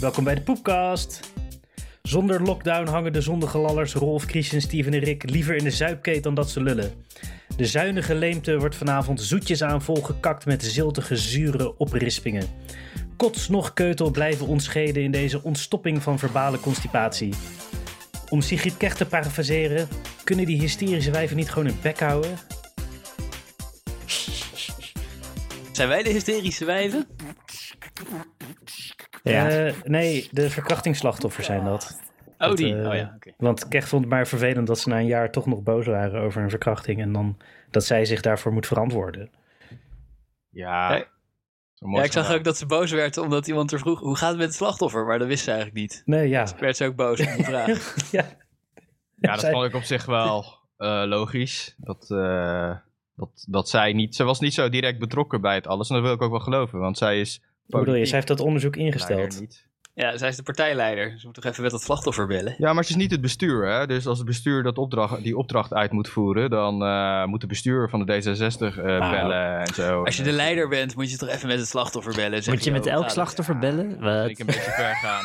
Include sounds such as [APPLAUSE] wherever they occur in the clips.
Welkom bij de Poepcast. Zonder lockdown hangen de zondige lallers Rolf, Christian, Steven en Rick liever in de zuipkeet dan dat ze lullen. De zuinige leemte wordt vanavond zoetjes aan volgekakt met ziltige, zure oprispingen. Kots nog keutel blijven ons schelen in deze ontstopping van verbale constipatie. Om Sigrid Kech te parafraseren, kunnen die hysterische wijven niet gewoon hun bek houden? Zijn wij de hysterische wijven? Eh, nee, de verkrachtingsslachtoffers zijn dat. Oh, die. eh, Oh ja, oké. Want Kech vond het maar vervelend dat ze na een jaar toch nog boos waren over een verkrachting. En dan dat zij zich daarvoor moet verantwoorden. Ja. Ja. Zo Ja, mooi nou. ik zag gedaan. ook dat ze boos werd omdat iemand er vroeg, hoe gaat het met het slachtoffer? Maar dat wist ze eigenlijk niet. Nee, [LAUGHS] ja. Werd ze ook boos op die vraag. ja. Ja, dat Zij- vond ik op zich [LAUGHS] wel eh, logisch. Dat, eh, dat, dat zij niet... Ze was niet zo direct betrokken bij het alles. En dat wil ik ook wel geloven, want zij is... Hoe bedoel je, politiek zij heeft dat onderzoek ingesteld. leider niet. Ja, zij is de partijleider. dus Ze moet toch even met dat slachtoffer bellen? Ja, maar ze is niet het bestuur, hè. Dus als het bestuur dat opdracht, die opdracht uit moet voeren... dan eh, moet de bestuur van de D66 eh, bellen en zo. Als je de leider bent, moet je toch even met het slachtoffer bellen. Zeg Moet je joh, met hoe elk gaat slachtoffer bellen? Dat vind Wat? ik een beetje ver [LAUGHS] gaan.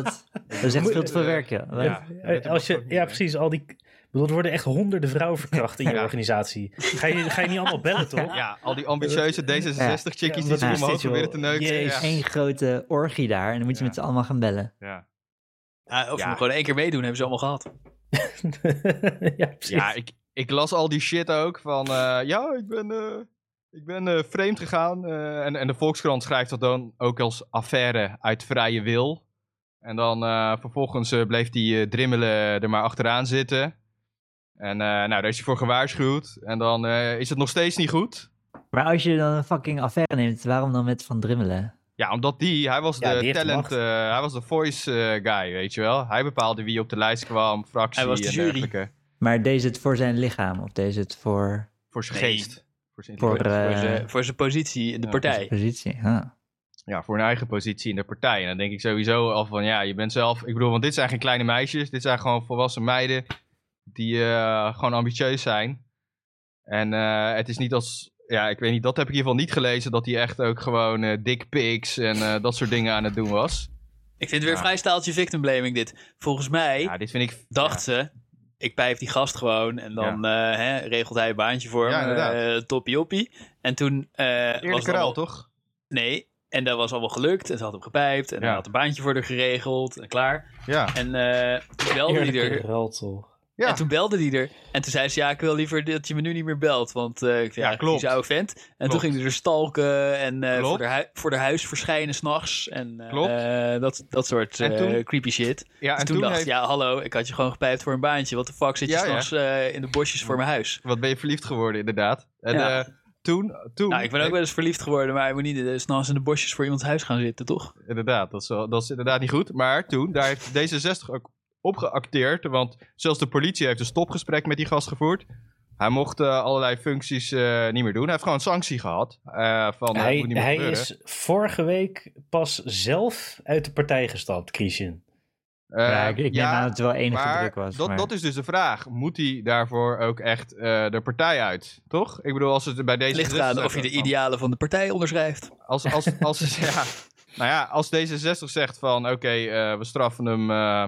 Wat? Dat is echt veel te verwerken. Wat? Ja, Eh, dat Als mag je, ook niet, ja, hè. precies. Al die, ik bedoel, er worden echt honderden vrouwen verkracht in je [LAUGHS] Ja. organisatie. Ga je, ga je niet allemaal [LAUGHS] bellen, toch? Ja, al die ambitieuze D66-chickies die wat ze is omhoog dit, joh? proberen te neuken. Jezus. Ja. Eén grote orgie daar en dan moet je Ja. met z'n allemaal gaan bellen. Ja. het? Ja, of je Ja. moet gewoon één keer meedoen, hebben ze allemaal gehad. [LAUGHS] ja, precies. Ja, ik, ik las al die shit ook van, eh, ja, ik ben, eh, ik ben eh, vreemd gegaan. eh, en, en de Volkskrant schrijft dat dan ook als affaire uit vrije wil. En dan eh, vervolgens eh, bleef die eh, drimmelen er maar achteraan zitten. En eh, nou, daar is hij voor gewaarschuwd. En dan eh, is het nog steeds niet goed. Maar als je dan een fucking affaire neemt, waarom dan met Van Drimmelen? Ja, omdat die, hij was Ja, de die heeft de talent, macht. eh, hij was de voice eh, guy, weet je wel. Hij bepaalde wie op de lijst kwam, fractie Hij was de en jury. dergelijke. Maar deze het voor zijn lichaam of deze het voor Voor zijn Nee. geest. Voor zijn Voor, intelligentie. Voor Eh. zijn- Voor zijn positie in de Ja, dus- zijn partij. positie? Eh, Huh. ja, voor hun eigen positie in de partij. En dan denk ik sowieso al van, ja, je bent zelf... Ik bedoel, want dit zijn geen kleine meisjes. Dit zijn gewoon volwassen meiden die eh, gewoon ambitieus zijn. En eh, het is niet als... Ja, ik weet niet, dat heb ik in ieder geval niet gelezen... dat hij echt ook gewoon eh dick pics en eh, dat soort dingen aan het doen was. Ik vind het weer Ja. vrij staaltje victim blaming dit. Volgens mij Ja, dit vind ik... dacht ze, ik pijp die gast gewoon en dan eh, hè, regelt hij een baantje voor Ja, hem. inderdaad. eh, toppie oppie. En toen eh, was het Eerlijke allemaal- ruil, toch? Nee. En dat was allemaal gelukt. En ze had hem gepijpt. En Ja. hij had een baantje voor haar geregeld. En klaar. Ja. En eh, toen belde hij Eerlijke er. rel, toch? Ja. En toen belde hij er. En toen zei ze, ja, ik wil liever dat je me nu niet meer belt. Want eh, ik vind ja, klopt. die oude vent. En toen Klopt. ging hij er stalken. En eh, Klopt. voor, haar, hui- voor haar huis verschijnen s'nachts. En eh, Klopt. eh, dat, dat soort En eh, toen- creepy shit. ja, en en Dus toen, dacht heeft- ik, ja, hallo, ik had je gewoon gepijpt voor een baantje. Wat de fuck zit je Ja, ja. s'nachts eh, in de bosjes voor mijn huis? Wat ben je verliefd geworden, inderdaad. En Ja. eh, toen... toen Nou, ik ben ook wel eens verliefd geworden. Maar je moet niet eh, s'nachts in de bosjes voor iemands huis gaan zitten, toch? Inderdaad, dat is, wel- dat is inderdaad niet goed. Maar toen, daar heeft D66 ook op geacteerd. Want zelfs de politie heeft een stopgesprek met die gast gevoerd. Hij mocht eh, allerlei functies eh, niet meer doen. Hij heeft gewoon een sanctie gehad. eh, van, eh, hij moet niet meer hij gebeuren. is vorige week pas zelf uit de partij gestapt, Christian. Eh, ja, ik, ik neem ja, aan dat het wel enige maar druk was. Dat, maar- dat is dus de vraag. Moet hij daarvoor ook echt eh, de partij uit? Toch? Ik bedoel, als het bij deze... Het ligt eraan of je de idealen van de partij onderschrijft. Als, als, [LAUGHS] als, ja, nou ja, als D66 zegt van oké, eh, we straffen hem eh,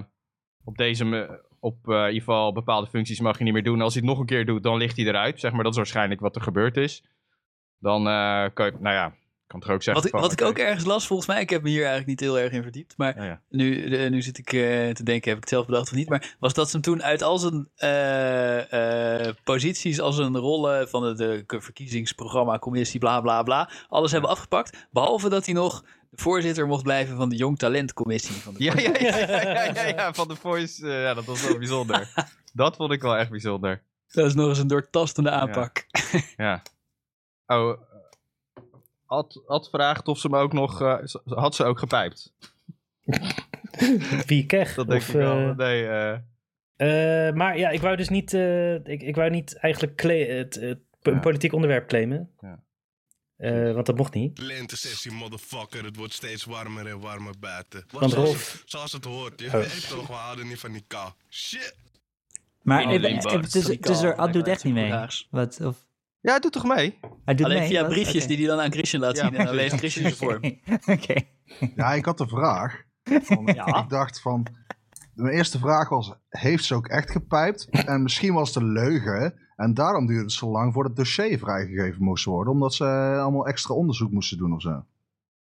op deze, me- op eh, in ieder geval bepaalde functies mag je niet meer doen. Als hij het nog een keer doet, dan ligt hij eruit. Zeg maar, dat is waarschijnlijk wat er gebeurd is. Dan eh, kan je, nou ja, kan toch ook zeggen Wat, ik- van, wat ik oké. ook ergens las, volgens mij, ik heb me hier eigenlijk niet heel erg in verdiept. Maar Nou ja. nu, de- nu zit ik eh, te denken, heb ik het zelf bedacht of niet? Maar was dat ze hem toen uit al zijn eh, eh, posities, als een rollen van het eh, verkiezingsprogramma, commissie, bla bla bla, alles hebben afgepakt. Behalve dat hij nog de voorzitter mocht blijven van de Jong Talent Commissie. Van de Ja, ja, ja, ja, ja, ja, van de voice, eh, ja, dat was wel bijzonder. [LAUGHS] dat vond ik wel echt bijzonder. Dat is nog eens een doortastende aanpak. Ja. Oh, eh, Ad, Ad vraagt of ze me ook nog, eh, z- had ze ook gepijpt? Wie Kech? Dat denk of, ik wel. eh, nee, eh, Eh, maar ja, ik wou dus niet, eh, ik, ik wou niet eigenlijk cle- het, het po- een Ja. politiek onderwerp claimen. Ja. Eh, want dat mocht niet. Lentesessie, motherfucker. Het wordt steeds warmer en warmer buiten. Want zoals, Rolf- het, zoals het hoort. Je Oh. weet toch, we houden niet van die kou. Shit. Maar Oh, even- nee, even- Bart, het is- sorry, het is er, Karel, Ad doet echt niet mee. Vraag. Wat? Of, Ja, doe toch mee? hij doet Alleen mee, via wat? briefjes Oké. die hij dan aan Christian laat Ja, [LAUGHS] [LAUGHS] zien. En dan precies. leest Christian ze voor hem. Oké. Ja, ik had de vraag. Ja. [LAUGHS] Ik dacht van. Mijn eerste vraag was: heeft ze ook echt gepijpt? En misschien was het een leugen. En daarom duurde het zo lang voordat het dossier vrijgegeven moest worden. Omdat ze eh, allemaal extra onderzoek moesten doen of zo. Wat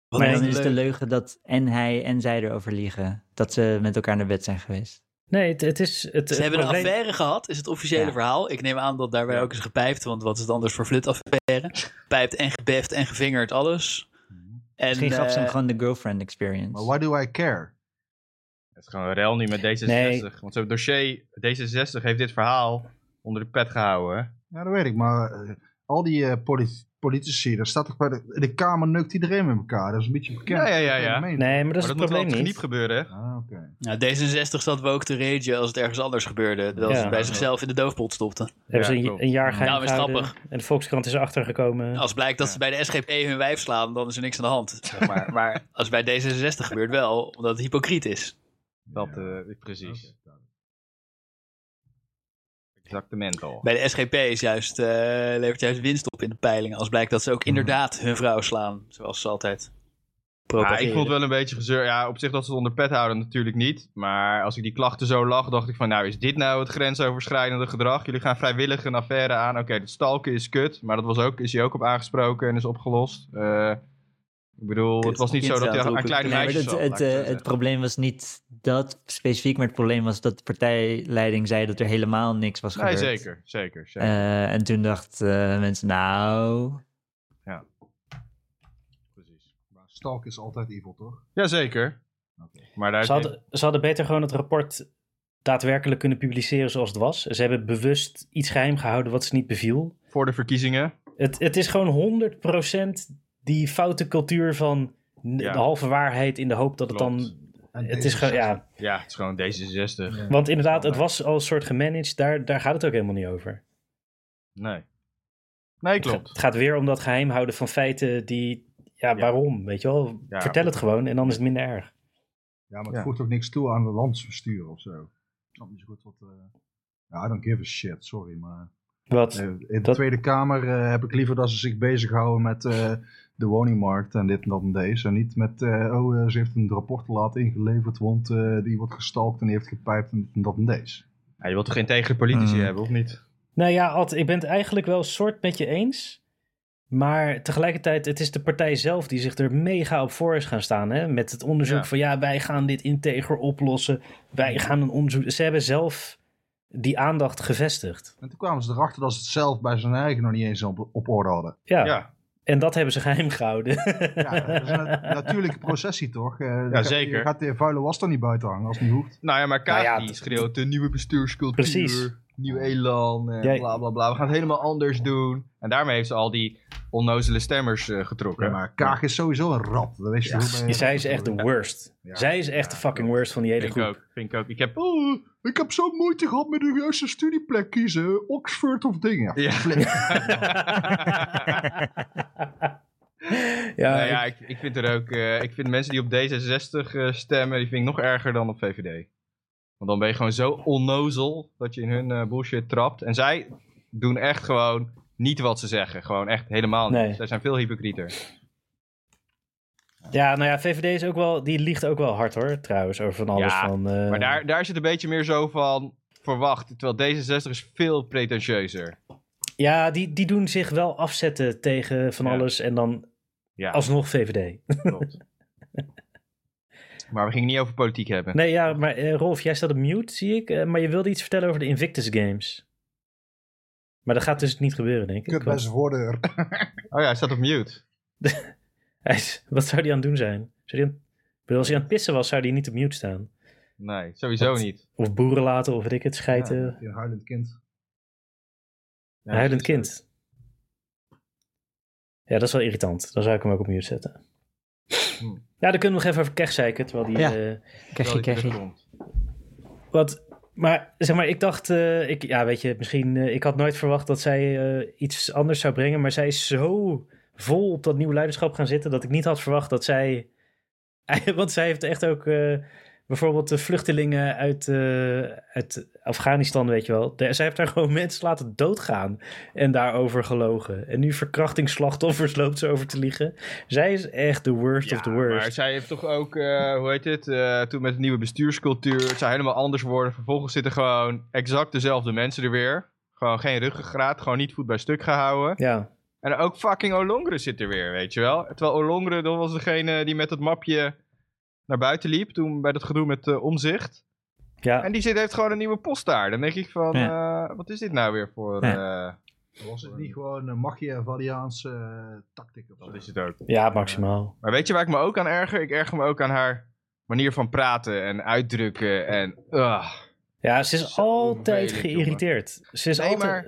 Maar Maar een dan is de leuk- leugen dat en hij en zij erover liegen. Dat ze met elkaar naar bed zijn geweest. Nee, het, het is... Het, het Ze hebben een probleem- affaire gehad, is het officiële Ja. verhaal. Ik neem aan dat daarbij ook is gepijpt, want wat is het anders voor flutaffaire? Pijpt en gebeft en gevingerd, alles. En, Misschien gaf ze hem eh, gewoon de girlfriend experience. Maar why do I care? Het is gewoon een rel nu met D66. Nee. Want zo'n dossier, D66 heeft dit verhaal onder de pet gehouden. hè? Ja, dat weet ik. Maar eh, al die eh, politi- politici, daar staat toch bij de, in de Kamer neukt iedereen met elkaar. Dat is een beetje bekend. Ja, ja, ja, ja. Meen- Nee, maar dat is maar dat het moet wel op het probleem geniep niet. gebeuren. hè? Ah, oké. nou, D66 zat we ook te ragen als het ergens anders gebeurde. Dat Ja. ze het bij zichzelf in de doofpot stopten. Hebben Ja, ze klopt. een, een jaar geheim Nou, is gehouden grappig. Oh, En de Volkskrant is erachter gekomen. Als blijkt dat ze bij de SGP hun wijf slaan, dan is er niks aan de hand. Zeg maar. [LAUGHS] maar als bij D66 gebeurt wel, omdat het hypocriet is. Dat, eh, precies. Exactemento. Bij de SGP is juist, eh, levert juist winst op in de peilingen. Als blijkt dat ze ook inderdaad hun vrouw slaan, zoals ze altijd Ja, propageren. ik vond het wel een beetje gezeur. Ja, op zich dat ze het onder pet houden natuurlijk niet. Maar als ik die klachten zo lag, dacht ik van... Nou, is dit nou het grensoverschrijdende gedrag? Jullie gaan vrijwillig een affaire aan. Oké, dat stalken is kut. Maar dat was ook, is hij ook op aangesproken en is opgelost. Eh, ik bedoel, Kut, het was niet kind zo dat aan hij het aan roepen. kleine Nee, maar meisjes het, zat, het, laat ik eh, zo het zeggen. probleem was niet dat specifiek, maar het probleem was dat de partijleiding zei dat er helemaal niks was Nee, gebeurd. zeker. Zeker. zeker. Eh, en toen dachten mensen, nou, Precies. Maar Stalk is altijd evil, toch? Jazeker. Maar daar is Ze hadden, ze hadden beter gewoon het rapport daadwerkelijk kunnen publiceren zoals het was. Ze hebben bewust iets geheim gehouden wat ze niet beviel. niet- voor de verkiezingen. Het, het is gewoon 100% die foute cultuur van n- Ja. de halve waarheid in de hoop dat het Klopt. dan... En Het is gewoon, D66. ja, Ja, het is gewoon D66. want inderdaad, het was al een soort gemanaged. Daar, daar gaat het ook helemaal niet over. Nee. Nee, Het, klopt. gaat weer om dat geheim houden van feiten die... Ja, waarom? Weet je wel? Ja. Vertel het gewoon en dan is het minder erg. Ja, maar het Ja. voegt ook niks toe aan de landsbestuur of zo. Ik snap niet zo goed wat... eh, Ja, I don't give a shit, sorry, maar... Wat? eh, in de dat- Tweede Kamer eh, heb ik liever dat ze zich bezighouden met eh, de woningmarkt en dit en dat en deze. En niet met, eh, oh, eh, ze heeft een rapport laat ingeleverd, want eh, die wordt gestalkt en die heeft gepijpt en dit en dat en deze. Ja, je wilt toch geen tegen politici Mm. hebben, of niet? Nou ja, Ad, ik ben het eigenlijk wel soort met je eens. Maar tegelijkertijd, het is de partij zelf die zich er mega op voor is gaan staan. Hè? Met het onderzoek Ja. van ja, wij gaan dit integer oplossen. Wij gaan een onderzoek. Ze hebben zelf die aandacht gevestigd. En toen kwamen ze erachter dat ze het zelf bij zijn eigen nog niet eens op, op orde hadden. Ja. Ja, ja, en dat hebben ze geheim gehouden. Ja, dat is een nat- natuurlijke processie, toch? Eh, je gaat- zeker. Je gaat de vuile was er niet buiten hangen als het niet hoeft. Nou ja, maar Kaag Nou ja, die het- schreeuwt de nieuwe bestuurscultuur. Precies. Nieuw elan, eh, Jij- bla bla bla. We gaan het helemaal anders doen. En daarmee heeft ze al die onnozele stemmers eh, getrokken. Maar Kaag is sowieso een rat, dat weet je goed. bij- Zij is echt de worst. Ja. Zij is echt de Ja, fucking worst van die hele vind ik groep. ook. Vind ik ook. Ik heb... Oh, ik heb zo'n moeite gehad met de juiste studieplek kiezen. Oxford of dingen. [LAUGHS] Ja. [LAUGHS] [LAUGHS] [LAUGHS] ja, nou ja, ik, ik vind er ook... eh, ik vind mensen die op D66 eh, stemmen, die vind ik nog erger dan op VVD. Want dan ben je gewoon zo onnozel dat je in hun eh, bullshit trapt. En zij doen echt gewoon niet wat ze zeggen. Gewoon echt helemaal niet. Nee. Zij zijn veel hypocrieter. Ja, nou ja, VVD is ook wel, die liegt ook wel hard hoor, trouwens, over van alles. Ja, van, eh, Maar daar, daar zit een beetje meer zo van verwacht. Terwijl D66 is veel pretentieuzer. Ja, die, die doen zich wel afzetten tegen van Ja. alles en dan Ja, alsnog VVD. klopt. maar we gingen niet over politiek hebben. Nee, ja, maar eh, Rolf, jij staat op mute, zie ik. eh, maar je wilde iets vertellen over de Invictus Games. Maar dat gaat dus niet gebeuren, denk ik. Kut bij zijn voordeur. Oh ja, hij staat op mute. [LAUGHS] Hij is- wat zou die aan het doen zijn? Zou die aan, ik bedoel, als hij aan het pissen was, zou die niet op mute staan. Nee, sowieso Wat? niet. Of boeren laten, of weet ik het, schijten. Ja, een huilend kind. een huilend kind. Ja, dat is wel irritant. Dan zou ik hem ook op mute zetten. Hm. Ja, dan kunnen we nog even over Kech zeiken, terwijl die... Ja. eh, krijg je, Terwijl hij krijg je. terugkomt. Wat, maar zeg maar, ik dacht, eh, ik, ja, weet je, misschien, eh, ik had nooit verwacht dat zij eh, iets anders zou brengen, maar zij is zo vol op [LAUGHS] dat nieuwe leiderschap gaan zitten dat ik niet had verwacht dat zij, want zij heeft echt ook eh, bijvoorbeeld de vluchtelingen uit, eh, uit Afghanistan, weet je wel. De- zij heeft daar gewoon [LAUGHS] mensen laten doodgaan en daarover gelogen. En nu verkrachtingsslachtoffers [LAUGHS] loopt ze over te liegen. Zij is echt de worst of the Maar worst. zij heeft toch ook, eh, hoe heet het, eh, toen met de nieuwe bestuurscultuur, het zou helemaal anders worden. Vervolgens zitten gewoon exact dezelfde mensen er weer. Gewoon geen ruggengraat, gewoon niet voet bij stuk gehouden. Ja, En ook fucking Olongre zit er weer, weet je wel. Terwijl Olongre, dat was degene die met het mapje naar buiten liep, toen bij dat gedoe met eh, omzicht. ja. En die zit, heeft gewoon een nieuwe post daar. Dan denk ik van, eh, wat is dit nou weer voor... eh, Was het niet gewoon een Machiavelliaanse eh, tactiek? Of wat zo? is het ook? ja, maximaal. Maar weet je waar ik me ook aan erger? Ik erger me ook aan haar manier van praten en uitdrukken en... ah. Ja, ze is Zo altijd vervelend, geïrriteerd. Ze is Nee, altijd... maar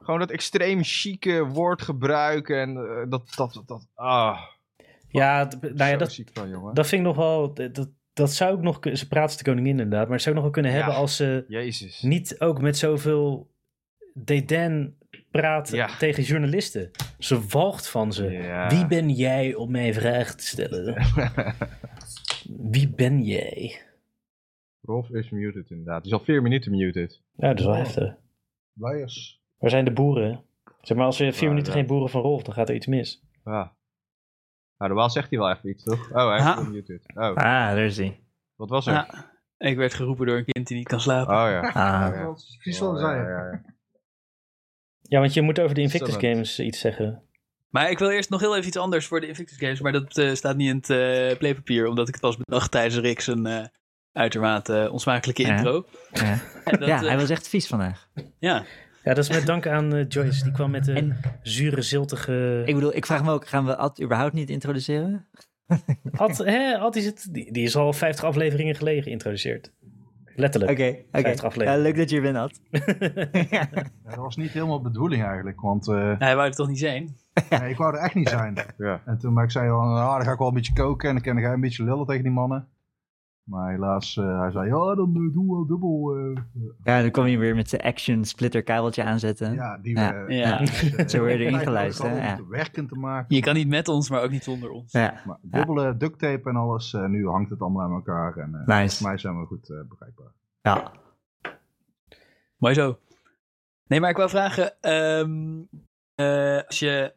gewoon dat extreem chique woordgebruik en eh, dat, dat, dat, dat- ah, Ja, d- nou ja, zo dat, ziek van, jongen. dat vind ik nog wel... d- Dat, dat zou ik nog... kun- Ze praat als de koningin inderdaad, maar dat zou ik nog wel kunnen Ja. hebben als ze... Jezus. niet ook met zoveel deden praat Ja. tegen journalisten. Ze walgt van ze. Ja. eh, Wie ben jij om mij vragen te [LAUGHS] stellen? Wie ben jij? Rolf is muted inderdaad. Die is al vier minuten muted. Ja, dat is wel heftig. Leiers. Waar zijn de boeren? Zeg maar, als er vier Ja, minuten Oh, ja. geen boeren van Rolf, dan gaat er iets mis. Ja. Ah. Nou, de Waal zegt hij wel even iets, toch? Oh, hij is Ha. wel muted. Oh, Ah, daar is hij. wat was er? Ja. Ik werd geroepen door een kind die niet kan slapen. Oh [LAUGHS] ja. Oh, Ah, Ja. Dat is precies wat we zeiden. Ja, want je moet over de Invictus Zo dat. Games iets zeggen. Maar ik wil eerst nog heel even iets anders voor de Invictus Games. Maar dat eh, staat niet in het eh, playpapier. Omdat ik het was bedacht tijdens Rick zijn eh, uitermate eh, onsmakelijke Ja. intro. ja. En [LAUGHS] dat, ja, eh, hij was echt vies vandaag. ja. Ja, dat is met dank aan eh, Joyce. Die kwam met de En- zure, ziltige... Ik bedoel, ik vraag me ook, gaan we Ad überhaupt niet introduceren? Ad, hè, Ad is het, die, die is al 50 afleveringen geleden geïntroduceerd. Letterlijk. Oké, oké. Vijftig Ja, afleveringen. leuk dat je er bent, Ad. Ja, dat was niet helemaal de bedoeling eigenlijk, want eh, hij wou er toch niet zijn. nee, ik wou er echt niet zijn. [LAUGHS] Ja. En toen maar ik zei al, ah, dan ga ik wel een beetje koken en dan kan ik een beetje lullen tegen die mannen. Maar helaas, eh, hij zei, ja, dan eh, doen we wel dubbel. eh." Ja, dan kom je weer met zijn action splitter kabeltje aanzetten. ja, die Ja. eh, Ja. eh, [LAUGHS] Zo word je erin krijgen geluisterd, ook allemaal hè? om te werken te maken. Je kan niet met ons, maar ook niet zonder ons. Ja, Maar dubbele duct tape en alles, eh, nu hangt het allemaal aan elkaar. En eh, volgens nice. mij zijn we goed eh, bereikbaar. Ja. Mooi zo. Nee, maar ik wou vragen, ehm, eh, als je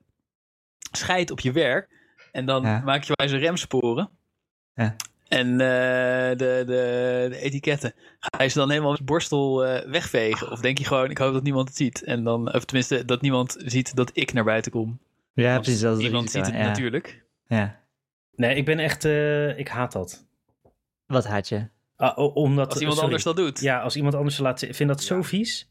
scheidt op je werk en dan Ja. maak je wel eens remsporen Ja. en eh, de, de, de etiketten, ga je ze dan helemaal met borstel eh, wegvegen? Of denk je gewoon, ik hoop dat niemand het ziet en dan, of tenminste, dat niemand ziet dat ik naar buiten kom? Ja, Want precies. Dat is Niemand risico, ziet het ja. natuurlijk. Ja. Nee, ik ben echt... eh, ik haat dat. Wat had je? Ah, o- omdat, Als iemand sorry. anders dat doet. Ja, als iemand anders ze laat zien. Ik vind dat zo vies.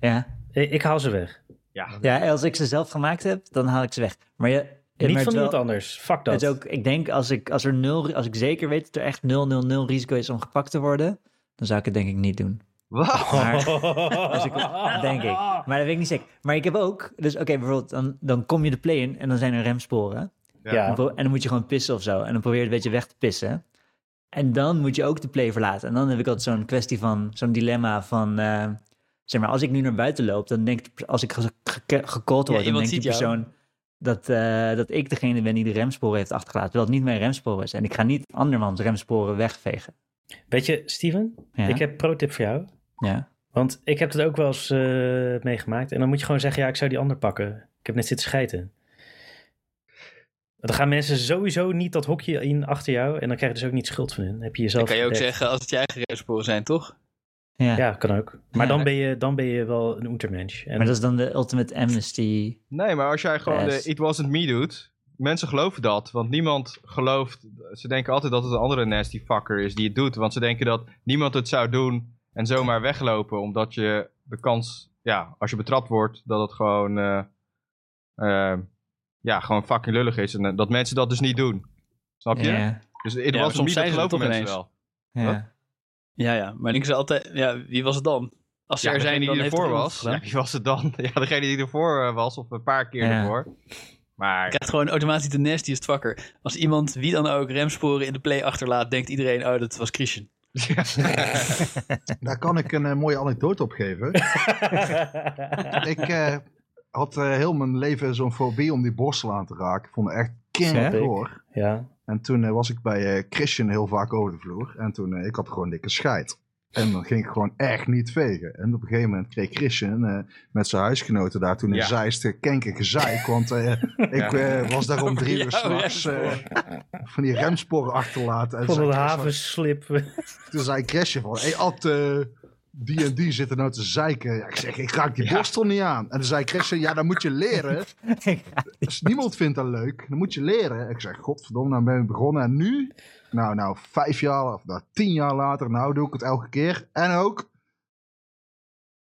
Ja. Ik, ik haal ze weg. ja, en als ik ze zelf gemaakt heb, dan haal ik ze weg. Maar je, je Niet merkt van wel- iemand anders. Fuck dat. Het is [LAUGHS] ook, ik denk, als ik, als, er nul, als ik zeker weet dat er echt 000 risico is om gepakt te worden, dan zou ik het denk ik niet doen. Wat? Oh. Maar, als ik, denk ik. Maar dat weet ik niet zeker. Maar ik heb ook, dus oké, bijvoorbeeld, dan, dan kom je de play in en dan zijn er remsporen. En Ja. dan pro- En dan moet je gewoon pissen of zo. En dan probeer je het een beetje weg te pissen. En dan moet je ook de play verlaten. En dan heb ik altijd zo'n kwestie van, zo'n dilemma van... eh, zeg maar, als ik nu naar buiten loop, dan denkt... Als ik ge- ge- gecallt word, dan iemand ziet denkt die jou. persoon... Dat, eh, dat ik degene ben die de remsporen heeft achtergelaten. Terwijl het niet mijn remsporen is. En ik ga niet andermans remsporen wegvegen. Weet je, Steven, Ja, ik heb pro-tip voor jou. ja. Want ik heb dat ook wel eens eh, meegemaakt. En dan moet je gewoon zeggen, ja, ik zou die ander pakken. Ik heb net zitten schijten. Dan gaan mensen sowieso niet dat hokje in achter jou. En dan krijg je dus ook niet schuld van hun. Dan heb je Dan jezelf kan je ook gedekt. zeggen, als het je eigen remsporen zijn, toch? Ja. Ja, kan ook. Maar Ja. dan, ben je, dan ben je wel een untermensch. En Maar dat is dan de ultimate amnesty. Nee, maar als jij gewoon Yes. de It Wasn't Me doet, mensen geloven dat. Want niemand gelooft, ze denken altijd dat het een andere nasty fucker is die het doet. Want ze denken dat niemand het zou doen en zomaar weglopen. Omdat je de kans, ja, als je betrapt wordt, dat het gewoon, eh, eh, ja, gewoon fucking lullig is. En eh, dat mensen dat dus niet doen. Snap je? Ja, Dus It maar Wasn't soms Me, zijn dat ze er geloven toch mensen ineens. wel. ja. Wat? Ja, ja. Maar ik zei altijd, ja, wie was het dan? Als ze Ja, er zijn degene dan die heeft ervoor er iemand was. gedaan. Ja, wie was het dan? [LAUGHS] Ja, degene die ervoor eh, was, of een paar keer Ja. ervoor. Maar Je [LAUGHS] krijgt gewoon automatisch de nastiest vakker. Als iemand, wie dan ook, remsporen in de play achterlaat, denkt iedereen, oh, dat was Christian. [LAUGHS] Daar kan ik een eh, mooie anekdote op geven. ik, eh, had eh, heel mijn leven zo'n fobie om die borstel aan te raken. Ik vond het echt Snap kind ik. [LAUGHS] hoor. Ja. En toen eh, was ik bij eh, Christian heel vaak over de vloer. En toen, eh, ik had gewoon dikke scheid. En dan ging ik gewoon echt niet vegen. En op een gegeven moment kreeg Christian eh, met zijn huisgenoten daar toen in Ja. Zeist eh, kenker gezeik. Want eh, [LAUGHS] ik eh, was daar om drie Over uur jouw s'nachts eh, van die remsporen achterlaten. En Van zei een Christian, havenslip. toen zei Christian van, hey Ad, eh, die en die zitten nou te zeiken. Ja, ik zeg, ik raak die borstel niet aan. En toen zei Christian, ja, dan moet je [LAUGHS] leren. [LAUGHS] Dus niemand vindt dat leuk. Dan moet je leren. Ik zeg, godverdomme, nou ben ik begonnen. En nu? Nou, nou, vijf jaar of nou, tien jaar later, nou doe ik het elke keer. En ook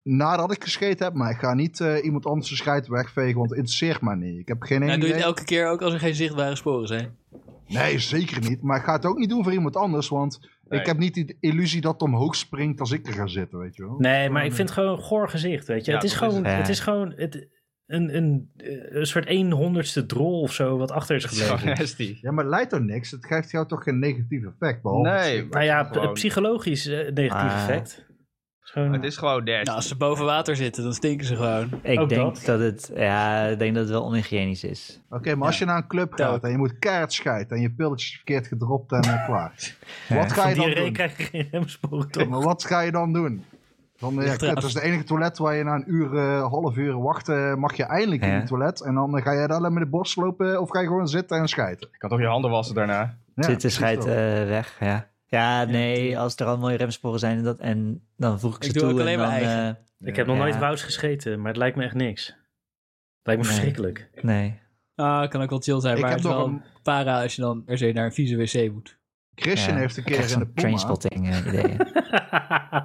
nadat ik gescheten heb, maar ik ga niet eh, iemand anders de scheid wegvegen, want het interesseert mij niet. Ik heb En geen enkel Nou, doe je het idee. elke keer ook als er geen zichtbare sporen zijn? Nee, zeker niet. Maar ik ga het ook niet doen voor iemand anders, want Nee. ik heb niet die illusie dat het omhoog springt als ik er ga zitten, weet je wel. Nee, maar ik vind het gewoon een goor gezicht, weet je. Ja, het, is dat gewoon, is het. het is gewoon het, een, een, een soort 100ste drol of zo wat achter is Zo gebleven. nasty. Ja, maar het leidt tot niks. Het geeft jou toch geen negatief effect, behalve... Nee. Nou ja, Gewoon- p- psychologisch eh, negatief Ah. effect. Het is gewoon- Het is gewoon nasty. Nou, als ze boven water zitten, dan stinken ze gewoon. Ik Ook denk dat. dat. het, ja, ik denk dat het wel onhygiënisch is. Oké, maar als je naar een club gaat en je moet keihard scheiden en je pilletjes verkeerd gedropt en eh, klaar. Wat ga Van je dan diarree doen? krijg je geen remsporen, Ja, toch? maar wat ga je dan doen? Dan, eh, ja, Ligt eraan. kut, dat is de enige toilet waar je na een uur, eh, half uur wachten, mag je eindelijk in Ja. het toilet. En dan eh, ga je daar alleen met de borst lopen of ga je gewoon zitten en scheiden. Ik kan toch je handen wassen daarna? Ja, Zit de precies scheid dat. eh, weg, ja. Ja, nee, als er al mooie remsporen zijn en, dat, en dan voeg ik ze Ik doe toe. ook alleen en maar dan, eigen. Ik heb nog Ja. nooit wous gescheten, maar het lijkt me echt niks. Lijkt me Nee. verschrikkelijk. eh, nee. Ah, kan ook wel chill zijn, Ik maar heb het is nog wel een... para als je dan per se naar een vieze wc moet. Christian Ja, heeft een Ik keer in de Puma, trainspotting eh, ideeën.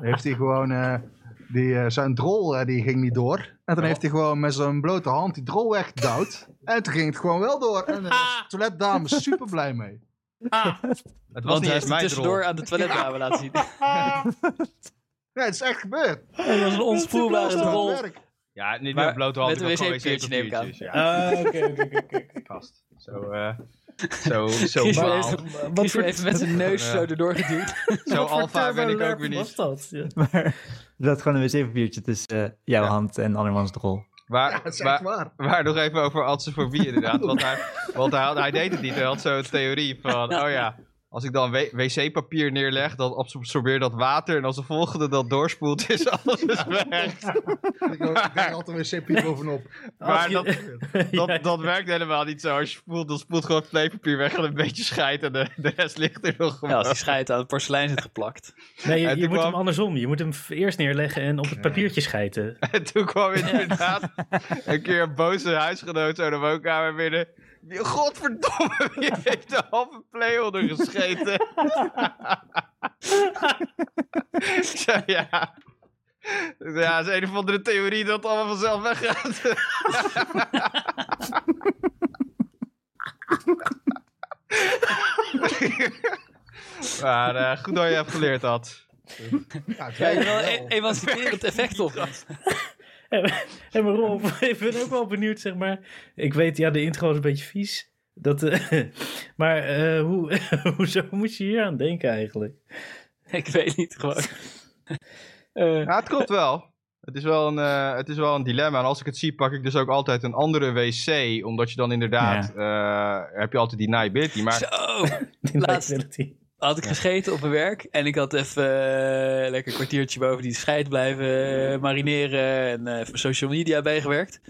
heeft hij gewoon... eh, die, eh, zijn drol eh, die ging niet door. En Oh. toen heeft hij gewoon met zijn blote hand die drol weggedouwd. en toen ging het gewoon wel door. En daar was de toiletdame super blij mee. Het Want was niet hij eens heeft het mijn tussendoor rol. aan de toiletdame laten zien. Ja, het is echt gebeurd. Dat was een Dat onspoelbare is rol. het werk. Ja, niet Maar met blote met handen. een ik had gewoon wc-papiertje neem ik aan. wc-papiertjes, Ja, Ah, oké, oké, oké, oké. gast. Zo, eh zo, zo, Kies maar baal. even, kies maar even met zijn neus Ja. zo erdoor geduwd. zo Wat voor alfa ben ik ook turbo-lerp weer was niet. dat? Ja. maar er zat gewoon een wc-papiertje tussen eh, jouw Ja. hand en andermans drol. Ja, Waar, het is echt waar, waar. waar nog even over atsefobie [LAUGHS] inderdaad. Want, hij, want hij, had- hij deed het niet. Hij had zo'n theorie van, oh ja, als ik dan w- wc-papier neerleg, dan absorbeert dat water. En als de volgende dat doorspoelt, is [LAUGHS] alles weg. Ik had altijd een wc-piep bovenop. Als Maar je- [LAUGHS] dat, dat, Ja. dat werkt helemaal niet zo. Als je spoelt, dan spoelt gewoon het kleepapier weg en een beetje schijt. En de, de rest ligt er nog Ja, gewoon. als die schijt aan het porselein zit geplakt. Nee, je, En je toen moet kwam- hem andersom. Je moet hem f- eerst neerleggen en op het papiertje [LAUGHS] schijten. En toen kwam inderdaad een keer een boze huisgenoot zo de woonkamer binnen. Wie- Godverdomme, wie heeft de halve playholder gescheten? [LAUGHS] Ik zei, ja. Ik zei, Ja, het is een of andere theorie dat het allemaal vanzelf weggaat. [LAUGHS] maar eh, goed dat je hebt geleerd, had. Ja, het Ja, werkt wel wel. een emanciperend effect op. En maar Rob, [LAUGHS] ik ben ook wel benieuwd, zeg maar. Ik weet, ja, de intro is een beetje vies. Dat, eh, [LAUGHS] maar eh, hoe, [LAUGHS] hoezo moet je hier aan denken eigenlijk? [LAUGHS] Ik weet niet, gewoon. Eh, Ja, het klopt wel. Het is wel, een, eh, het is wel een dilemma. En als ik het zie, pak ik dus ook altijd een andere wc. Omdat je dan inderdaad... eh, heb je altijd die deniability. Maar Zo! Die Laatste. liability. Had ik gescheten op mijn werk en ik had even eh, lekker een kwartiertje boven die scheid blijven eh, marineren en eh, even social media bijgewerkt.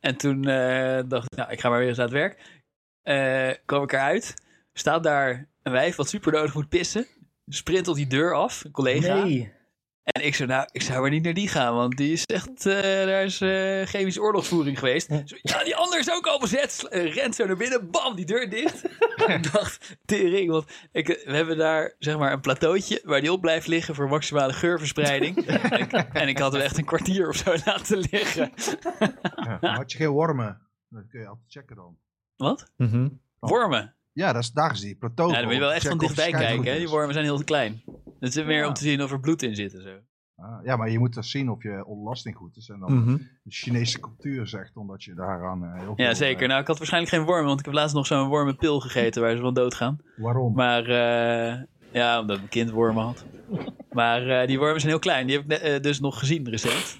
En toen eh, dacht ik, nou, ik ga maar weer eens aan het werk. Eh kwam ik eruit, staat daar een wijf wat super nodig moet pissen. Sprint op die deur af, een collega. Nee. En ik zei, nou, ik zou maar niet naar die gaan, want die is echt, eh, daar is eh, chemische oorlogsvoering geweest. Zo, ja, die ander is ook al bezet. Sl- eh, rent zo naar binnen, bam, die deur dicht. ik dacht, tering, want ik, eh, we hebben daar zeg maar een plateautje waar die op blijft liggen voor maximale geurverspreiding. en, ik, en ik had hem echt een kwartier of zo [LAUGHS] laten liggen. Maar Had je geen wormen? Dat kun je altijd checken dan. Wat? Mhm. Wormen. Ja, dat is, daar is die plateau. Ja, dan moet je wel echt van Check Oh, of de dichtbij schijf kijken, goed hè. is. Die wormen zijn heel klein. Dat is meer Ja. om te zien of er bloed in zit en zo. Ah, ja, maar je moet dus zien of je ontlasting goed is. En Hm. dan Mhm. de Chinese cultuur zegt, omdat je daaraan eh, heel veel... Ja, zeker. Nou, ik had waarschijnlijk geen wormen, want ik heb laatst nog zo'n wormenpil gegeten waar ze van doodgaan. eh, waarom? Maar eh, ja, omdat mijn kind wormen had. Maar eh, die wormen zijn heel klein. Die heb ik ne- eh, dus nog gezien recent.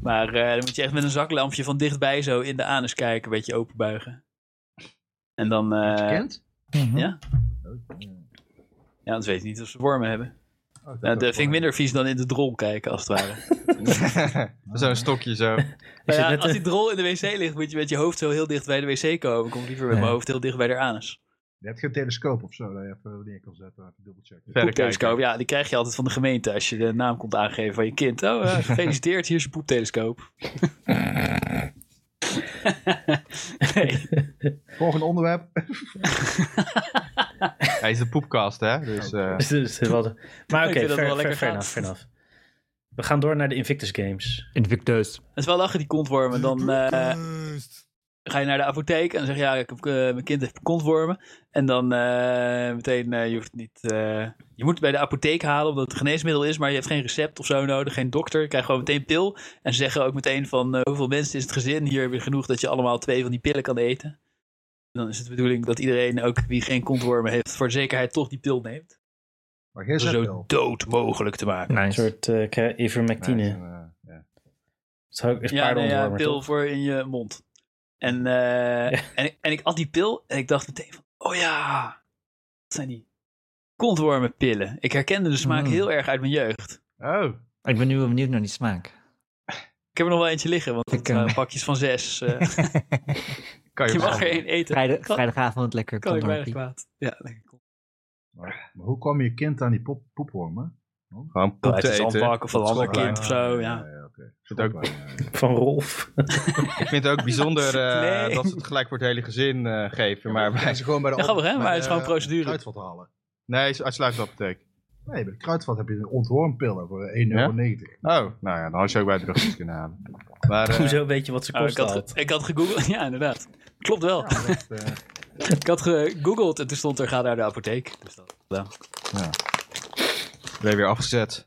Maar eh, dan moet je echt met een zaklampje van dichtbij zo in de anus kijken, een beetje openbuigen. En dan, eh, Kent? Mhm. ja? ja, dan weet je niet of ze wormen hebben. Oh, Nou, dat vind ik minder vies dan in de drol kijken, als het [LAUGHS] ware. Zo'n stokje zo. Maar zit ja, net als te- die drol in de wc ligt, moet je met je hoofd zo heel dicht bij de wc komen. Kom ik liever met Ja. mijn hoofd heel dicht bij de anus. Je hebt geen telescoop of zo, dat je even neer kan zetten, even dubbelchecken. Verder Poeptelescoop, kijken. ja, die krijg je altijd van de gemeente als je de naam komt aangeven van je kind. Oh, eh, gefeliciteerd, hier is je poeptelescoop. nee, Volgende onderwerp. Hij is de poepkast, hè? Dus, eh, [LAUGHS] Dus, dus, wat- maar Ik oké, vind dat ver- wel ver- fair lekker gaan. enough, fair enough. We gaan door naar de Invictus Games. Invictus. het is wel lachen die kontwormen. Dan eh, Juist. ga je naar de apotheek en zeg je, ja, ik heb, eh, mijn kind heeft kontwormen. En dan eh, meteen, eh, je hoeft niet... eh, je moet het bij de apotheek halen omdat het geneesmiddel is, maar je hebt geen recept of zo nodig, geen dokter. Je krijgt gewoon meteen pil. En ze zeggen ook meteen van eh, hoeveel mensen is het gezin. Hier heb je genoeg dat je allemaal twee van die pillen kan eten. En dan is het de bedoeling dat iedereen, ook wie geen kontwormen heeft, voor de zekerheid toch die pil neemt. Maar geen Om ze zetpil. zo dood mogelijk te maken. Een Nice. soort eh, kra- ivermectine. Nee, en, eh, ja. Dat is Ja, nee, ja, een paardenontwormer, pil toch? voor in je mond. En, eh, en, ik- en ik at die pil en ik dacht meteen van, oh ja, wat zijn die kontwormenpillen. Ik herkende de smaak Mm. heel erg uit mijn jeugd. eh, Oh, Ik ben nu wel benieuwd naar die smaak. Ik heb er nog wel eentje liggen, want het Ik, eh, waren pakjes van zes. [LAUGHS] eh, kan je je mag wel. er één eten. Vrijdag, kan, vrijdagavond lekker kan ik weinig kondorpie. kwaad. Ja, lekker. Maar, maar hoe kwam je kind aan die pop- poepwormen? Gewoon poep Het te is eten. aanpakken van een ander kind of zo, ja. oké. Zit ook- Schoolplein, Van [LAUGHS] Rolf. Ik vind het ook bijzonder eh, Nee. dat ze het gelijk voor het hele gezin eh, geven. Maar Maar wij bij, ze gewoon bij de Ja, grappig, hè? bij Maar het de, is gewoon eh, procedure. Kruidvat halen. nee, is uitsluitend apotheek. Nee, bij de kruidvat heb je een ontwormpillen voor 1,90 euro. Oh, nou ja, dan had je ze ook bij de druggies kunnen halen. [LAUGHS] Maar eh, Hoezo weet je wat ze Oh, ik, kost had, ik had gegoogeld, [LAUGHS] ja inderdaad. Klopt wel. Ja, dat, eh, Ik had gegoogeld en toen stond er, ga naar de apotheek. Dus [LAUGHS] dat, ja. werd weer afgezet.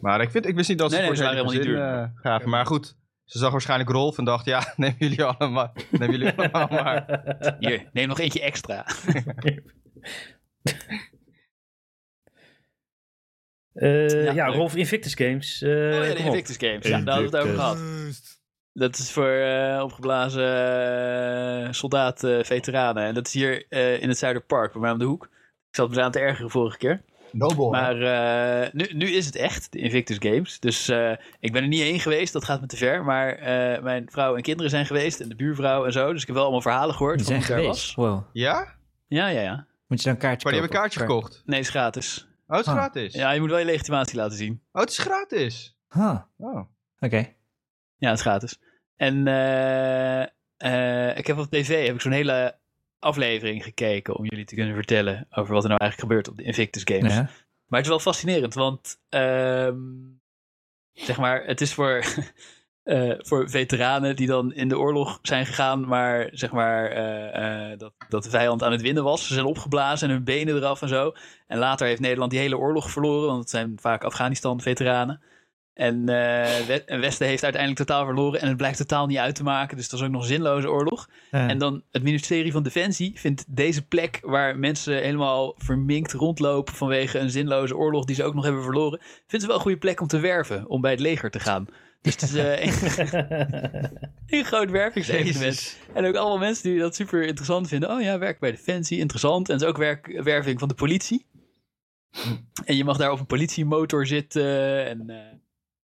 Maar ik, vind, ik wist niet dat ze Nee, het voor nee, het hele ze waren gezin eh gaven. Maar goed, ze zag waarschijnlijk Rolf en dacht, ja, [LAUGHS] neem jullie allemaal, neem jullie [LAUGHS] allemaal maar. [LAUGHS] Hier, neem nog eentje extra. Eh, Ja, Eh, ja, leuk. Rolf Invictus Games. eh, oh ja, de kom op. Invictus Games. Ja, daar hadden we het over gehad. Juist. Dat is voor eh, opgeblazen eh, soldaat eh, veteranen. En dat is hier eh, in het Zuiderpark, bij mij om de hoek. Ik zat me daar aan te ergeren vorige keer. Nobel. Oh, hè? Maar eh, nu, nu is het echt, de Invictus Games. Dus eh, ik ben er niet heen geweest, dat gaat me te ver. Maar eh, mijn vrouw en kinderen zijn geweest en de buurvrouw en zo. Dus ik heb wel allemaal verhalen gehoord Die van zijn hoe het daar geweest. was. Wow. Ja? Ja, ja, ja. Moet je dan een kaartje Maar Oh, die kopen? hebben een kaartje Of- gekocht. Nee, is gratis. Oh, het is Ah. gratis. Ja, je moet wel je legitimatie laten zien. Oh, het is gratis. Huh. Oh. Oké. Ja, het is gratis. En eh, eh, ik heb op tv heb ik zo'n hele aflevering gekeken om jullie te kunnen vertellen over wat er nou eigenlijk gebeurt op de Invictus Games. Nou Ja. Maar het is wel fascinerend, want ehm, zeg maar, het is voor, [LAUGHS] eh, voor veteranen die dan in de oorlog zijn gegaan, maar zeg maar eh, eh, dat, dat de vijand aan het winnen was. Ze zijn opgeblazen en hun benen eraf en zo. En later heeft Nederland die hele oorlog verloren, want het zijn vaak Afghanistan-veteranen. En eh, We- en Westen heeft uiteindelijk totaal verloren en het blijkt totaal niet uit te maken. Dus dat is ook nog een zinloze oorlog. Eh, En dan het ministerie van Defensie vindt deze plek waar mensen helemaal verminkt rondlopen vanwege een zinloze oorlog die ze ook nog hebben verloren, vindt ze wel een goede plek om te werven, om bij het leger te gaan. Dus het is eh, [LAUGHS] een, een groot wervingsevenement. Jezus. En ook allemaal mensen die dat super interessant vinden. Oh ja, werk bij Defensie, interessant. En het is ook werk, werving van de politie. En je mag daar op een politiemotor zitten en... eh,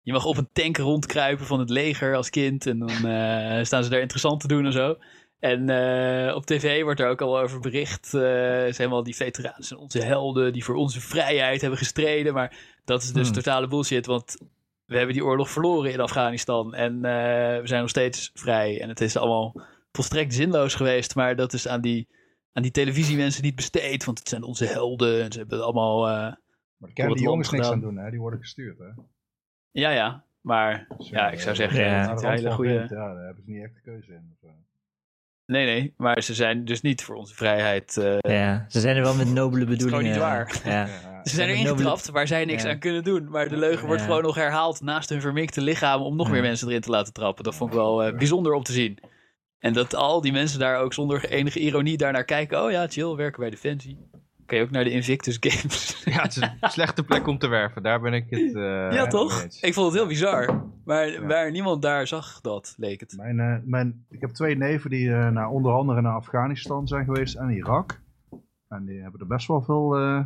je mag op een tank rondkruipen van het leger als kind. En dan eh, staan ze daar interessant te doen en zo. En eh, op tv wordt er ook al over bericht. eh zijn helemaal die veteranen zijn onze helden die voor onze vrijheid hebben gestreden. Maar dat is dus Hmm. totale bullshit. Want we hebben die oorlog verloren in Afghanistan. En eh, we zijn nog steeds vrij. En het is allemaal volstrekt zinloos geweest. Maar dat is aan die, aan die televisiemensen niet besteed. Want het zijn onze helden. En ze hebben allemaal. eh, maar daar wordt kunnen die jongens lang niks aan gedaan. doen, hè? Die worden gestuurd, hè? ja, ja. Maar Dus, Ja, eh, ik zou zeggen, ja, het naar de is een rand hele van goede- Gent, Ja, daar hebben ze niet echt de keuze in. of, eh. Nee, nee, maar ze zijn dus niet voor onze vrijheid. eh, ja. Ze zijn er [LAUGHS] wel met nobele bedoelingen. niet waar. [LAUGHS] Ja. Ja. ze zijn Ja, erin nobele- getrapt waar zij niks Ja. aan kunnen doen. Maar de leugen wordt Ja. gewoon nog herhaald naast hun verminkte lichamen om nog Ja. meer mensen erin te laten trappen. Dat vond ik wel eh, bijzonder om te zien. En dat al die mensen daar ook zonder enige ironie daarnaar kijken. Oh ja, chill, werken bij Defensie. Kan je ook naar de Invictus Games. Ja, het is [LAUGHS] een slechte plek om te werven. Daar ben ik het. eh, ja, mee toch? eens. Ik vond het heel bizar. Maar Ja. waar niemand daar zag dat, leek het. Mijn, eh, mijn, ik heb twee neven die eh, naar onder andere naar Afghanistan zijn geweest en Irak. En die hebben er best wel veel eh,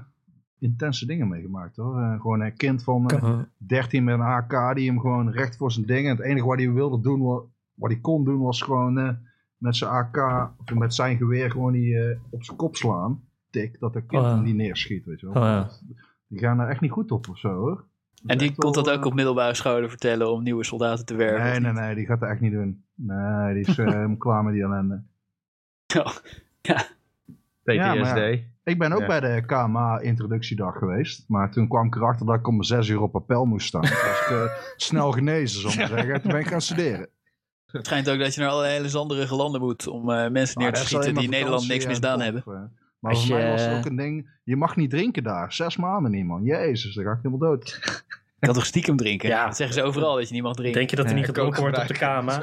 intense dingen meegemaakt hoor. Eh, gewoon een kind van eh, Oh, 13 met een AK die hem gewoon recht voor zijn ding. En het enige wat hij wilde doen, wat, wat hij kon doen, was gewoon eh, met zijn AK, of met zijn geweer, gewoon die eh, op zijn kop slaan. Tik, dat de kind Oh ja. hem niet neerschiet, weet je wel. Oh ja. Die gaan er echt niet goed op of zo hoor. Dat is En die echt wel, komt dat eh, ook op middelbare scholen vertellen om nieuwe soldaten te werven. Nee, of [LAUGHS] nee, niet? nee, die gaat dat echt niet doen. Nee, die is eh, [LAUGHS] helemaal klaar met die ellende. Oh, Ja, PTSD. maar Ik ben ook Ja. bij de KMA-introductiedag geweest. Maar toen kwam ik erachter dat ik om zes uur op appel moest staan. Toen was ik [LAUGHS] eh, snel genezen, zal ik maar zeggen. Toen ben ik gaan [LAUGHS] studeren. Het schijnt ook dat je naar allerlei hele zanderige landen moet om eh, mensen neer Maar te Nou, dat is alleen schieten maar die in Nederland niks vakantie misdaan en hebben. op, eh. Maar Als voor mij je- was het ook een ding, je mag niet drinken daar. Zes maanden niet, man. Jezus, dan ga ik helemaal dood. Ik kan toch stiekem drinken? Ja. Dat zeggen ze overal, dat je niet mag drinken. Denk je dat er Ja, niet ik gedronken ook wordt op de kamer?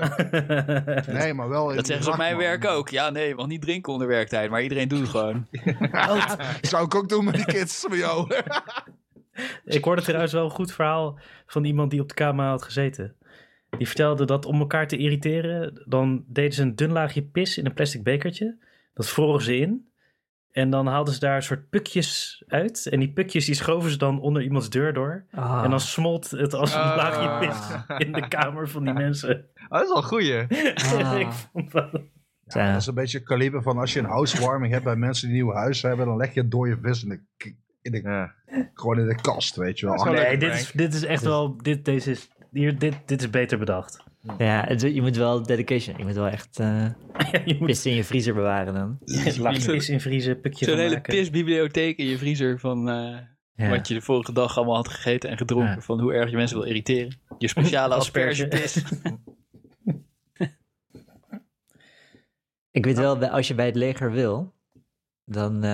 [LAUGHS] Nee, maar wel in dat zeggen ze op Irak, mijn man. werk ook. Ja, nee, je mag niet drinken onder werktijd, maar iedereen doet het gewoon. Zou ik ook doen met die kids van jou. [LAUGHS] Ik hoorde trouwens wel een goed verhaal van iemand die op de KMA had gezeten. Die vertelde dat om elkaar te irriteren, dan deden ze een dun laagje pis in een plastic bekertje. Dat vroren ze in. En dan haalden ze daar een soort pukjes uit. En die pukjes die schoven ze dan onder iemands deur door. Ah. En dan smolt het als een Ah. laagje pis in de kamer van die mensen. Oh, dat is wel een goeie. Ah. [LAUGHS] ik vond dat... Ja. Dat is een beetje het kaliber van als je een housewarming hebt bij mensen die een nieuw huis hebben, dan leg je een dode vis in de, k- in de, Ja. gewoon in de kast, weet je wel. Dat is wel Nee, lekker, dit Frank. is, dit is echt wel... Dit, deze is, hier, dit, dit is beter bedacht. Eh, Ja, het- je moet wel dedication. Je moet wel echt eh [LAUGHS] je moet pissen in je vriezer bewaren dan. een laagje pis invriezen, pukje Zo'n van hele maken. pisbibliotheek in je vriezer van eh, Ja. wat je de vorige dag allemaal had gegeten en gedronken. Ja. Van hoe erg je mensen wil irriteren. Je speciale Asperge. aspergepis. Ik weet wel, bij- als je bij het leger wil, dan eh,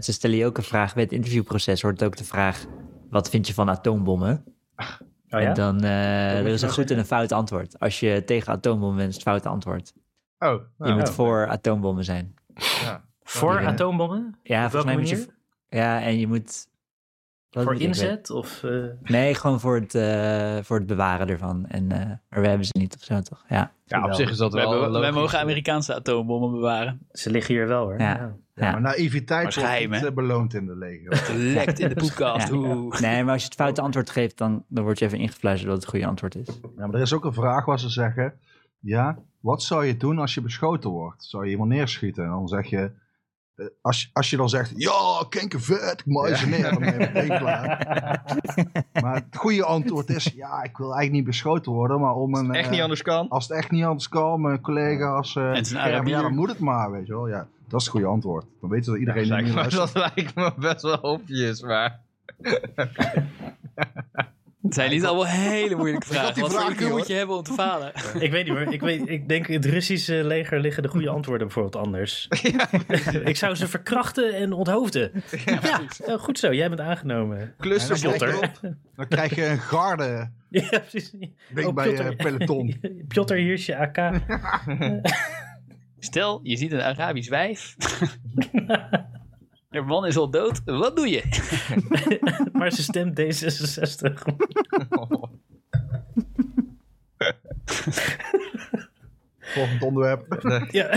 ze stellen je ook een vraag. Bij het interviewproces hoort ook de vraag: wat vind je van atoombommen? Oh ja? En dan eh, moet er je is een nou goed en een fout antwoord. Als je tegen atoombommen bent, is het fout antwoord. Oh, je nou, moet voor atoombommen zijn. Voor Ja. atoombommen? Ja, Op volgens welke mij moet manier? je. Ja, en je moet. wat voor moet ik weten? inzet? Of, eh, Nee, gewoon voor het, eh, voor het bewaren ervan. En eh maar we hebben ze niet of zo, toch? Ja. ja, op zich is dat Wij, wel hebben- wij logisch. mogen Amerikaanse atoombommen bewaren. ze liggen hier wel hoor. Ja. Ja, maar naïviteit Maar geheim, wordt niet hè? eh, beloond in de [LAUGHS] leger. Lekt in de podcast. Ja. Oeh. Nee, maar als je het foute antwoord geeft, dan, dan word je even ingefluisterd dat het goede antwoord is. Ja, maar er is ook een vraag waar ze zeggen: Ja, wat zou je doen als je beschoten wordt? Zou je iemand neerschieten? En dan zeg je. eh, Als, je- als je dan zegt, ja, kenker vet, ik maai ze neer, dan [LAUGHS] ben je meteen klaar. Maar het goede antwoord is, ja, ik wil eigenlijk niet beschoten worden, maar om een... Echt eh, niet anders kan. Als het echt niet anders kan, mijn collega's... eh, het is een schermen, Arabier. Ja, dan moet het maar, weet je wel. Ja, dat is het goede antwoord. Dan weten we dat iedereen... dat, niet lijkt meer me, [LAUGHS] luistert. dat lijkt me best wel obvious, maar... Het zijn niet allemaal hele moeilijke vragen. die Wat voor vraag IQ niet, moet je hebben om te falen? [LAUGHS] Ik weet niet hoor. Ik, weet, ik denk in het Russische leger liggen de goede antwoorden bijvoorbeeld [LAUGHS] anders. ik zou ze verkrachten en onthoofden. Ja, eh, goed zo. Jij bent aangenomen. En dan Clusterbotter. krijg je- Dan krijg je een [LAUGHS] garde, Ja, precies. denk Oh, bij Piotr. je peloton. Piotr, hier is je [LAUGHS] AK. Stel, je ziet een Arabisch [LAUGHS] wijf. Haar man is al dood. Wat doe je? maar ze stemt D66. [LAUGHS] Volgend onderwerp. ja. [LAUGHS]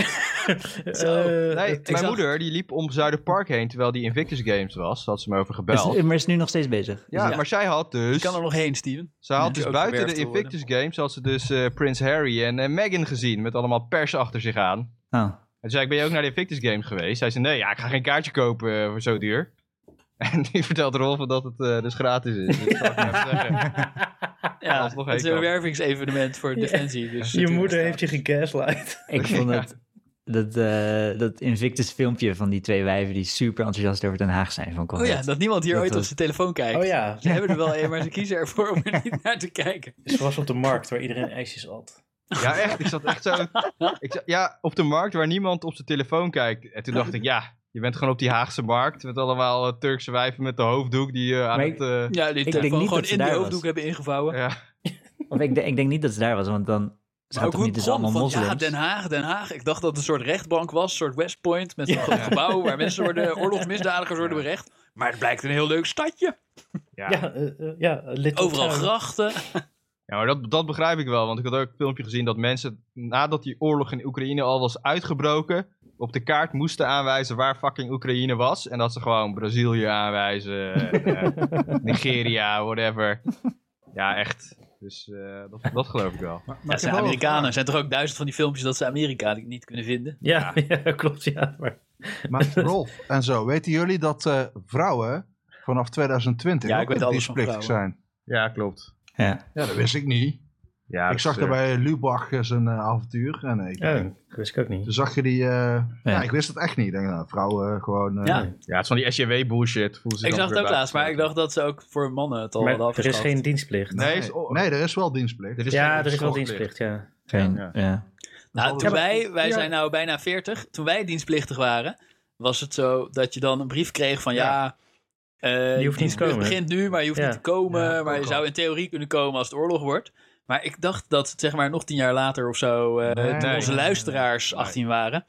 Zo. Eh, Nee, mijn zag- moeder die liep om Zuiderpark heen terwijl die Invictus Games was. Had ze me over Is- gebeld. maar is nu nog steeds bezig. Ja, Ja. maar zij had Je dus... kan er nog heen, Steven. Ze had Ja, dus ook buiten de gewerkt te Invictus Games had ze dus eh Prins Harry en eh, Meghan gezien met allemaal pers achter zich aan. En Oh. toen zei ik, ben je ook naar de Invictus Games geweest? Hij zei, nee, ja, ik ga geen kaartje kopen eh, voor zo duur. [LAUGHS] En die vertelt Rolf dat het eh, dus gratis is. Dus dat zou ik maar [LAUGHS] even zeggen. Ja, Alsnog het is heen een kan. wervingsevenement voor Defensie. Dus je moeder heeft je gegaslight. Ik vond het, dat, eh, dat Invictus filmpje van die twee wijven die super enthousiast over Den Haag zijn van Oh Conrad. ja, dat niemand hier Dat ooit op was- zijn telefoon kijkt. Oh ja, Ze hebben er wel een, maar ze kiezen ervoor om er niet naar te kijken. ze was op de markt waar iedereen ijsjes at. Ja, echt. Ik zat echt zo... Ik zat- ja, op de markt waar niemand op zijn telefoon kijkt. En toen dacht ik, ja, je bent gewoon op die Haagse markt. Met allemaal eh, Turkse wijven met de hoofddoek die eh, aan Maar het... eh, Ja, die denk telefoon gewoon niet dat ze in die daar was. hoofddoek hebben ingevouwen. ja. Of ik, denk- ik denk niet dat ze daar was, want dan Ze gaat toch hoe niet het dus allemaal begon van, moslims? ja, Den Haag, Den Haag. Ik dacht dat het een soort rechtbank was, een soort West Point met een groot gebouw waar mensen worden, oorlogsmisdadigers worden berecht. Maar het blijkt een heel leuk stadje. Ja, eh, eh, ja Little Overal Town. grachten. Ja, maar dat, dat begrijp ik wel. Want ik had ook een filmpje gezien dat mensen, nadat die oorlog in Oekraïne al was uitgebroken, op de kaart moesten aanwijzen waar fucking Oekraïne was. En dat ze gewoon Brazilië aanwijzen, en, [LAUGHS] eh, Nigeria, whatever. Ja, echt. Dus eh, dat, dat geloof ik wel. Ja, het zijn Amerikanen. Er zijn toch ook duizend van die filmpjes dat ze Amerika niet kunnen vinden. Ja, [LAUGHS] ja, klopt. Ja, maar Maar Rolf en zo, weten jullie dat eh, vrouwen vanaf 2020 Ja, ik ook weet alles van dienstplichtig zijn? Ja, klopt. Ja. Ja, dat wist ik niet. Ja, ik dat zag is, daar eh, bij Lubach eh, zijn eh, avontuur. En eh, ik, ja, dat wist ik ook niet. toen zag je die... eh, ja, ik wist het echt niet. Ik denk, nou, vrouwen gewoon... eh, Ja, Ja, het is van die SJW bullshit. voelen ze ik dan zag het weer ook bij. laatst, maar ik dacht dat ze ook voor mannen het al Maar hadden er is afgeschaft. geen dienstplicht. Nee, Nee, is- oh, nee, er is wel dienstplicht. er is ja, geen er is wel zorgplicht. dienstplicht, ja. Geen, Ja. ja. Nou, toen Ja, maar- wij, wij ja. zijn nou bijna 40, toen wij dienstplichtig waren, was het zo dat je dan een brief kreeg van ja, eh Je hoeft niet te dienstplicht komen. begint nu, maar je hoeft Ja. niet te komen, Ja, maar je ook zou in theorie kunnen komen als het oorlog wordt. Maar ik dacht dat zeg maar nog tien jaar later of zo, eh, Nee, toen nee, onze nee, luisteraars nee. 18 waren,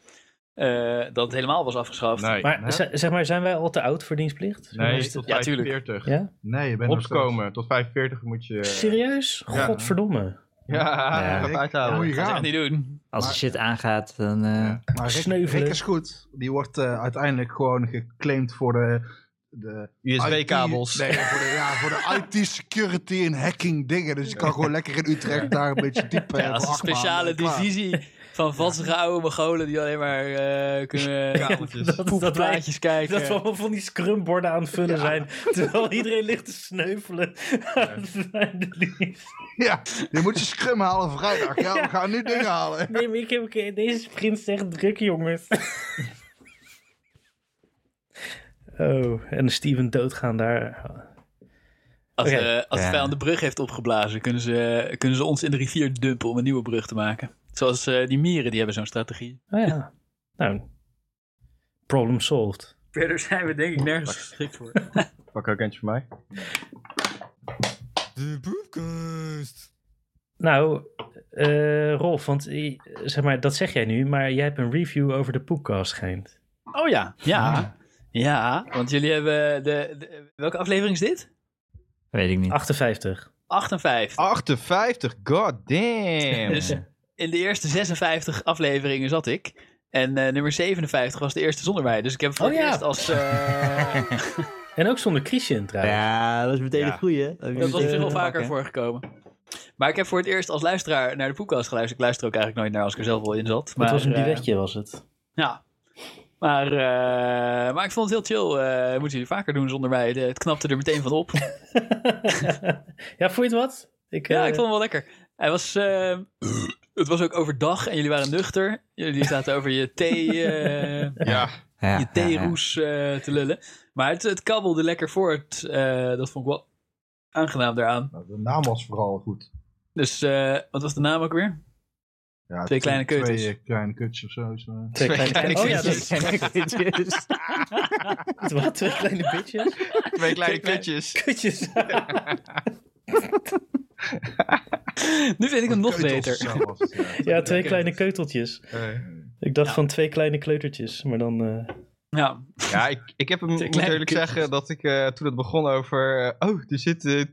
eh, dat het helemaal was afgeschaft. Nee, Maar Nee. z- zeg maar, zijn wij al te oud voor dienstplicht? Zeg maar, nee, is het- tot Ja, tuurlijk. 45. ja? Nee, je bent nog steeds- Opkomen, tot 45 moet je... Serieus? eh, ja. Godverdomme. Ja, Ja, gaat ik- uithouden. moet je dat gaat echt gaan. niet doen. Als de shit aangaat, dan... eh, Ja, Maar Rick, Sneuvelen. Rick is goed. Die wordt eh, uiteindelijk gewoon geclaimd voor de... de USB-kabels. IT Nee, voor de, ja, voor de IT-security en hacking dingen. Dus je kan gewoon lekker in Utrecht daar een beetje eh, dieper... Ja, als een speciale divisie van vatsige oude Mongolen die alleen maar eh, kunnen [LAUGHS] Kabeltjes. Dat, dat wij, poepplaatjes kijken. eh, dat we allemaal van die scrumborden aan het vullen zijn. Terwijl iedereen ligt te sneuvelen. Ja, je moet je scrum halen vrijdag. Ja, we gaan nu dingen halen. nee, maar ik heb een keer- deze sprint is echt druk, jongens. oh, en Steven doodgaan daar. Als, Oké. eh, als de Ja. vijand de brug heeft opgeblazen, kunnen ze, kunnen ze ons in de rivier dumpen om een nieuwe brug te maken. Zoals eh, die mieren, die hebben zo'n strategie. Oh ja. nou, problem solved. Verder zijn we denk ik nergens geschikt voor. Pak ook eentje voor mij. De poepkast. Nou, eh, Rolf, want eh, zeg maar, dat zeg jij nu, maar jij hebt een review over de podcast schijnt. Oh ja, ja. Ja, want jullie hebben... De, de- welke aflevering is dit? weet ik niet. 58. 58. 58, god damn. Dus in de eerste 56 afleveringen zat ik. En eh, nummer 57 was de eerste zonder mij. Dus ik heb voor Oh het ja. eerst als... eh, En ook zonder Christian trouwens. Ja, dat is meteen Ja. een goeie. hè? Ah, Dat was op zich wel meteen vaker pakken. voorgekomen. Maar ik heb voor het eerst als luisteraar naar de podcast geluisterd. Ik luister ook eigenlijk nooit naar als ik er zelf wel in zat. Maar, het was een eh, duetje, was het. [LAUGHS] ja. Maar, eh, maar ik vond het heel chill. Eh moeten jullie vaker doen zonder mij. De- het knapte er meteen van op. ja, vond je het wat? Ik, ja, eh, ik vond hem wel lekker. Hij was, eh, het was ook overdag en jullie waren nuchter. Jullie zaten over je thee... eh, Ja, Ja, je ja, ja. theeroes eh, te lullen. Maar het, het kabbelde lekker voort. eh, dat vond ik wel aangenaam daaraan. Nou, de naam was vooral goed. Dus eh, wat was de naam ook weer? Ja, Twee kleine keutels. Twee eh, kleine kutjes of zo. is, eh. twee kleine, kleine oh ja, dat kindjes. is [LAUGHS] wat, twee kleine bitches? twee kleine kleine- kutjes. Kutjes. Nu vind ik hem nog Keutels beter. of zo was het, [LAUGHS] [LAUGHS] ja. ja, twee kleine keuteltjes. Ik dacht Ja. van twee kleine kleutertjes, maar dan... eh, Ja, Ja, ik, ik heb hem, moet kleine eerlijk kutjes. zeggen, dat ik eh, toen het begon over... eh, oh, er zit eh,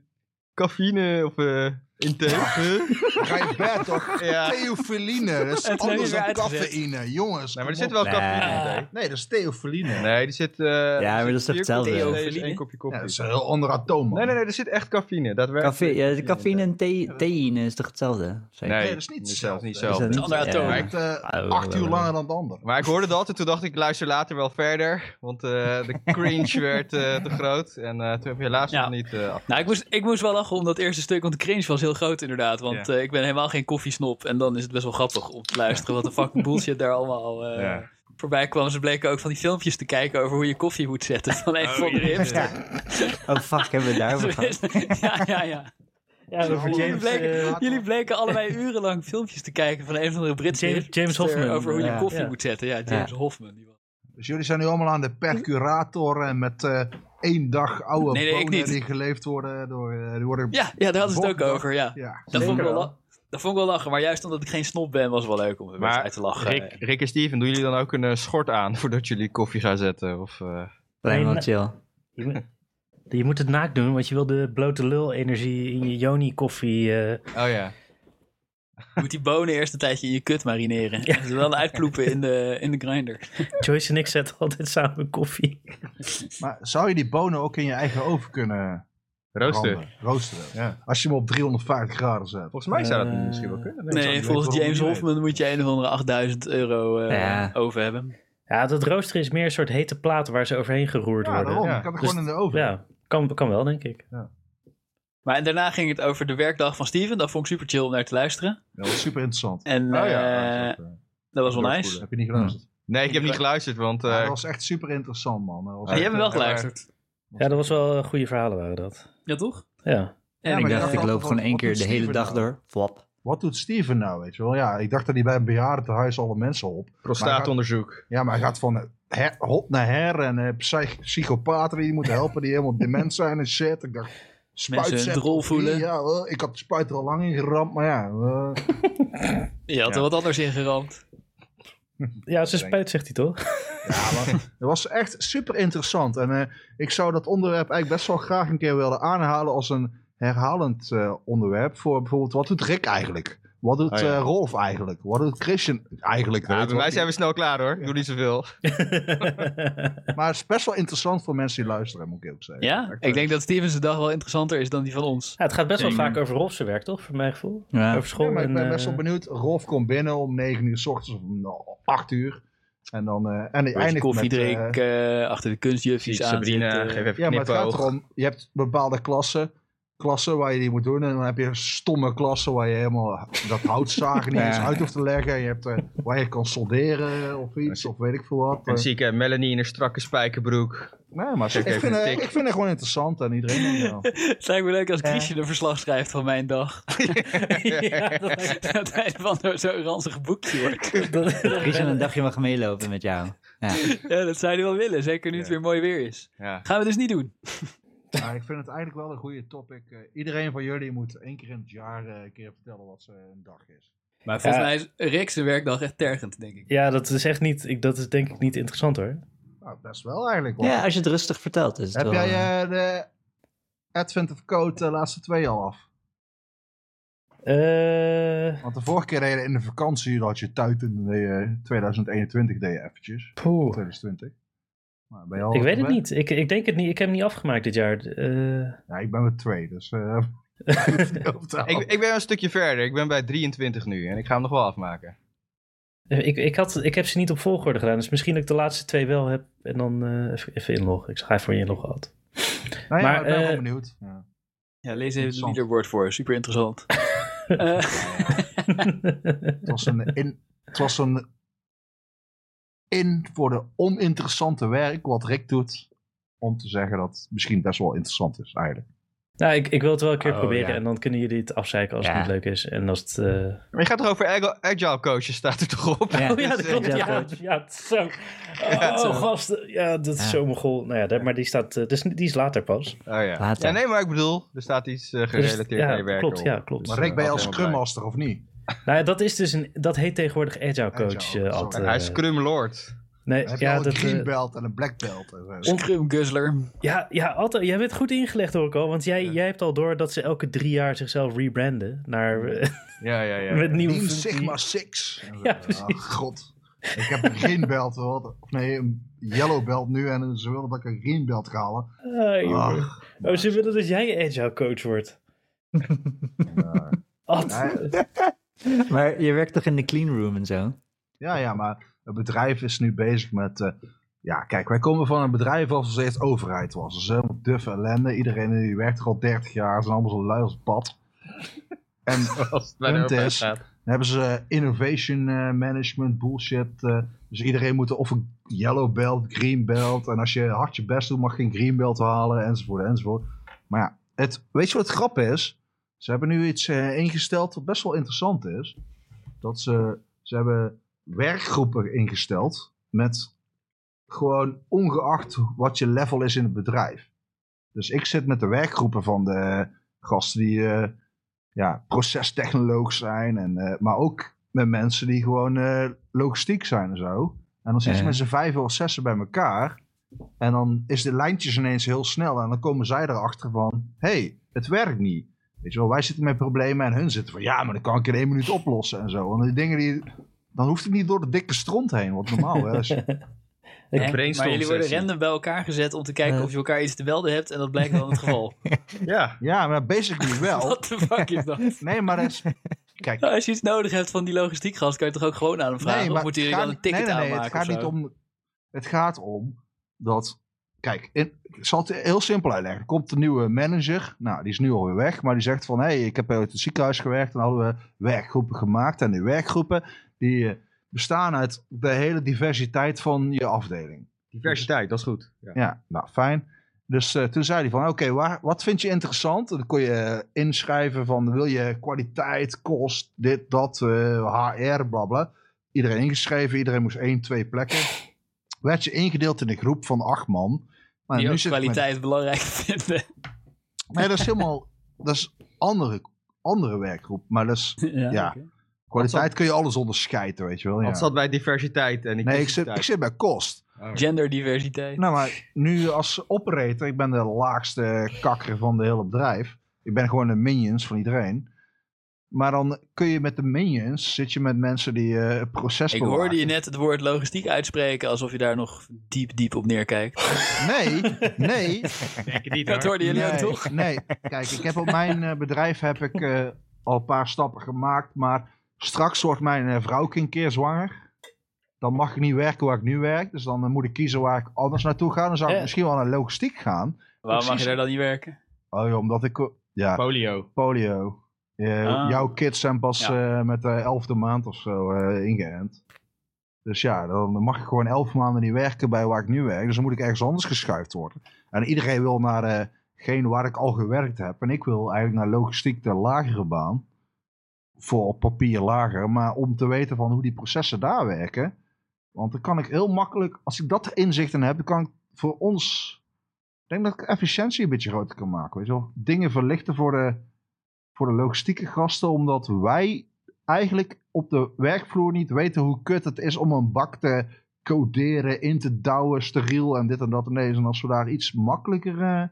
cafeïne of, eh, in thee. Huh? Ga je bed toch? Ja. Theofiline, dat is Het heb je anders weer dan uitgezet. cafeïne. Jongens, Nee, maar er kom zit wel op. cafeïne in Nee. thee. Nee, dat is theofiline. Nee, er zit... eh, maar er zit dat is vier toch kopjes hetzelfde? thee, er is één Cafeïne? kopje Ja, koffie. dat is een heel ander atoom. man. nee, nee, nee, er zit echt cafeïne. Café, Daadwerkelijk. ja, de cafeïne en thee, theïne is toch hetzelfde? Zeker. Nee, Nee, dat is niet hetzelfde. Niet Is dat hetzelfde. niet? ander Ja. atoom. Maar echt eh, Ah, acht eh, uur langer dan de ander. Maar ik hoorde dat en toen dacht ik, luister later wel verder. Want eh, [LAUGHS] de cringe werd eh, te groot. En eh, toen heb je helaas Ja. nog niet eh, af. nou, ik moest, ik moest wel lachen om dat eerste stuk, want de cringe was heel groot inderdaad. Want eh, ik ben helemaal geen koffiesnop en dan is het best wel grappig om te luisteren wat de [LAUGHS] fucking bullshit daar allemaal eh, Ja. voorbij kwam. Ze bleken ook van die filmpjes te kijken over hoe je koffie moet zetten [LAUGHS] van een van de hipster. Oh fuck, hebben we het [LAUGHS] daarover gehad? Ja, ja, ja. ja, over Jullie Jullie James, eh, bleken, jullie bleken [LAUGHS] allebei urenlang filmpjes te kijken van een van de Britse James- hipster James Hoffman. over hoe je Ja. koffie Ja. moet zetten. Ja, James Hoffman. Die was. Dus jullie zijn nu allemaal aan de percurator en met eh, één dag oude Nee, nee, ik bonen niet. die geleefd worden. Door, eh, die worden Ja, ja, daar hadden ze het ook Volgende dag. over, ja. Ja, Dat vond ik wel la- Dat vond ik wel lachen, maar juist omdat ik geen snop ben, was het wel leuk om er Maar uit te lachen. Rick, Rick en Steven, doen jullie dan ook een eh, schort aan voordat jullie koffie gaan zetten? Of, eh, Alleen Nee, wel chill. Je moet, je moet het naakt doen, want je wil de blote lul-energie in je Joni-koffie. eh, Oh ja. Je moet die bonen eerst een tijdje in je kut marineren. En ze dan uitploepen in de, in de grinder. Joyce en ik zetten altijd samen koffie. Maar zou je die bonen ook in je eigen oven kunnen Rooster. branden? Roosteren. Ja. Als je hem op 350 graden zet. Volgens mij zou dat Eh, misschien wel kunnen. zou Nee, niet volgens weten James waarom niet Hofman moet je een of andere 8000 euro eh, Ja. over hebben. Ja, dat rooster is meer een soort hete plaat waar ze overheen geroerd Ja, worden. daarom. Ja. Je kan het Dus- gewoon in de oven. Ja, kan, kan wel, denk ik. Maar en daarna ging het over de werkdag van Steven. Dat vond ik super chill om naar te luisteren. Ja, dat is super interessant. En ja, eh, dat is ook, eh, dat was wel nice. doorvoelen. Heb je niet geluisterd? Nee, ik heb niet geluisterd, want... eh, Ja, dat was echt super interessant, man. Dat was Maar Ah, jij echt- eh, hebt wel geluisterd. Ja, dat was wel eh, goede verhalen waren dat. Ja, toch? Ja. En Ja, ik maar dacht, ja, ik loop wat- gewoon één wat keer doet de hele Steven dag nou? door. Flop. Wat doet Steven nou, weet je wel? Ja, ik dacht dat hij bij een bejaardentehuis alle mensen op. prostaatonderzoek. Ja, maar hij gaat van her, hot naar her en eh, psych- psychopaten die moeten helpen, die helemaal dement zijn en shit. Ik dacht, spuit Mensen zetten, een rol voelen. Ja, eh, ik had de spuit er al lang in geramd, maar ja. eh, je had er Ja. wat anders in geramd. ja, ze spuit, zegt hij [LAUGHS] toch? ja maar het was echt super interessant. En eh, ik zou dat onderwerp eigenlijk best wel graag een keer willen aanhalen als een herhalend eh, onderwerp. Voor bijvoorbeeld, wat doet Rick eigenlijk? Wat doet Oh ja. eh, Rolf eigenlijk? Wat doet Christian eigenlijk? Ja, Weet bij wat mij die- zijn we snel klaar hoor. Ik doe niet zoveel. Maar het is best wel interessant voor mensen die luisteren, moet ik ook zeggen. Ja? Echt, Ik denk dat Steven's dag wel interessanter is dan die van ons. Ja, het gaat best wel Ik vaak over Rolf zijn werk, toch? Voor mijn gevoel. Ja. Over school. Ja, maar ik en, ben best wel eh, benieuwd. Rolf komt binnen om 9 uur s ochtends of om 8 uur. En dan eh, en hij Beetje eindigt koffie met... eh, drinken, eh, achter de kunstjuffies aan. Sabrina, geef even ja, maar het gaat knipoog. erom, je hebt bepaalde klassen, klassen waar je die moet doen. En dan heb je stomme klassen waar je helemaal dat houtzagen niet [LAUGHS] Ja. eens uit hoeft te leggen. En je hebt eh, waar je kan solderen of iets, of weet ik veel wat. En Eh, zie ik eh, Melanie in een strakke spijkerbroek. nee, maar Geef ik even vind, een eh, tik. ik vind het gewoon interessant en [LAUGHS] iedereen... Ja. Het lijkt me leuk als Eh. Christian een verslag schrijft van mijn [LAUGHS] dag. [LAUGHS] ja, dat lijkt- Aan het einde van zo'n zo'n ranzig boekje wordt. [LAUGHS] dat- Christian, een dagje mag meelopen met jou. Ja, dat zou hij wel willen, zeker nu het Ja. weer mooi weer is. Ja. Gaan we dus niet doen. Ja, ik vind het eigenlijk wel een goede topic. Eh, iedereen van jullie moet één keer in het jaar eh, een keer vertellen wat ze een dag is. Maar volgens Ja. mij is Rick zijn werkdag echt tergend, denk ik. ja, dat is echt niet... Ik, dat is denk ik niet interessant, hoor. Nou, best wel eigenlijk. want- Ja, als je het rustig vertelt. Is het wel, Heb jij eh, eh, de Advent of Code de laatste twee al af? Eh, Want de vorige keer deden in de vakantie, dat had je tuit in eh, 2021 deed je eventjes. poeh. 2020. Maar ben je al Ik weet het zover? niet. Ik, ik denk het niet. Ik heb hem niet afgemaakt dit jaar. Eh, [LAUGHS] Ja, ik ben met twee, dus... eh, [LAUGHS] je hoeft niet over te Ik, halen. ik ben een stukje verder. Ik ben bij 23 nu en ik ga hem nog wel afmaken. ik, ik, had, ik heb ze niet op volgorde gedaan. Dus misschien dat ik de laatste twee wel heb. En dan eh, even, even inloggen. Ik ga even voor je inloggen altijd. Nou ja, maar, maar, ik ben wel eh, benieuwd. Ja. Ja, lees even het Interessant. leaderboard voor, super [LAUGHS] interessant. Eh, Het was een in... Het was een in voor de oninteressante werk wat Rick doet. Om te zeggen dat het misschien best wel interessant is, eigenlijk. [LAUGHS] nou, ik, ik wil het wel een keer Oh, proberen. ja. En dan kunnen jullie het afzeiken als Ja. het niet leuk is. En als het... eh, Maar je gaat toch over agile, agile coaches, staat er toch op? [LAUGHS] Ja. Oh ja, dat klopt. Ja, Ja, coach. ja, het is zo. het is zo. Oh, gast. Ja, dat is Ja. zo mogol. Nou ja, dat- maar die, staat, eh, dus, die is later pas. Oh ja. Later. ja. Nee, maar ik bedoel, er staat iets eh, Dus- gerelateerd ja, aan je werk Klopt, op. ja, klopt. Maar Dus, Rick, eh, ben je altijd als wel Scrum Master of niet? Nou ja, dat, is dus een, dat heet tegenwoordig Agile Coach. Agile, eh, sorry. Ad, En Hij is eh. Scrum Lord. nee, Heb je ja, al een dat, green eh, belt en een black belt? en zo? Scrum Guzzler. ja, ja Ad, jij bent goed ingelegd hoor ik al. Want jij, Ja. jij hebt al door dat ze elke drie jaar zichzelf rebranden. Naar, eh, [LAUGHS] Ja, ja, ja. met nieuwe Team functie. Sigma 6. Ja, precies. god. Ik heb een green belt. gehad. Of nee, een yellow belt nu. En ze wilden dat ik een green belt ga halen. Ah, jongen. Ach, oh, ze willen dat jij Agile Coach wordt. ja. Ad. [LAUGHS] Nee. eh, Maar je werkt toch in de clean room en zo? ja, ja, maar het bedrijf is nu bezig met... eh, ja, kijk, wij komen van een bedrijf als het eerst overheid was. Dus helemaal duffe ellende. Iedereen die werkt er al 30 jaar. Zijn allemaal zo lui als het pad. En [LAUGHS] Als het bij de Punt overheid is- gaat. Dan hebben ze eh, innovation eh, management bullshit. eh, dus iedereen moet of een yellow belt, green belt. En als je hard je best doet, mag je geen green belt halen, enzovoort, enzovoort. Maar ja, het, weet je wat het grap is? Ze hebben nu iets eh, ingesteld wat best wel interessant is. Dat ze, ze hebben werkgroepen ingesteld met gewoon ongeacht wat je level is in het bedrijf. Dus ik zit met de werkgroepen van de gasten die eh, ja, procestechnoloog zijn. En, eh, maar ook met mensen die gewoon eh, logistiek zijn en zo. En dan zitten ze Ja. met z'n vijf of zessen bij elkaar. En dan is de lijntjes ineens heel snel. En dan komen zij erachter van, hé, hey, het werkt niet. Weet je wel, wij zitten met problemen en hun zitten van, ja, maar dat kan ik in één minuut oplossen en zo. En die dingen die, dan hoeft het niet door de dikke stront heen. Want normaal, hè, als je- Ik- Hè? Maar brainstorm jullie worden sessie. random bij elkaar gezet om te kijken Eh. of je elkaar iets te melden hebt. En dat blijkt wel het geval. Ja. ja, [LAUGHS] maar basically [LAUGHS] wel. Wat de fuck [LAUGHS] is dat? Nee, maar dat is, kijk, Nou, als je iets nodig hebt van die logistiekgast, kan je toch ook gewoon aan hem vragen? of moet het je dan gaat een niet- ticket nee, nee, nee, aanmaken? Het of gaat, niet zo? om, het gaat om dat. Kijk, in- ik zal het heel simpel uitleggen. Er komt een nieuwe manager. Nou, die is nu alweer weg. Maar die zegt van: hé, hey, ik heb uit het ziekenhuis gewerkt. En hadden we werkgroepen gemaakt. En die werkgroepen die eh, bestaan uit de hele diversiteit van je afdeling. Diversiteit, dat is goed. Ja. Ja, nou fijn. Dus eh, toen zei hij van, oké, waar wat vind je interessant? En dan kon je eh, inschrijven van, wil je kwaliteit, kost, dit, dat, eh, HR, bla bla. Iedereen ingeschreven, iedereen moest één, twee [LAUGHS] plekken. Werd je ingedeeld in een groep van acht man. Maar Die ook zit ik met- kwaliteit belangrijk [LAUGHS] vinden. Nee, dat is helemaal, [LAUGHS] dat is andere, andere werkgroep. Maar dat is, Ja. oké. kwaliteit kun je alles onderscheiden, weet je wel. Dat Ja. zat bij diversiteit Oh. en Nee, ik zit, ik zit bij kost. Genderdiversiteit. Nou, maar nu als operator, ik ben de laagste kakker van de hele bedrijf. Ik ben gewoon de minions van iedereen. Maar dan kun je met de minions, zit je met mensen die eh het proces ik bewaken. hoorde je net het woord logistiek uitspreken alsof je daar nog diep, diep op neerkijkt. Nee, [LAUGHS] nee. Denk het niet, Dat hoorden jullie nee, ook nou toch? Nee, kijk, ik heb op mijn eh, bedrijf heb ik, eh, al een paar stappen gemaakt. Maar straks wordt mijn eh, vrouw ook een keer zwanger. Dan mag ik niet werken waar ik nu werk. Dus dan eh, moet ik kiezen waar ik anders naartoe ga. Dan zou ik Ja. misschien wel naar logistiek gaan. Waarom mag Precies. je daar dan niet werken? Oh, joh, omdat ik... eh, Ja, Polio. polio. Eh, Ah. Jouw kids zijn pas eh, met de elfde maand of zo eh, ingeënt. Dus ja, dan mag ik gewoon elf maanden niet werken bij waar ik nu werk. Dus dan moet ik ergens anders geschuift worden. En iedereen wil naar eh geen waar ik al gewerkt heb. En ik wil eigenlijk naar logistiek de lagere baan. Voor op papier lager. Maar om te weten van hoe die processen daar werken. Want dan kan ik heel makkelijk, als ik dat inzicht in heb, dan kan ik voor ons... Ik denk dat ik efficiëntie een beetje groter kan maken. Weet je wel? Dingen verlichten voor de, voor de logistieke gasten, omdat wij eigenlijk op de werkvloer niet weten hoe kut het is om een bak te coderen, in te douwen, steriel en dit en dat en deze. En als we daar iets makkelijker... eh, Want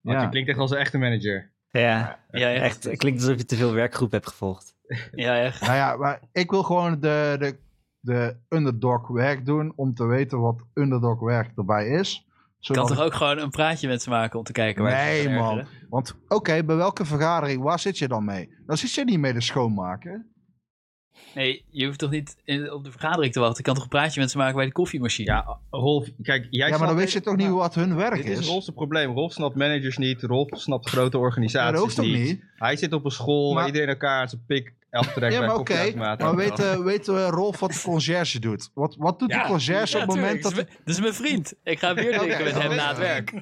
je ja. klinkt echt als een echte manager. Ja, Ja, echt. echt. Het klinkt alsof je te veel werkgroep hebt gevolgd. Ja, echt. Nou ja, maar ik wil gewoon de, de, de underdog werk doen om te weten wat underdog werk erbij is. Ik kan Zodat toch ik- ook gewoon een praatje met ze maken om te kijken waar ze Nee, zich man. ergeren? Want oké, bij welke vergadering, waar zit je dan mee? Dan zit je niet mee te schoonmaken. Nee, je hoeft toch niet in- op de vergadering te wachten. Ik kan toch een praatje met ze maken bij de koffiemachine? Ja, Rolf, kijk, jij ja, maar dan snapt- weet je toch niet wat hun werk Nou, Dit is is? Rolf's probleem. Rolf snapt managers niet. Rolf snapt grote Ja, organisaties dat hoeft toch niet. niet? Hij zit op een school waar Maar- iedereen elkaar aan zijn pik aftrekt. Ja, bij maar oké. koffieautomaten. Maar weet, eh, weet eh, Rolf wat de conciërge doet? Wat, wat doet Ja, de conciërge Ja, op het moment tuurlijk. dat... Dat Oh, is, mijn- dat is mijn vriend. Ik ga [LAUGHS] weer Oké, Oh, drinken met dat hem weet na het ik. werk.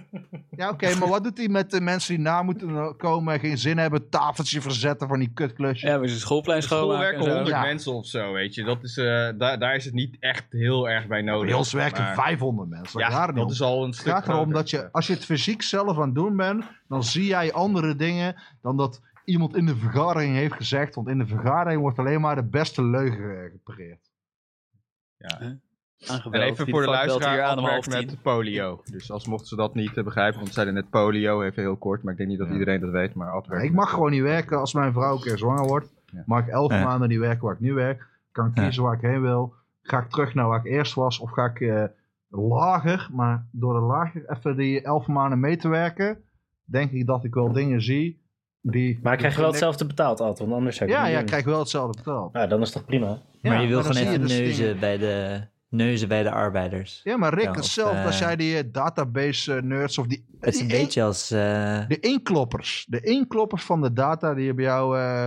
Ja, oké, maar wat doet hij met de mensen die na moeten komen... geen zin hebben, tafeltje verzetten van die kutklusjes? Ja, maar zijn schoolplein Op school schoonmaken en werken zo. honderd Ja. mensen of zo, weet je. Dat is, eh, daar, daar is het niet echt heel erg bij nodig. Bij ons werken Maar- 500 mensen. Ja, raar dat niet. is al een Het stuk gaat erom groter. dat je, als je het fysiek zelf aan het doen bent... dan zie jij andere dingen dan dat iemand in de vergadering heeft gezegd. Want in de vergadering wordt alleen maar de beste leugen eh, gepareerd. Aangebeld. En even Wie voor de fuck belt hier luisteraar aan om half afwerkt tien. met polio. Dus als mochten ze dat niet eh, begrijpen, want ze zeiden net polio, even heel kort. Maar ik denk niet dat Ja. iedereen dat weet, maar Ja, afwerken ik met- mag gewoon niet werken als mijn vrouw een keer zwanger wordt. Ja. Mag ik elf Ja. maanden niet werken waar ik nu werk. Kan ik Ja. kiezen waar ik heen wil. Ga ik terug naar waar ik eerst was. Of ga ik eh, lager, maar door de lager even die elf maanden mee te werken. Denk ik dat ik wel dingen zie. Die Maar ik krijg je wel hetzelfde betaald, Ad, want anders zou ik Ja, het ja, niet ik doen. krijg wel hetzelfde betaald. Nou, dan is het toch prima? Ja, maar je wil dan gewoon zie even je dus neuzen dingen. bij, de, neuzen bij de arbeiders. Ja, maar Rick, Ja, of, hetzelfde als eh, jij die eh, database eh, nerds of die... Het is die een in- beetje als... eh, De inkloppers. De inkloppers van de data die hebben jou... eh,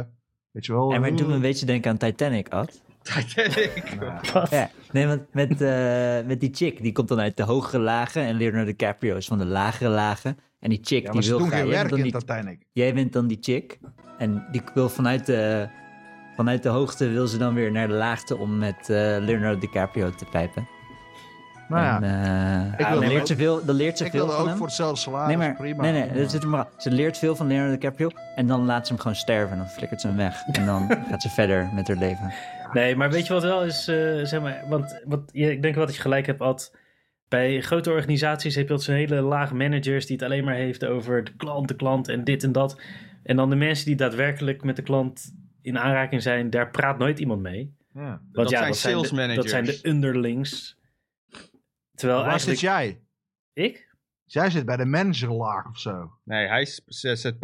weet je wel... en maar het doet me eh, een beetje denken aan Titanic, [LAUGHS] Ad. Titanic. [LAUGHS] Ja, nee, want met, eh, met die chick, die komt dan uit de hogere lagen en Leonardo DiCaprio is van de lagere lagen. En die chick, Ja, die maar ze wil doen graag, geen jij, werk bent dan in die, Titanic. jij bent dan die chick en die wil vanuit de, vanuit de hoogte wil ze dan weer naar de laagte om met eh, Leonardo DiCaprio te pijpen. Nou ja, En, eh, wil dan er leert ook- ze veel, dan leert ze ik veel wilde van ook hem. voor hetzelfde salaris. nee, maar, prima. nee, nee, dat zit er maar aan. Ze leert veel van Leonardo DiCaprio en dan laat ze hem gewoon sterven. En dan flikkert ze hem weg. En [LAUGHS] dan gaat ze verder met haar leven. Nee, maar weet je wat wel is, eh, zeg maar, want, want je- ik denk wel dat je gelijk hebt, Ad. Bij grote organisaties heb je altijd zo'n hele laag managers die het alleen maar heeft over de klant, de klant en dit en dat. En dan de mensen die daadwerkelijk met de klant in aanraking zijn, daar praat nooit iemand mee. Ja. Want Dat ja, zijn dat sales zijn de, Dat managers. zijn de underlings. Terwijl Waar eigenlijk... zit jij? Ik? Jij zit bij de managerlaag of zo. Nee, hij is Eh, ZZP.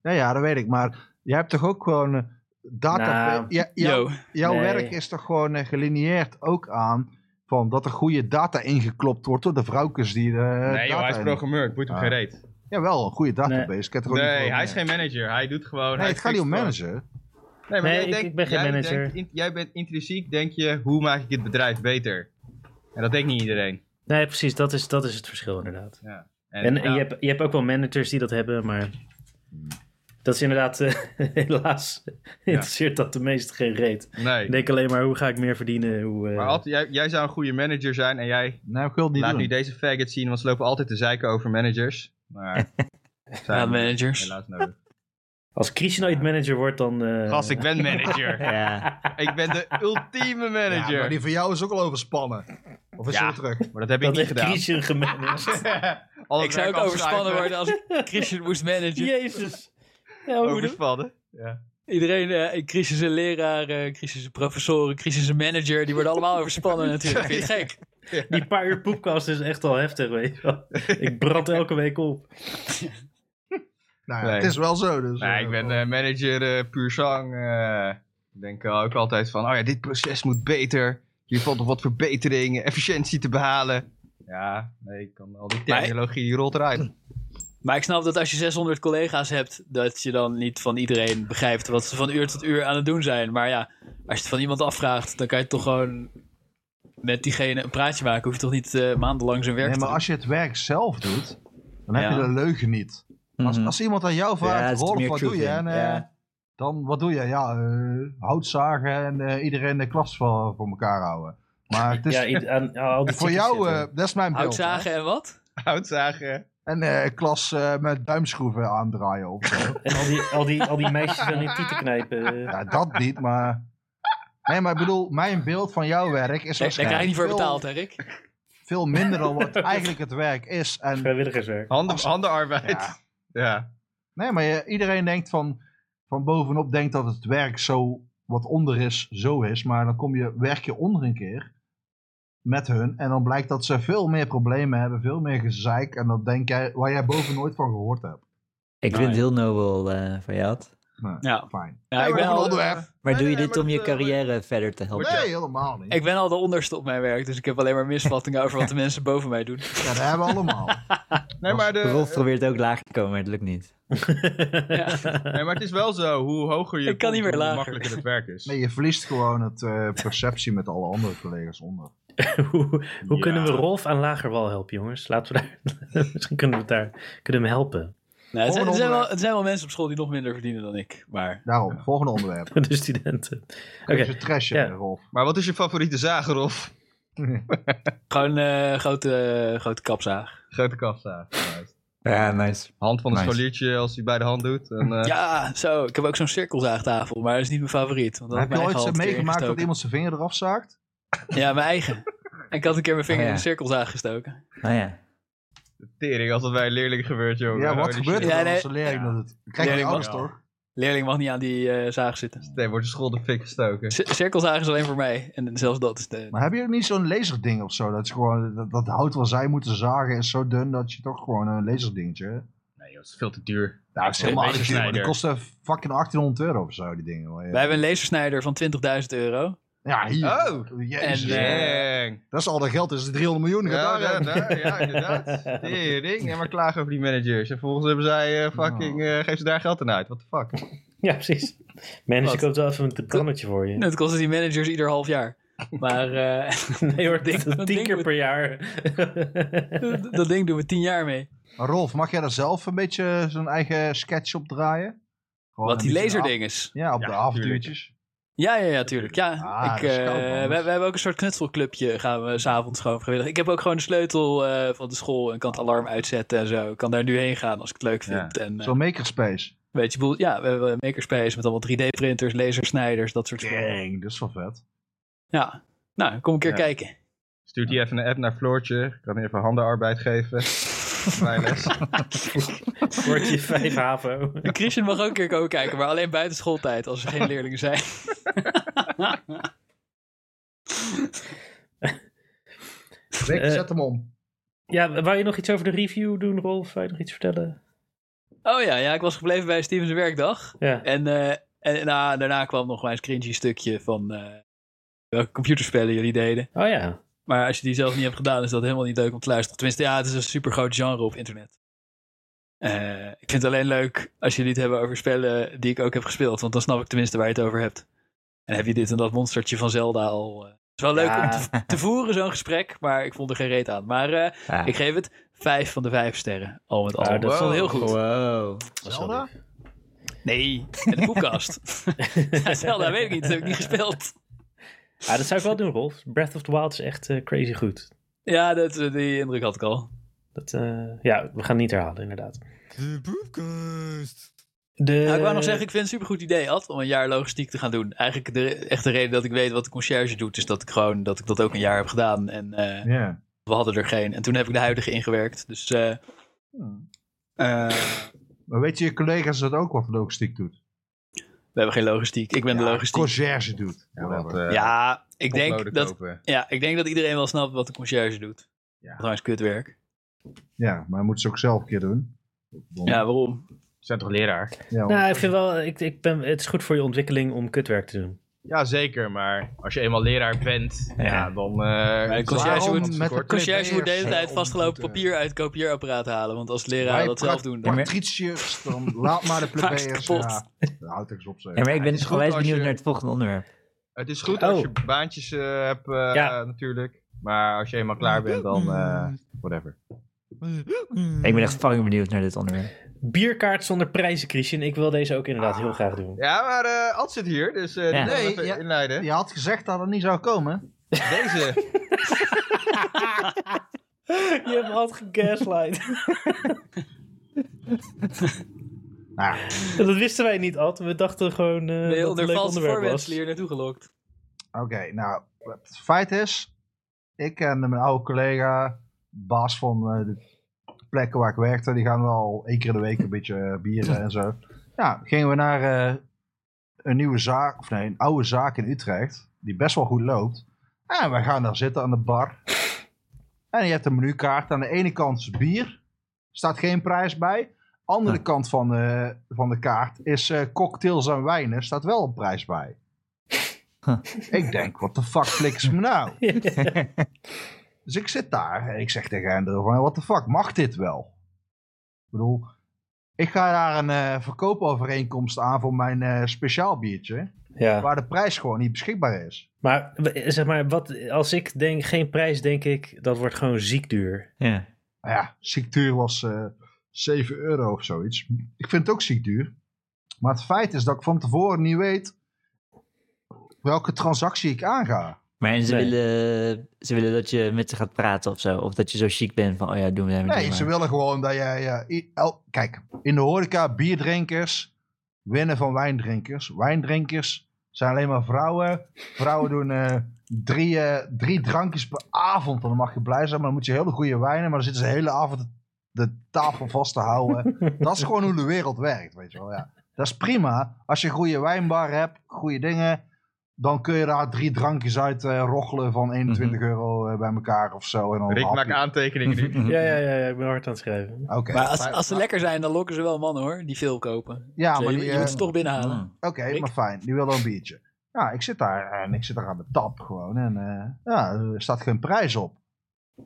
Ja, ja, dat weet ik. Maar jij hebt toch ook gewoon eh, data... Nou, ja, jou- Yo. jouw nee. werk is toch gewoon eh, gelineerd ook aan... Van dat er goede data ingeklopt wordt door de vrouwkes die de nee, joh, data hij is in- programmeur. Het boeit hem Ah. geen reet. Jawel, een goede database. Ik heb er ook niet Nee, voor hij is meer. geen manager. Hij doet gewoon... Nee, hij het gaat niet fixt om gewoon. managen. Nee, maar Nee, jij ik- denkt, ik ben geen jij manager. denkt in- jij bent intrinsiek, denk je, hoe maak ik het bedrijf beter? En dat denkt niet iedereen. Nee, precies, dat is, dat is het verschil inderdaad. En, en ja. Hmm. je, hebt, je hebt ook wel managers die dat hebben, maar dat is inderdaad, [LAUGHS] eh, helaas, interesseert dat de meesten geen reet. Nee, Ik denk alleen maar, hoe ga ik meer verdienen? Hoe, eh, maar Ad, jij, jij zou een goede manager zijn en jij Nee, ik wil het niet laat doen. nu deze faggot zien, want ze lopen altijd te zeiken over managers. [LAUGHS] Maar zijn Ja, managers. helaas nodig. Als Krishnoid manager wordt, dan... eh, Gast, ik ben manager. [LAUGHS] Ja, [LAUGHS] ik ben de ultieme Ja, manager. maar die van jou is ook al overspannen. Of is Ja. hij weer terug? Maar dat heb ik dat niet heeft [LAUGHS] gedaan. Krishin gemanaged. [LAUGHS] Al het Ik zou werk ook overspannen afschuiven. worden als ik Christian moest managen. Jezus. Ja, hoe doen? Overspannen. Iedereen, eh Christian is een leraar, eh Christian is een professor, Christian is een manager. Die worden allemaal overspannen natuurlijk. Vind je het gek? Die paar uur poepkast is echt al heftig, weet je wel. Ik [LAUGHS] brand elke week op. Nou ja, Nee. het is wel zo. Dus, eh, Nee, ik ben eh, manager eh, puur zang. eh. ik denk eh, ook altijd van, oh ja, dit proces moet beter. Hier valt nog wat verbetering, efficiëntie te behalen. Ja, nee, ik kan al die Maar- technologie die rolt eruit. [LAUGHS] Maar ik snap dat als je 600 collega's hebt, dat je dan niet van iedereen begrijpt wat ze van uur tot uur aan het doen zijn. Maar ja, als je het van iemand afvraagt, dan kan je toch gewoon met diegene een praatje maken. Hoef je toch niet eh, maandenlang zijn werk Nee, te maar doen. als je het werk zelf doet, dan heb Ja. je de leugen niet. Als, Mhm. als iemand aan jou Ja, er vraagt, zit Rolf, meer wat truth doe je? in. En, eh, Ja. Dan, wat doe je? Ja, eh, hout zagen en eh, iedereen de klas voor, voor elkaar houden. Maar het is ja, i- aan, aan al die Dus voor types jou, zitten. eh, dat is mijn beeld. hè. Houtzagen en wat? Houtzagen. En eh, klas eh, met duimschroeven aandraaien of zo. En al die, al, die, al die meisjes aan [LAUGHS] hun tieten knijpen. eh. ja, dat niet, maar... Nee, maar ik bedoel, mijn beeld van jouw werk is Daar, daar krijg je waarschijnlijk niet voor veel, betaald, hè, Rick? veel minder dan [LAUGHS] wat eigenlijk het werk is. En Vrijwilligerswerk. Handen, handenarbeid. [LAUGHS] Ja. Ja. Nee, maar je- iedereen denkt van, van bovenop denkt dat het werk zo wat onder is, zo is. Maar dan kom je, werk je onder een keer met hun. En dan blijkt dat ze veel meer problemen hebben, veel meer gezeik. En dat denk jij, waar jij boven nooit van gehoord hebt. ik vind het heel nobel eh van jou. Ad. Nee, Ja. fijn. Ja, ik, Over ben een al, onderwerp. Maar Nee, doe je nee, dit maar om dat, je eh, wordt- carrière verder te helpen? Nee, helemaal niet. ik ben al de onderste op mijn werk, dus ik heb alleen maar misvattingen over wat de mensen boven mij doen. Ja, dat hebben we allemaal. Nee, maar de, Rolf probeert ook laag te komen, maar het lukt niet. [LAUGHS] nee, maar het is wel zo. Hoe hoger je Ik kan niet komt, meer hoe lager. makkelijker het werk is. Nee, je verliest gewoon het eh, perceptie met alle andere collega's onder. hoe hoe Ja. kunnen we Rolf aan Lagerwal helpen, jongens? Laten we daar... [LAUGHS] Misschien kunnen we, het daar, kunnen we hem helpen. [LAUGHS] Nou, het, zijn, Volgende het zijn wel, onderwerp. het zijn wel mensen op school die nog minder verdienen dan ik. Maar Daarom, volgende onderwerp. De studenten. Oké. Kun je trashen, ja. Rolf? Maar wat is je favoriete zaag, Rolf? gewoon eh grote, grote kapzaag. [LAUGHS] Grote kafzaag. Ja, nice. Hand van een Nice. scholiertje als hij bij de hand doet. En, eh, Ja, zo. Ik heb ook zo'n cirkelzaagtafel, maar dat is niet mijn favoriet. Want dan Heb je mijn ooit eigen hand zo een keer meegemaakt dat ingestoken. iemand zijn vinger eraf zaagt? Ja, mijn eigen. Ik had een keer mijn vinger Oh, ja. in een cirkelzaag gestoken. Nou ja. Tering, als dat bij een leerling gebeurt, jongen. Ja, wat Holy gebeurt Oh, nou, shit. Ja, er dan nee. als de leerling Ja. dat het... Krijg je die Leerling ouders mag- toch? Leerling mag niet aan die eh, zaag zitten. Nee, wordt de school de fik gestoken. Cir- Cirkelzaag is alleen voor mij. En zelfs dat is de... Maar hebben jullie niet zo'n laserding of zo? Dat, is gewoon, dat, dat hout wat zij moeten zagen is zo dun dat je toch gewoon een laserdingetje... Nee, joh, het is veel te duur. Nou, dat is helemaal een niet duur, maar lasersnijder. Dat kost eh, fucking 1800 euro of zo, die dingen. hoor. Wij hebben een lasersnijder van 20.000 euro. Ja, hier. Oh! Jezus. En, eh, Dang. dat is al dat geld, dat is 300 miljoen. Ja, gedaan. ja, daar, ja, inderdaad. [LAUGHS] Tering. En maar klagen over die managers. En volgens hebben zij eh, fucking... Oh. eh, geven ze daar geld aan uit. What the fuck? Ja, precies. Manager Wat? koopt wel even een brandetje voor [LAUGHS] je. Dat kosten die managers ieder half jaar. Maar eh, [LAUGHS] Nee hoor, Ding- tien dat tien ding keer moet- per jaar. [LAUGHS] [LAUGHS] dat ding doen we 10 jaar mee. Maar Rolf, mag jij daar zelf een beetje zo'n eigen sketch op draaien? Gewoon Wat een die beetje de Oh, af- laserdinges. Ja, op Ja, de tuurlijk. avontuurtjes. Ja, ja, ja, tuurlijk. Ja, Ah, ik, dat is eh, koud, man. we, we hebben ook een soort knutselclubje, gaan we s'avonds gewoon vrijwillig. Ik heb ook gewoon de sleutel eh, van de school en kan het alarm uitzetten en zo. Ik kan daar nu heen gaan als ik het leuk Ja. vind. En, eh, Zo'n makerspace. weet je, boel, ja, we hebben een makerspace met allemaal 3D-printers, lasersnijders, dat soort dingen. Dang, dat is wel vet. Ja, nou, kom een keer Ja. kijken. Stuurt hij even een app naar Floortje. Ik kan even handenarbeid [LAUGHS] geven. Bij les. Wordt je vijf [LAUGHS] haven. Christian mag ook een keer komen kijken, maar alleen buiten schooltijd, als er geen leerlingen zijn. Rick, Eh. zet hem om. Ja, wou je nog iets over de review doen, Rolf? Wou je nog iets vertellen? Oh ja, ja, ik was gebleven bij Steven's werkdag. Ja. En, eh, en na- daarna kwam nog mijn cringy stukje van eh, welke computerspellen jullie deden. Oh ja. Maar als je die zelf niet hebt gedaan, is dat helemaal niet leuk om te luisteren. Tenminste, ja, het is een super groot genre op internet. Eh, ik vind het alleen leuk als jullie het hebben over spellen die ik ook heb gespeeld. Want dan snap ik tenminste waar je het over hebt. En heb je dit en dat monstertje van Zelda al. eh. Het is wel leuk Ja. om te, te voeren, zo'n gesprek. Maar ik vond er geen reet aan. Maar eh, Ah. ik geef het vijf van de vijf sterren. Al met al. Ah, dat dat is wel wow. heel goed. Wow. was Zelda? wel Nee, en de koelkast. [LAUGHS] Ja, Zelda weet ik niet. Dat heb ik [LAUGHS] niet gespeeld. Ah, dat zou ik wel doen, Rolf. Breath of the Wild is echt eh, crazy goed. Ja, dat, eh, die indruk had ik al. Dat, eh, ja, we gaan het niet herhalen, inderdaad. De Nou, ik wou nog zeggen, ik vind het een supergoed idee, Ad, om een jaar logistiek te gaan doen. Eigenlijk de echte reden dat ik weet wat de conciërge doet, is dat ik gewoon dat ik dat ook een jaar heb gedaan. En eh, Ja. we hadden er geen. En toen heb ik de huidige ingewerkt. Dus eh, eh, Maar weet je, je collega's dat ook wat logistiek doet? we hebben geen logistiek. Ik ben de logistiek. Conciërge doet. eh. Whatever. eh, ja, ik denk dat, ja, ik denk dat iedereen wel snapt wat de conciërge doet. Ja. Trouwens, kutwerk. Ja, maar moeten ze ook zelf een keer doen. Ja, waarom? Zijn toch leraar? Ja, Nou, ik vind wel, ik, ik ben, het is goed voor je ontwikkeling om kutwerk te doen. Ja, zeker. Maar als je eenmaal leraar bent, ja, dan... eh een conciërge waarom moet- het met tekort? een- Conciërge moet de hele Om tijd te- vastgelopen papier uit het kopieerapparaat halen. Want als leraar Wij dat zelf doen, dan... Patriciërs, dan laat maar de [LAUGHS] Maak ze plebeiers. kapot. Ja, houd ik eens op zeg. Ja, maar ik ben is goed onwijs als benieuwd je- naar het volgende onderwerp. Het is goed Oh. als je baantjes eh, hebt eh, Ja. Hmm. natuurlijk. Maar als je eenmaal klaar bent, dan eh, whatever. Mm. Ik ben echt fucking benieuwd naar dit onderwerp. Bierkaart zonder prijzen, Christian. Ik wil deze ook inderdaad heel graag [LAUGHS] doen. Ja, maar eh Ad zit hier, dus eh die Ja. kan hem Nee, even ja. inleiden. Je had gezegd dat het niet zou komen. Deze. Je hebt altijd [LAUGHS] gegaslight. Nou, ja, dat wisten wij niet, Ad. We dachten gewoon eh, ben je dat het een onder leuk valse onderwerp was. voorwendselen hier naartoe gelokt. oké. nou, het feit is, ik en mijn oude collega, baas van eh, de plekken waar ik werkte, die gaan wel één keer in de week een beetje eh, bieren en zo. Ja, gingen we naar eh, een nieuwe zaak, of nee, een oude zaak in Utrecht, die best wel goed loopt. En we gaan daar zitten aan de bar. En je hebt een menukaart. Aan de ene kant is bier, staat geen prijs bij. Andere kant van de, van de kaart is eh, cocktails en wijnen, staat wel een prijs bij. Huh. Ik denk, wat de fuck flikken ze me nou? Ja. [LAUGHS] Dus ik zit daar en ik zeg tegen Hendro van, wat de fuck, mag dit wel? Ik bedoel, ik ga daar een eh, verkoopovereenkomst aan voor mijn eh, speciaal biertje, ja. waar de prijs gewoon niet beschikbaar is. Maar w- zeg maar, wat, als ik denk geen prijs, denk ik dat wordt gewoon ziek duur. Ja. Nou ja, ziektuur was eh 7 euro of zoiets. Ik vind het ook ziekduur. Maar het feit is dat ik van tevoren niet weet welke transactie ik aanga. Maar en ze, Nee. willen, ze willen dat je met ze gaat praten of zo. Of dat je zo chic bent van, oh ja, doen we hem. Nee, ze willen gewoon dat jij... eh, i- el- kijk, in de horeca, bierdrinkers winnen van wijndrinkers. Wijndrinkers zijn alleen maar vrouwen. Vrouwen doen eh, drie, eh, drie drankjes per avond. En dan mag je blij zijn, maar dan moet je hele goede wijnen. Maar dan zitten ze de hele avond de tafel vast te houden. Dat is gewoon hoe de wereld werkt, weet je wel. Ja. Dat is prima. Als je een goede wijnbar hebt, goede dingen... Dan kun je daar drie drankjes uit eh, roggelen van 21 euro eh, bij elkaar of zo. En dan een Rick hapje. maakt aantekeningen nu. [LAUGHS] Ja, ja, ja, ja, ik ben hard aan het schrijven. Oké. Maar als, als ze maar- lekker zijn, dan lokken ze wel mannen hoor, die veel kopen. Ja, Dus maar je, die, je eh, moet ze toch binnenhalen. mm. Ah. Oké, Rick? maar fijn. Die wil wel een biertje. Ja, ik zit daar en ik zit daar aan de tap gewoon. En eh, ja, er staat geen prijs op.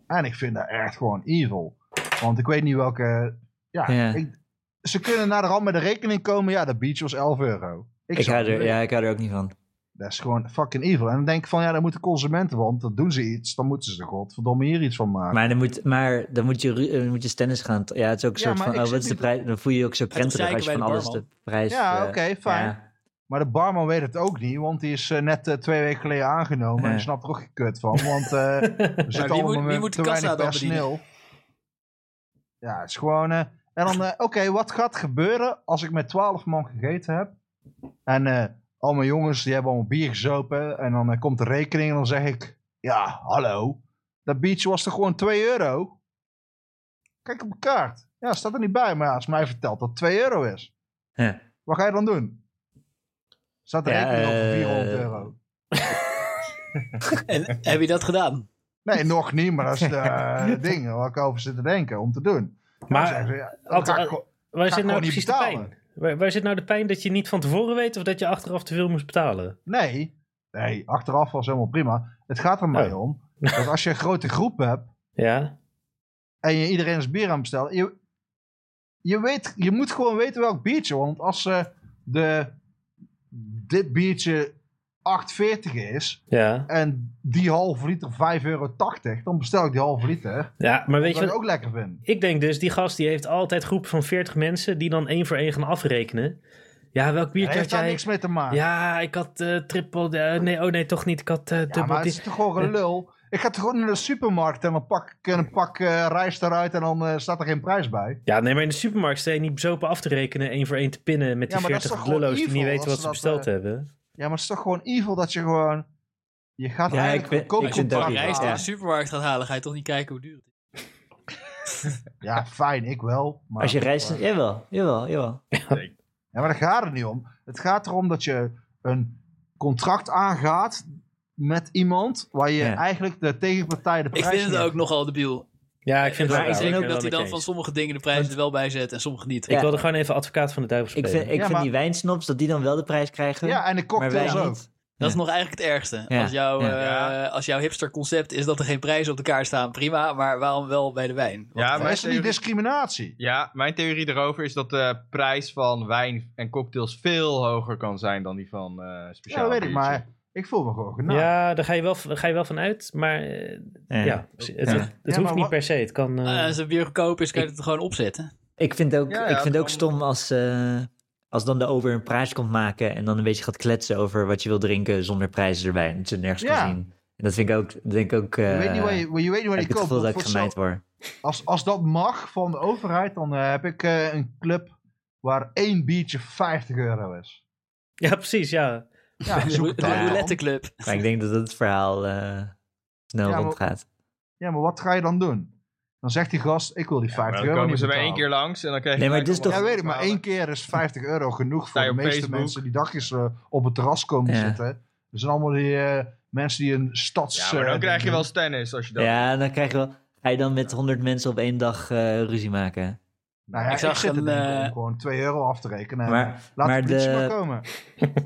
En ik vind dat echt gewoon evil. Want ik weet niet welke... Ja, Ja. ik- ze kunnen naar de rand met de rekening komen. Ja, dat biertje was 11 euro. Ik, zou hou het er, niet ja, ik hou er ook niet van. Dat is gewoon fucking evil. En dan denk ik van, ja, dan moeten consumenten, want dan doen ze iets. Dan moeten ze er godverdomme hier iets van maken. Maar dan moet, maar dan moet, je, ru- eh, dan moet je stennis gaan. t- Ja, het is ook een Ja, soort maar van, ik oh, zit wat is de niet- prijs? Dan voel je je ook zo krenterig zeiken als je bij van de alles de barman. prijs... ja, eh, oké, fijn. ja. Maar de barman weet het ook niet, want die is eh, net eh, twee weken geleden aangenomen. En Ja. die snapt er ook gekut van, [LAUGHS] want eh er zit wie allemaal moet- wie met moet de te kassa weinig dan bedienen? personeel. Ja, het is gewoon... eh, en dan, eh, oké, wat gaat gebeuren als ik met twaalf man gegeten heb? En eh al mijn jongens, die hebben allemaal bier gezopen. En dan eh, komt de rekening en dan zeg ik... Ja, hallo. Dat biertje was toch gewoon 2 euro? Kijk op mijn kaart. Ja, staat er niet bij. Maar ja, als mij vertelt dat 2 euro is. Ja. Wat ga je dan doen? Staat de Ja, rekening op voor eh, 400 euro? En heb je dat gedaan? Nee, nog niet. Maar dat is de [LAUGHS] eh, ding waar ik over zit te denken om te doen. Maar- Dan zeggen ze, ja, dan Ad- ga ik gewoon- Waar Ga zit ik nou gewoon precies niet de betalen. pijn? Waar, waar zit nou de pijn dat je niet van tevoren weet of dat je achteraf te veel moest betalen? Nee, nee, achteraf was helemaal prima. Het gaat er mij Oh. om dat als je een grote groep hebt... Ja, en je iedereen een bier aan bestelt. Je, je, weet, je moet gewoon weten welk biertje. Want als ze de, dit biertje 8,40 is ja. en die halve liter 5,80 euro, dan bestel ik die halve liter. Ja, maar weet Wat je ik wat? ook lekker vind. Ik denk dus, die gast die heeft altijd een groep van 40 mensen die dan één voor één gaan afrekenen. Ja, welk Het biertje had heeft daar jij? niks mee te maken. Ja, ik had eh triple. eh, nee, oh nee, toch niet. Ik had eh Ja, dubbel. maar het die- is toch gewoon een lul. Ik ga toch gewoon naar de supermarkt en dan pak ik een pak eh, rijst eruit en dan eh, staat er geen prijs bij. Ja, nee, maar in de supermarkt sta je niet bezopen af te rekenen, één voor één te pinnen met Ja, die maar dat is 40 toch gewoon lullo's die niet evil weten als wat ze ze dat, besteld eh, hebben. Ja, maar het is toch gewoon evil dat je gewoon... Je gaat Ja, eigenlijk ik vind- ik een vind koopcontract dat ook Rijst niet. in aan. de supermarkt gaat halen, ga je toch niet kijken hoe duur het is? Ja, fijn, ik wel. Maar Als je reist, jawel, jawel, jawel. Ja, maar daar gaat het niet om. Het gaat erom dat je een contract aangaat met iemand waar je Ja. eigenlijk de tegenpartij de Ik prijs vind het geeft. ook nogal debiel. Ja, ik vind het maar wel ik raar. vind Zeker ook dat hij dan van Ik sommige dingen de prijzen er wel bij zet en sommige niet. Ja. wilde gewoon even advocaat van de duivel Ik spelen. vind, ik Ja, vind maar- die wijnsnops, dat die dan wel de prijs krijgen, Ja, en de maar wij cocktails ook. niet. Dat is nog eigenlijk het ergste. Ja. Als, jouw, Ja. eh, Ja. als jouw hipster concept is dat er geen prijzen op de kaart staan, prima. Maar waarom wel bij de wijn? Want- Ja, Maar mijn is er niet theorie, discriminatie? ja, mijn theorie erover is dat de prijs van wijn en cocktails veel hoger kan zijn dan die van eh Ja, speciaal weet ik, biertje. maar ik voel me gewoon genaaid. Ja, daar ga je wel, daar ga je wel van uit, maar eh, Ja. ja, het, het, Ja. het Ja, hoeft maar niet wat- per se. Het kan. eh, Eh, als het bier goedkoop is, kan je het er gewoon opzetten. Ik vind ook, Ja, ja, ik vind het ook kan- stom als, eh, als dan de over een prijs komt maken en dan een beetje gaat kletsen over wat je wil drinken zonder prijzen erbij. En dat je nergens Ja. kan zien. En dat vind ik ook, dat denk ik ook, eh, je weet niet waar je, je, weet niet waar heb je ik het koopt. gevoel dat ik want voor gemijnd word. zo- Als, als dat mag van de overheid, dan eh, heb ik eh, een club waar één biertje 50 euro is. [LAUGHS] Ja, precies, ja. Ja, zoek Rou- het De uit. roulette club. Maar ik denk dat dat het verhaal eh snel Ja, maar- rondgaat. Ja, maar wat ga je dan doen? Dan zegt die gast, ik wil die 50 Maar dan euro komen niet ze bij één betalen. keer langs en dan krijg je... Nee, maar gelijk dit is Ja, allemaal weet ik, maar één verhalen. keer is 50 euro genoeg voor Sta je de op meeste Facebook? mensen die dagjes eh, op het terras komen Ja. zitten. Er zijn allemaal die eh, mensen die een stads... Ja, maar dan eh, krijg je dingen- wel eens tennis als je dat... Ja, en dan krijg je wel, ga je dan met honderd mensen op één dag eh, ruzie maken. Nou ja, Ik ik, zag zit er een, denken eh, om gewoon 2 euro af te rekenen. Maar- Maar, Laat maar de politie de- maar komen.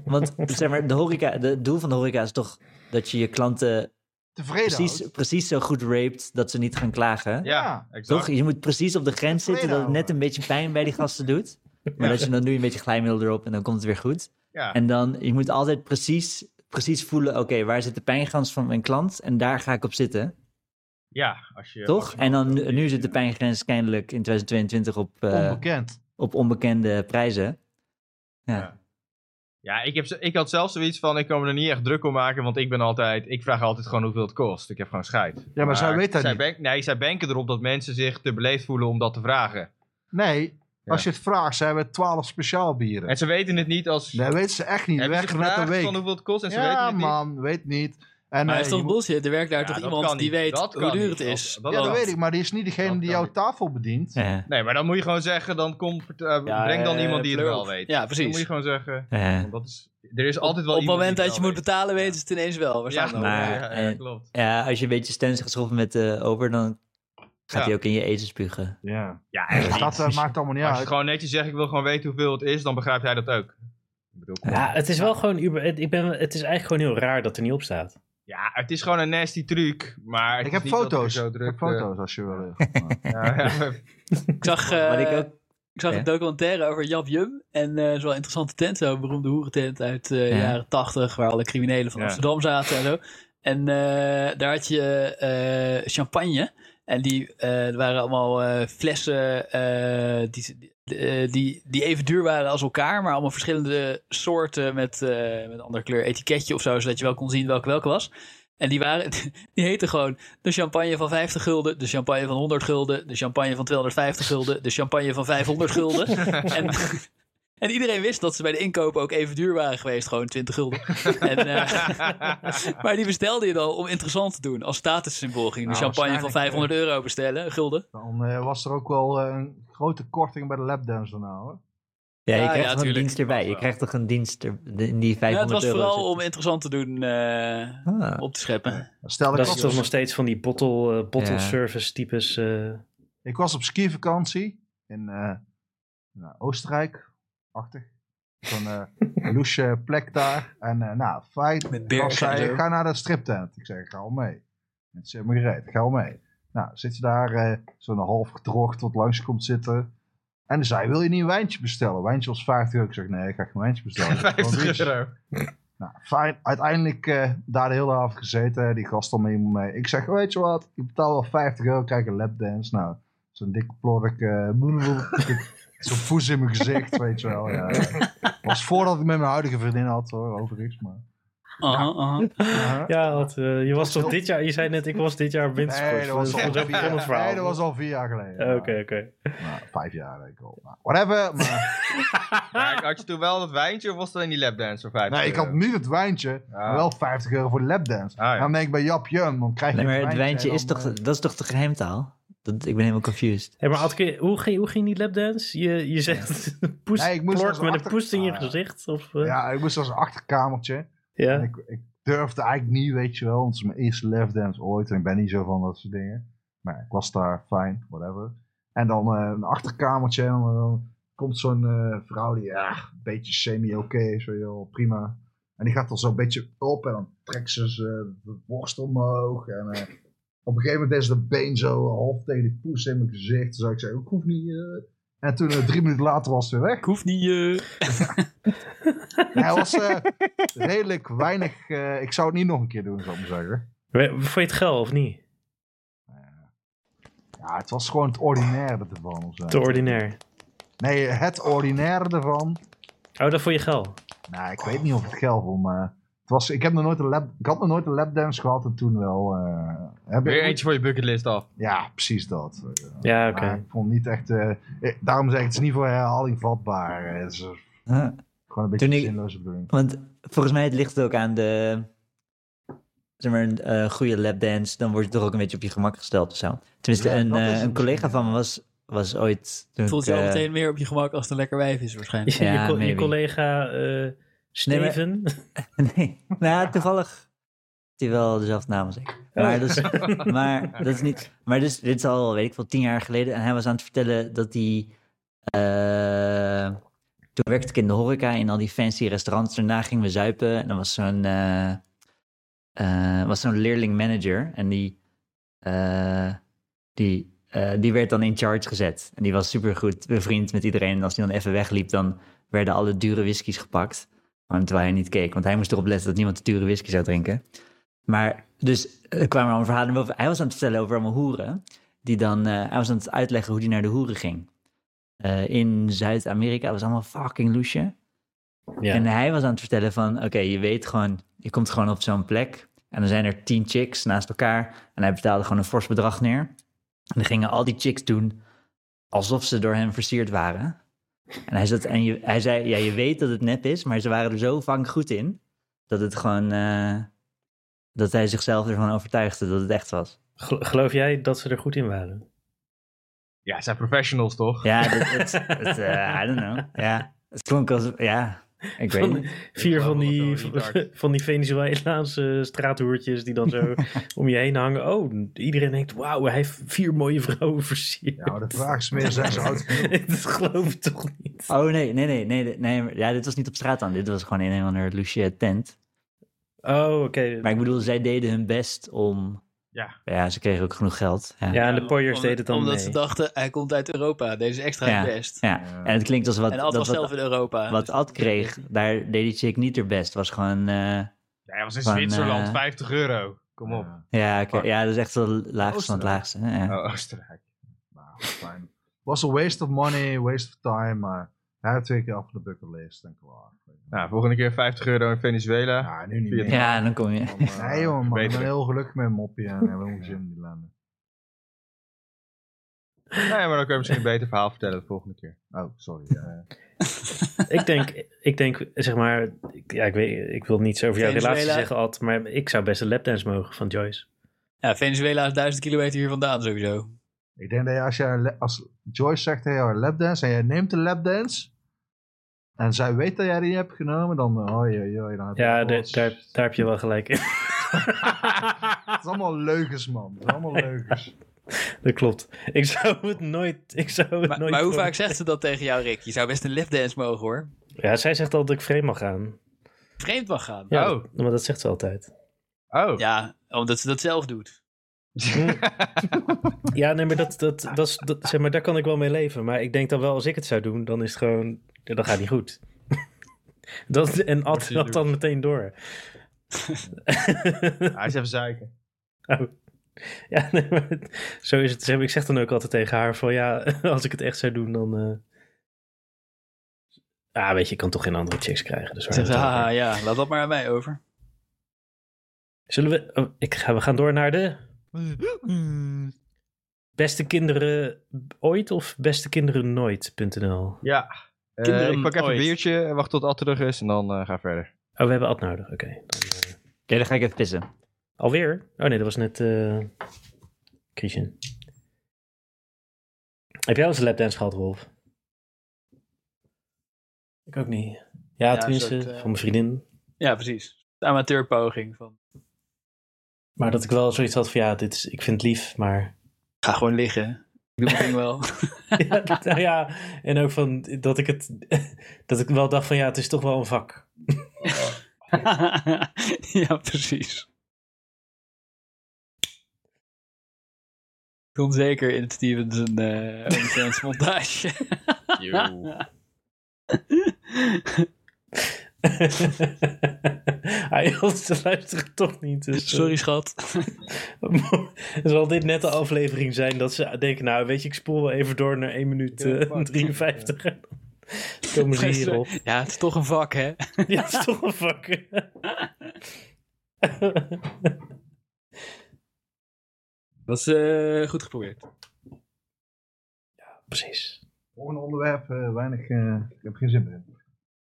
Want zeg maar, de horeca, de, het doel van de horeca is toch dat je je klanten Tevreden precies, houdt. precies zo goed rapt dat ze niet gaan klagen. Ja, exact. Toch? Je moet precies op de grens zitten dat het net nou? een beetje pijn bij die gasten doet. [LAUGHS] Maar dat je dan doe je een beetje glijmiddel erop en dan komt het weer goed. Ja. En dan, je moet altijd precies, precies voelen, oké, waar zit de pijngrens van mijn klant? En daar ga ik op zitten, ja, als je... toch? En dan, nu- nu zit de pijngrens kennelijk in 2022 op, eh, Onbekend. op onbekende prijzen. Ja. Ja. Ja, ik, heb, zo- ik had zelfs zoiets van, ik kan me er niet echt druk om maken, want ik ben altijd, ik vraag altijd gewoon hoeveel het kost. Ik heb gewoon scheid. Ja, maar zij weet dat niet. nee, zij banken erop dat mensen zich te beleefd voelen om dat te vragen. Nee, Ja. als je het vraagt, ze hebben 12 speciaal bieren. En ze weten het niet als... Nee, weten ze echt niet. hebben ze Weg met een gevraagd van week. hoeveel het kost en ze weten Ja, het niet. man, weet niet. En, Maar eh, het is toch je moet- bullshit? Er werkt daar Ja, toch dat iemand kan die niet. weet Dat kan hoe duur niet. het is? Dat- Ja, dat kan. weet ik, maar die is niet degene Dat die kan jouw niet. tafel bedient. Ja. Nee, maar dan moet je gewoon zeggen, dan kom, vert- eh, Ja, breng dan eh, iemand die het pleur wel op. weet. Ja, Dan moet precies. je gewoon zeggen, Ja. want dat is, er is Op- altijd wel op het iemand moment die dat je moet het wel betalen, weten ze het nou? ineens wel. Waar weet. staan we dan? maar- Ja, ja, ja, en- klopt. Ja, als je een beetje stens gaat schoppen met de over, dan gaat Ja. hij ook in je eten spugen. Ja. Ja, echt niet. Dat eh, maakt allemaal niet Als je uit. gewoon netjes zegt, ik wil gewoon weten hoeveel het is, dan begrijpt hij dat ook. Ik bedoel, kom op. Ja, het is wel gewoon. uber- het- Ik ben, het is eigenlijk gewoon heel raar dat er niet op staat. Ja, het is gewoon een nasty truc, maar... het Ik is heb niet dat er foto's. zo Ik druk, heb foto's als je wil. [LAUGHS] eh, [LAUGHS] ja, [LAUGHS] ja. Ik zag, Wat eh, ik ook ik zag Ja. een documentaire over Jap Jum. En eh zo'n interessante tent, zo'n beroemde hoerentent uit de Ja. jaren tachtig, waar alle criminelen van Ja. Amsterdam zaten en zo. En eh, daar had je eh, champagne. En die eh, er waren allemaal eh, flessen eh, die, eh, die, die even duur waren als elkaar, maar allemaal verschillende soorten met, eh, met een andere kleur etiketje of zo, zodat je wel kon zien welke welke was. En die, waren, die heten gewoon de champagne van 50 gulden, de champagne van 100 gulden, de champagne van 250 gulden, de champagne van 500 [LAUGHS] gulden. en, en iedereen wist dat ze bij de inkoop ook even duur waren geweest, gewoon 20 gulden. En, [LAUGHS] eh, maar die bestelde je dan om interessant te doen. Als statussymbool ging je de Nou, champagne van waarschijnlijk, 500 euro bestellen, gulden. Dan eh, was er ook wel eh, een grote korting bij de lapdance daarna hoor. Ja, je Ja, krijgt ja, toch een tuurlijk. dienst erbij. Je krijgt toch een dienst er, in die 500 Ja, het was euro vooral zit. om interessant te doen eh, Ah. op te scheppen. Stel, ik Dat is was, toch nog steeds van die bottle, eh, bottle Ja. service types. eh, ik was op skivakantie in eh, nou, Oostenrijk, achtig. Zo'n [LAUGHS] eh loesje plek daar. En eh, nou, feit, Met Als bergen en zei, zo. ga naar dat striptent. Ik zeg, ik ga al mee. Het is helemaal gereed, ik ga al mee. Nou, zit je daar eh, zo'n half gedroogd tot langs komt zitten. En dan zei, wil je niet een wijntje bestellen? Wijntje was 50 euro. Ik zeg, nee, ik ga geen wijntje bestellen. Ik wil gewoon een 50 biertje. euro. Nou, fijn. Uiteindelijk eh, daar de hele avond gezeten. Die gast al mee. mee. Ik zeg, weet je wat? Ik betaal wel 50 euro. Kijk, een lapdance. Nou, zo'n dikke plorik. eh, boel, boel, boel. [LAUGHS] zo'n poes in mijn gezicht, weet je wel. Ja, ja. Was voordat ik met mijn huidige vriendin had, hoor. Overigens, maar... Aha, aha. Ja. Ja, want, eh, je was toch dit jaar, je zei net, ik was dit jaar op wintersport. Nee, dat was, al Zo vier, begon het verhaal. nee, dat was al vier jaar geleden. Eh, Oké, Ja. oké. Nou, vijf jaar denk ik al. Nou, whatever. [LAUGHS] Maar, Maar had je toen wel dat wijntje of was dat in die lapdance voor 50 nee, ik had euro? nu het wijntje, maar wel 50 euro voor de lapdance. Ah, ja. Dan denk ik bij Jap Jum, dan krijg je Nee, maar het en wijntje dan, is toch, eh, dat is toch de geheimtaal? Dat, ik ben helemaal confused. Hé, maar Adke, hoe, ging, hoe ging die lapdance? Je, je zegt [LAUGHS] poes, Nee, ik moest plork als met een achter- poest in je Ah, ja. gezicht? Of, eh, ja. Ja, ik moest als een achterkamertje. En ik, ik durfde eigenlijk niet, weet je wel. Want het is mijn eerste lapdance ooit. En ik ben niet zo van dat soort dingen. Maar ik was daar, fijn, whatever. En dan eh, een achterkamertje. En dan, dan komt zo'n eh, vrouw die ja, een beetje semi-oké is. weet je wel, prima. En die gaat dan zo'n beetje op. En dan trekt ze ze de borst omhoog. En eh, op een gegeven moment is de been zo half tegen die poes in mijn gezicht. Dus ik zei, ik hoef niet... eh." En toen eh, drie minuten later was het weer weg. Ik hoef niet... eh, Hij was eh, [LAUGHS] redelijk weinig. eh, ik zou het niet nog een keer doen, zou ik maar zeggen. We- Vond je het geil of niet? Ja, het was gewoon het ordinaire ervan. of zo. Te ordinair. Nee, het ordinaire ervan. Oh, dat vond je geil? Nou, ik weet niet of het geld om. het was, ik, heb nog nooit een lap, ik had nog nooit een lapdance gehad en toen wel. eh, heb ik- Weer eentje voor je bucketlist af. Ja, precies dat. Eh, Ja, oké. maar ik vond het niet echt. eh, eh, daarom zeg ik, het is niet voor herhaling vatbaar. Eh, Het is eh, Huh. gewoon een beetje Toen een ik- zinloze bedoeling. Want volgens mij het ligt ook aan de. Zeg maar, een eh, goede lapdance. Dan word je toch ook een beetje op je gemak gesteld of zo. Tenminste, Ja, een, dat is eh, het een collega misschien, van me was, was ooit. Toen voelt je ik, al eh, meteen meer op je gemak als het een lekker wijf is [LAUGHS] waarschijnlijk. Je- Ja, je, co- je maybe. collega eh Steven. [LAUGHS] Nee, nou, toevallig. Die wel dezelfde naam als ik. Maar dat is, maar dat is niet. Maar dus, dit is al, weet ik wel, tien jaar geleden. En hij was aan het vertellen dat hij. eh, toen werkte ik in de horeca in al die fancy restaurants. Daarna gingen we zuipen. En dan was zo'n. eh, eh, was zo'n leerling manager. En die. eh, die, eh, die werd dan in charge gezet. En die was supergoed bevriend met iedereen. En als die dan even wegliep, dan werden alle dure whiskies gepakt. Maar terwijl hij niet keek, want hij moest erop letten dat niemand de dure whisky zou drinken. Maar dus er kwamen allemaal verhalen over. Hij was aan het vertellen over allemaal hoeren. Die dan, eh, hij was aan het uitleggen hoe die naar de hoeren ging. Eh, in Zuid-Amerika was allemaal fucking loesje. Ja. En hij was aan het vertellen van, oké, je weet gewoon, je komt gewoon op zo'n plek. En dan zijn er tien chicks naast elkaar. En hij betaalde gewoon een fors bedrag neer. En dan gingen al die chicks doen alsof ze door hem versierd waren. En hij, zat, en je, hij zei, ja, je weet dat het nep is, maar ze waren er zo vang goed in. Dat het gewoon, eh, dat hij zichzelf ervan overtuigde dat het echt was. Gel- Geloof jij dat ze er goed in waren? Ja, het zijn professionals toch? Ja, dat, het, het, eh, I don't know. Ja, het klonk als, ja, ik weet Van niet. [LAUGHS] vier geloof van dat die, wel, retard. [LAUGHS] van die Venezolaanse straathoertjes die dan [LAUGHS] zo om je heen hangen. Oh, iedereen denkt, wauw, hij heeft vier mooie vrouwen versierd. Ja, maar [LAUGHS] de vraag is meer: zijn ze oud genoeg? dat geloof ik toch niet. Oh nee, nee, nee, nee, nee. maar- Ja, dit was niet op straat dan. Dit was gewoon in een of andere loesje tent. Oh, oké. Maar ik bedoel, zij deden hun best om... Ja. Ja, ze kregen ook genoeg geld. Ja. Ja, en de Poyers Omdat- deden het dan Omdat mee. ze dachten, hij komt uit Europa, deze extra Ja. best. Ja, En het klinkt als wat... En Ad dat was wat- zelf in Europa. Wat Ad kreeg, daar deed die chick niet haar best. Was gewoon. eh, Ja, hij was in Van, Zwitserland, eh, 50 euro. Kom op. Ja, Oh. oké. ja, dat is echt wel het laagste van het laagste. hè, Ja. Oh, [LAUGHS] Oostenrijk. Nou, fijn. Was een waste of money, waste of time, maar hij heeft twee keer af de bucketlist en klaar. Nou, volgende keer 50 euro in Venezuela. Ah, Ja, nu niet Ja. meer. Ja, en dan kom je. [LAUGHS] Want, eh, nee jongen, man, ik beter. ben heel gelukkig met Moppie en hebben we zin in die landen. Nee, maar dan kun je misschien een beter verhaal vertellen de volgende keer. Oh, sorry. eh. ik denk, [LAUGHS] ik denk, zeg maar, ik, ja, ik, weet, ik wil niets over jouw Venezuela. relatie zeggen, Ad, maar ik zou best een lapdance mogen van Joyce. Ja, Venezuela is duizend kilometer hier vandaan sowieso. ik denk dat je als, jij een la- als Joyce zegt tegen jou een lapdance en jij neemt een lapdance en zij weet dat jij die hebt genomen, dan eh, oei oei oei. Dan heb je Ja, wel de- eens- daar, daar heb je wel gelijk in. Het is allemaal leugens, man. Het is allemaal leugens. dat klopt. Ik zou het nooit, ik zou het Maar, nooit maar hoe doen. vaak zegt ze dat tegen jou, Rick? Je zou best een lapdance mogen hoor. Ja, zij zegt altijd dat ik vreemd mag gaan. Vreemd mag gaan. Ja, Ja, Oh. dat- maar dat zegt ze altijd. Oh. omdat ze dat zelf doet. Ja, nee, maar, dat, dat, dat, is- dat, zeg maar daar kan ik wel mee leven. Maar ik denk dan wel, als ik het zou doen, dan is het gewoon, ja, dan gaat het niet goed. [LAUGHS] Dat, en Ad Precies. had dan meteen door. [LAUGHS] Hij is even zeiken. Ja, nee, maar [LAUGHS] het- zo is het. Zeg maar, Ik zeg dan ook altijd tegen haar van ja, [LAUGHS] als ik het echt zou doen, dan. eh Ah, weet je, ik kan toch geen andere chicks krijgen. Dus waar Zegt "Ah, ze, hebben we het haha, over? ja, laat dat maar aan mij over. Zullen we. oh, ik ga, we gaan door naar de. Beste kinderen ooit of beste kinderen nooit.nl. Ja. Eh, Kinderen ik pak even een ooit. biertje, en wacht tot Ad terug is en dan eh, ga ik verder. Oh, we hebben Ad nodig. Oké. dan, eh, Ja, dan ga ik even pissen. Alweer? Oh nee, dat was net. eh Christian. Heb jij wel eens een lapdance gehad, Rolf? Ik ook niet. Ja, Ja, tenminste, een soort, eh, van mijn vriendin. Ja, precies. De amateurpoging van, Maar dat ik wel zoiets had van ja, dit is, ik vind het lief, [LAUGHS] maar. [LAUGHS] ga gewoon liggen. Ik doe mijn ding wel. [LAUGHS] ja, nou ja, en ook van dat ik het. [LAUGHS] Dat ik wel dacht van ja, het is toch wel een vak. [LAUGHS] ja, precies. Komt zeker in Stevens een eh, OnlyFans montage. [LAUGHS] [LAUGHS] Hij ze luisteren toch niet. Dus, eh, Sorry, [LAUGHS] schat. [LAUGHS] Zal dit net de aflevering zijn dat ze denken, nou weet je, ik spoel wel even door naar 1 minuut eh, 53. en [LAUGHS] dan Komen ze hierop. Ja, het is toch een vak, hè? [LAUGHS] Ja, dat is toch een vak. Dat is eh, goed geprobeerd. [LAUGHS] Precies. Volgende onderwerp, eh, weinig. eh, ik heb geen zin meer in.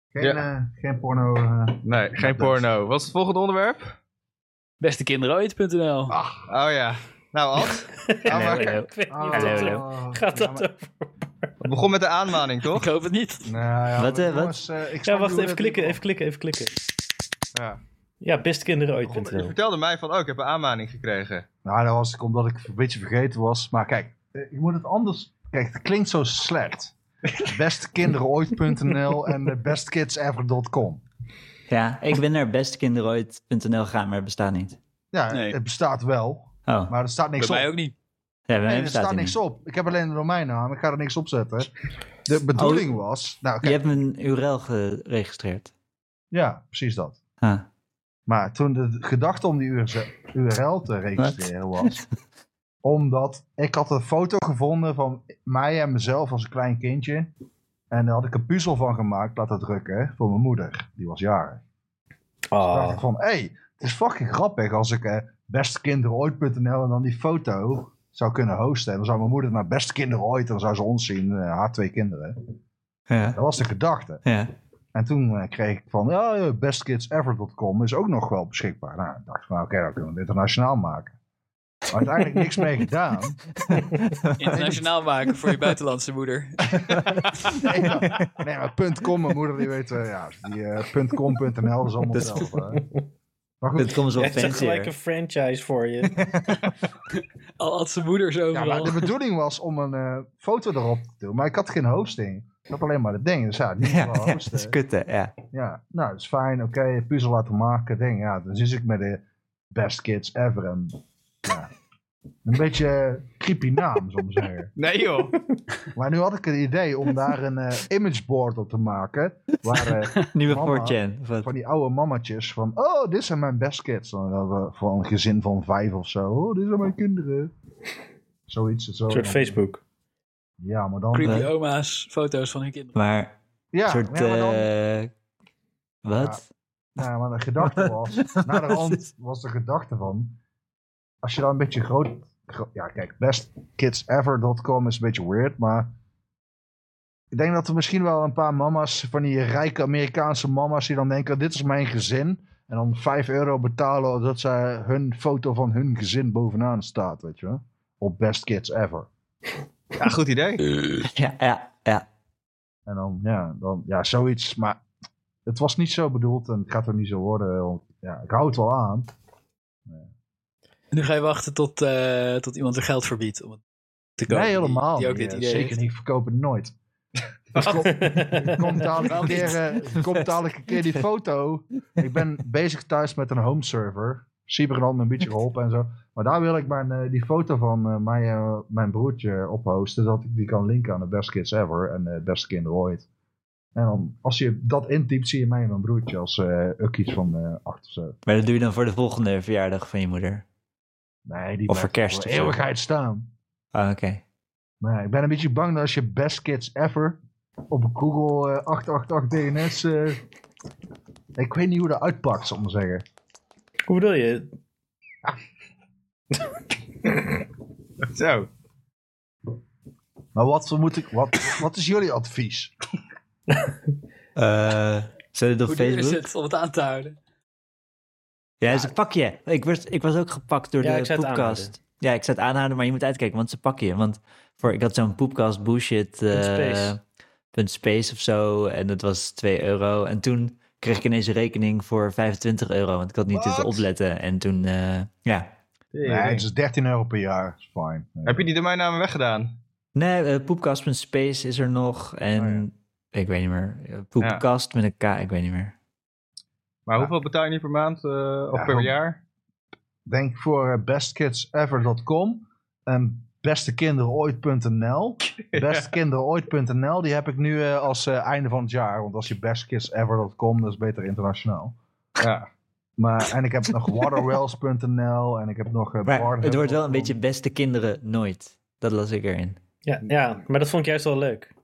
Geen, Ja. eh, geen porno. eh, Nee, geen porno. Wat is het volgende onderwerp? Bestekinderooit.nl Oh ja. Nou Ad, Hallo, maar- hallo. Ik weet niet ah, wat dat- Gaat ja, dat maar- over? het begon met de aanmaning Ik toch? hoop het niet. Nou ja, Wat, maar eh, jongens, eh, ik snap Ja, niet wacht, hoe even dat klikken, niet even klikken, even klikken. Ja. Ja, Je bestekinderen vertelde mij van, oh ik heb een aanmaning gekregen. kon. Nou, dat was ik omdat ik een beetje vergeten was. Maar kijk, eh, je moet het anders. Kijk, het klinkt zo [LAUGHS] slecht. Bestkinderenooit.nl en eh, bestkidsever.com. Ja, ik ben naar bestkinderooit.nl gegaan, maar het bestaat niet. Ja, Nee. het bestaat wel, Oh, maar er staat niks Bij mij op. ook niet. ja, bij Nee, mij er bestaat staat het niks niet. op. Ik heb alleen een domeinnaam, ik ga er niks op zetten. De bedoeling was. Nou, Je kijk, hebt mijn URL geregistreerd. ja, precies dat. Ah. Maar toen de gedachte om die URL te registreren was, omdat ik had een foto gevonden van mij en mezelf als een klein kindje. En daar had ik een puzzel van gemaakt, laten drukken, voor mijn moeder. Die was jarig. Ah. Toen dacht ik van, hé, hey, het is fucking grappig als ik eh bestkinderooit.nl en dan die foto zou kunnen hosten. En dan zou mijn moeder naar bestkinderooit en dan zou ze ons zien, eh, haar twee kinderen. Ja. Dat was de gedachte. Ja. [LAUGHS] En toen eh, kreeg ik van, eh, ja, ja, bestkidsever.com is ook nog wel beschikbaar. Nou, ik dacht van, oké, dan kunnen we het internationaal maken. Maar uiteindelijk niks mee [LAUGHS] gedaan. Internationaal maken voor je buitenlandse [LAUGHS] moeder. Nee, maar, nee, maar punt .com, mijn moeder die weet, eh, ja, die eh, punt .com, punt .nl is allemaal hetzelfde. hè. Maar Dat goed, komt zo Het is gelijk een fancier. franchise voor je. Al had zijn moeders ja, maar overal. de bedoeling was om een eh, foto erop te doen, maar ik had geen hosting. Ik had alleen maar het ding, dus ja, die Ja, wel ja, dat is hosten. kutte, ja. Ja, nou, dat is fijn, oké, puzzel laten maken, ding, ja. Dan zit ik met de best kids ever en, ja, Een beetje creepy naam, zal ik maar zeggen. Nee joh. Maar nu had ik het idee om daar een eh, imageboard op te maken. Waar eh, Nieuwe Mama. 4chan. of wat? van die oude mammetjes van... Oh, dit zijn mijn best kids. Dan hadden we voor een gezin van vijf of zo. Oh, dit zijn mijn kinderen. Zoiets. Zo. Een soort Facebook. Ja, maar dan... Creepy Eh. oma's, foto's van hun kinderen. Maar Ja, een soort... ja, maar dan- eh, wat? Ja, Nou, maar de gedachte was, naderhand was de gedachte van, als je dan een beetje groot, gro- ja kijk, bestkidsever.com is een beetje weird, maar ik denk dat er misschien wel een paar mama's, van die rijke Amerikaanse mama's, die dan denken, dit is mijn gezin, en dan 5 euro betalen dat zij hun foto van hun gezin bovenaan staat, weet je wel, op Best Kids Ever. [LAUGHS] Ja, goed idee. [LAUGHS] Ja, ja, ja. En dan, ja, dan, ja, zoiets. Maar het was niet zo bedoeld en het gaat er niet zo worden. want, ja, ik hou het wel aan. Nu ga je wachten tot, eh, tot iemand er geld voor biedt om het te kopen. Nee, die- helemaal Die, ook niet. dit Ja, idee Zeker niet, verkopen [LAUGHS] nooit. [LAUGHS] Komt dadelijk, een Waarom keer, eh, komt dadelijk een keer die foto. Ik ben bezig thuis met een home server. Cyber had me een beetje geholpen en zo. Maar daar wil ik mijn, eh, die foto van eh, mijn, eh, mijn broertje ophosten. Zodat ik die kan linken aan de Best Kids Ever en de Beste Kinderen Ooit. En dan, als je dat intypt, zie je mij en mijn broertje als eh ukkies van eh acht of zo. Maar dat doe je dan voor de volgende verjaardag van je moeder. Nee, die Of voor blijft kerst voor of zo. eeuwigheid staan. Ah, oké. Maar ja, ik ben een beetje bang dat als je best kids ever op Google eh, 888 DNS. eh, ik weet niet hoe dat uitpakt, zal ik maar zeggen. Hoe bedoel je? Zo. Maar wat, moet ik, wat, wat is jullie [LAUGHS] advies? Eh, Zet het op Hoe duur is Facebook? het om het aan te houden? Ja, ze pak je. Ik, werd, ik was ook gepakt door Ja, ik de zou het poepkast. Ja, ik zat aanhouden, maar je moet uitkijken, want ze pakken je. Want voor, ik had zo'n poepkast bullshit. eh, space. punt space of zo. En dat was 2 euro. En toen kreeg ik ineens een rekening voor 25 euro. Want ik had niet zitten Wat? opletten. En toen, eh, ja. Nee, het is 13 euro per jaar. Is fijn. Heb je die domeinnamen weggedaan? Nee, eh, poepkast.space is er nog. En Oh ik weet niet meer. Eh, Poepkast met een K, ik weet niet meer. Maar hoeveel betaal je nu per maand eh, of Ja, per goed. jaar? Denk voor eh, bestkidsever.com en [LAUGHS] bestekinderooit.nl. Bestkinderooit.nl, die heb ik nu eh, als eh, einde van het jaar. Want als je bestkidsever.com, dat is beter internationaal. Ja. Maar, en ik heb [LAUGHS] nog waterwells.nl en ik heb nog... eh, Maar het wordt wel een barnhub.com. beetje beste kinderen nooit. Dat las ik erin. Ja, ja, maar dat vond ik juist wel leuk.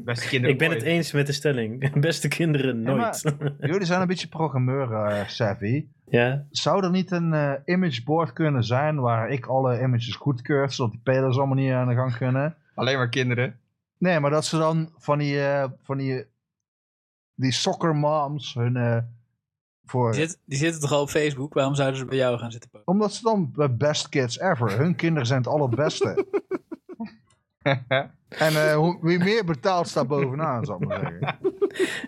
Beste kinderen. Ik ben het ooit. eens met de stelling. [LAUGHS] Beste kinderen, Ja, nooit. [LAUGHS] Jullie zijn een beetje programmeur eh, savvy. Ja, Zou er niet een eh, imageboard kunnen zijn waar ik alle images goedkeur, zodat die pelers allemaal niet aan de gang kunnen? Alleen maar kinderen. [LAUGHS] Nee, maar dat ze dan van die, eh, van die, die soccer moms hun eh, voor... Die, zit- die zitten toch al op Facebook? Waarom zouden ze bij jou gaan zitten posten? Omdat ze dan bij best kids ever, hun kinderen zijn het [LAUGHS] allerbeste. en eh, hoe- wie meer betaalt staat bovenaan, zal ik maar zeggen.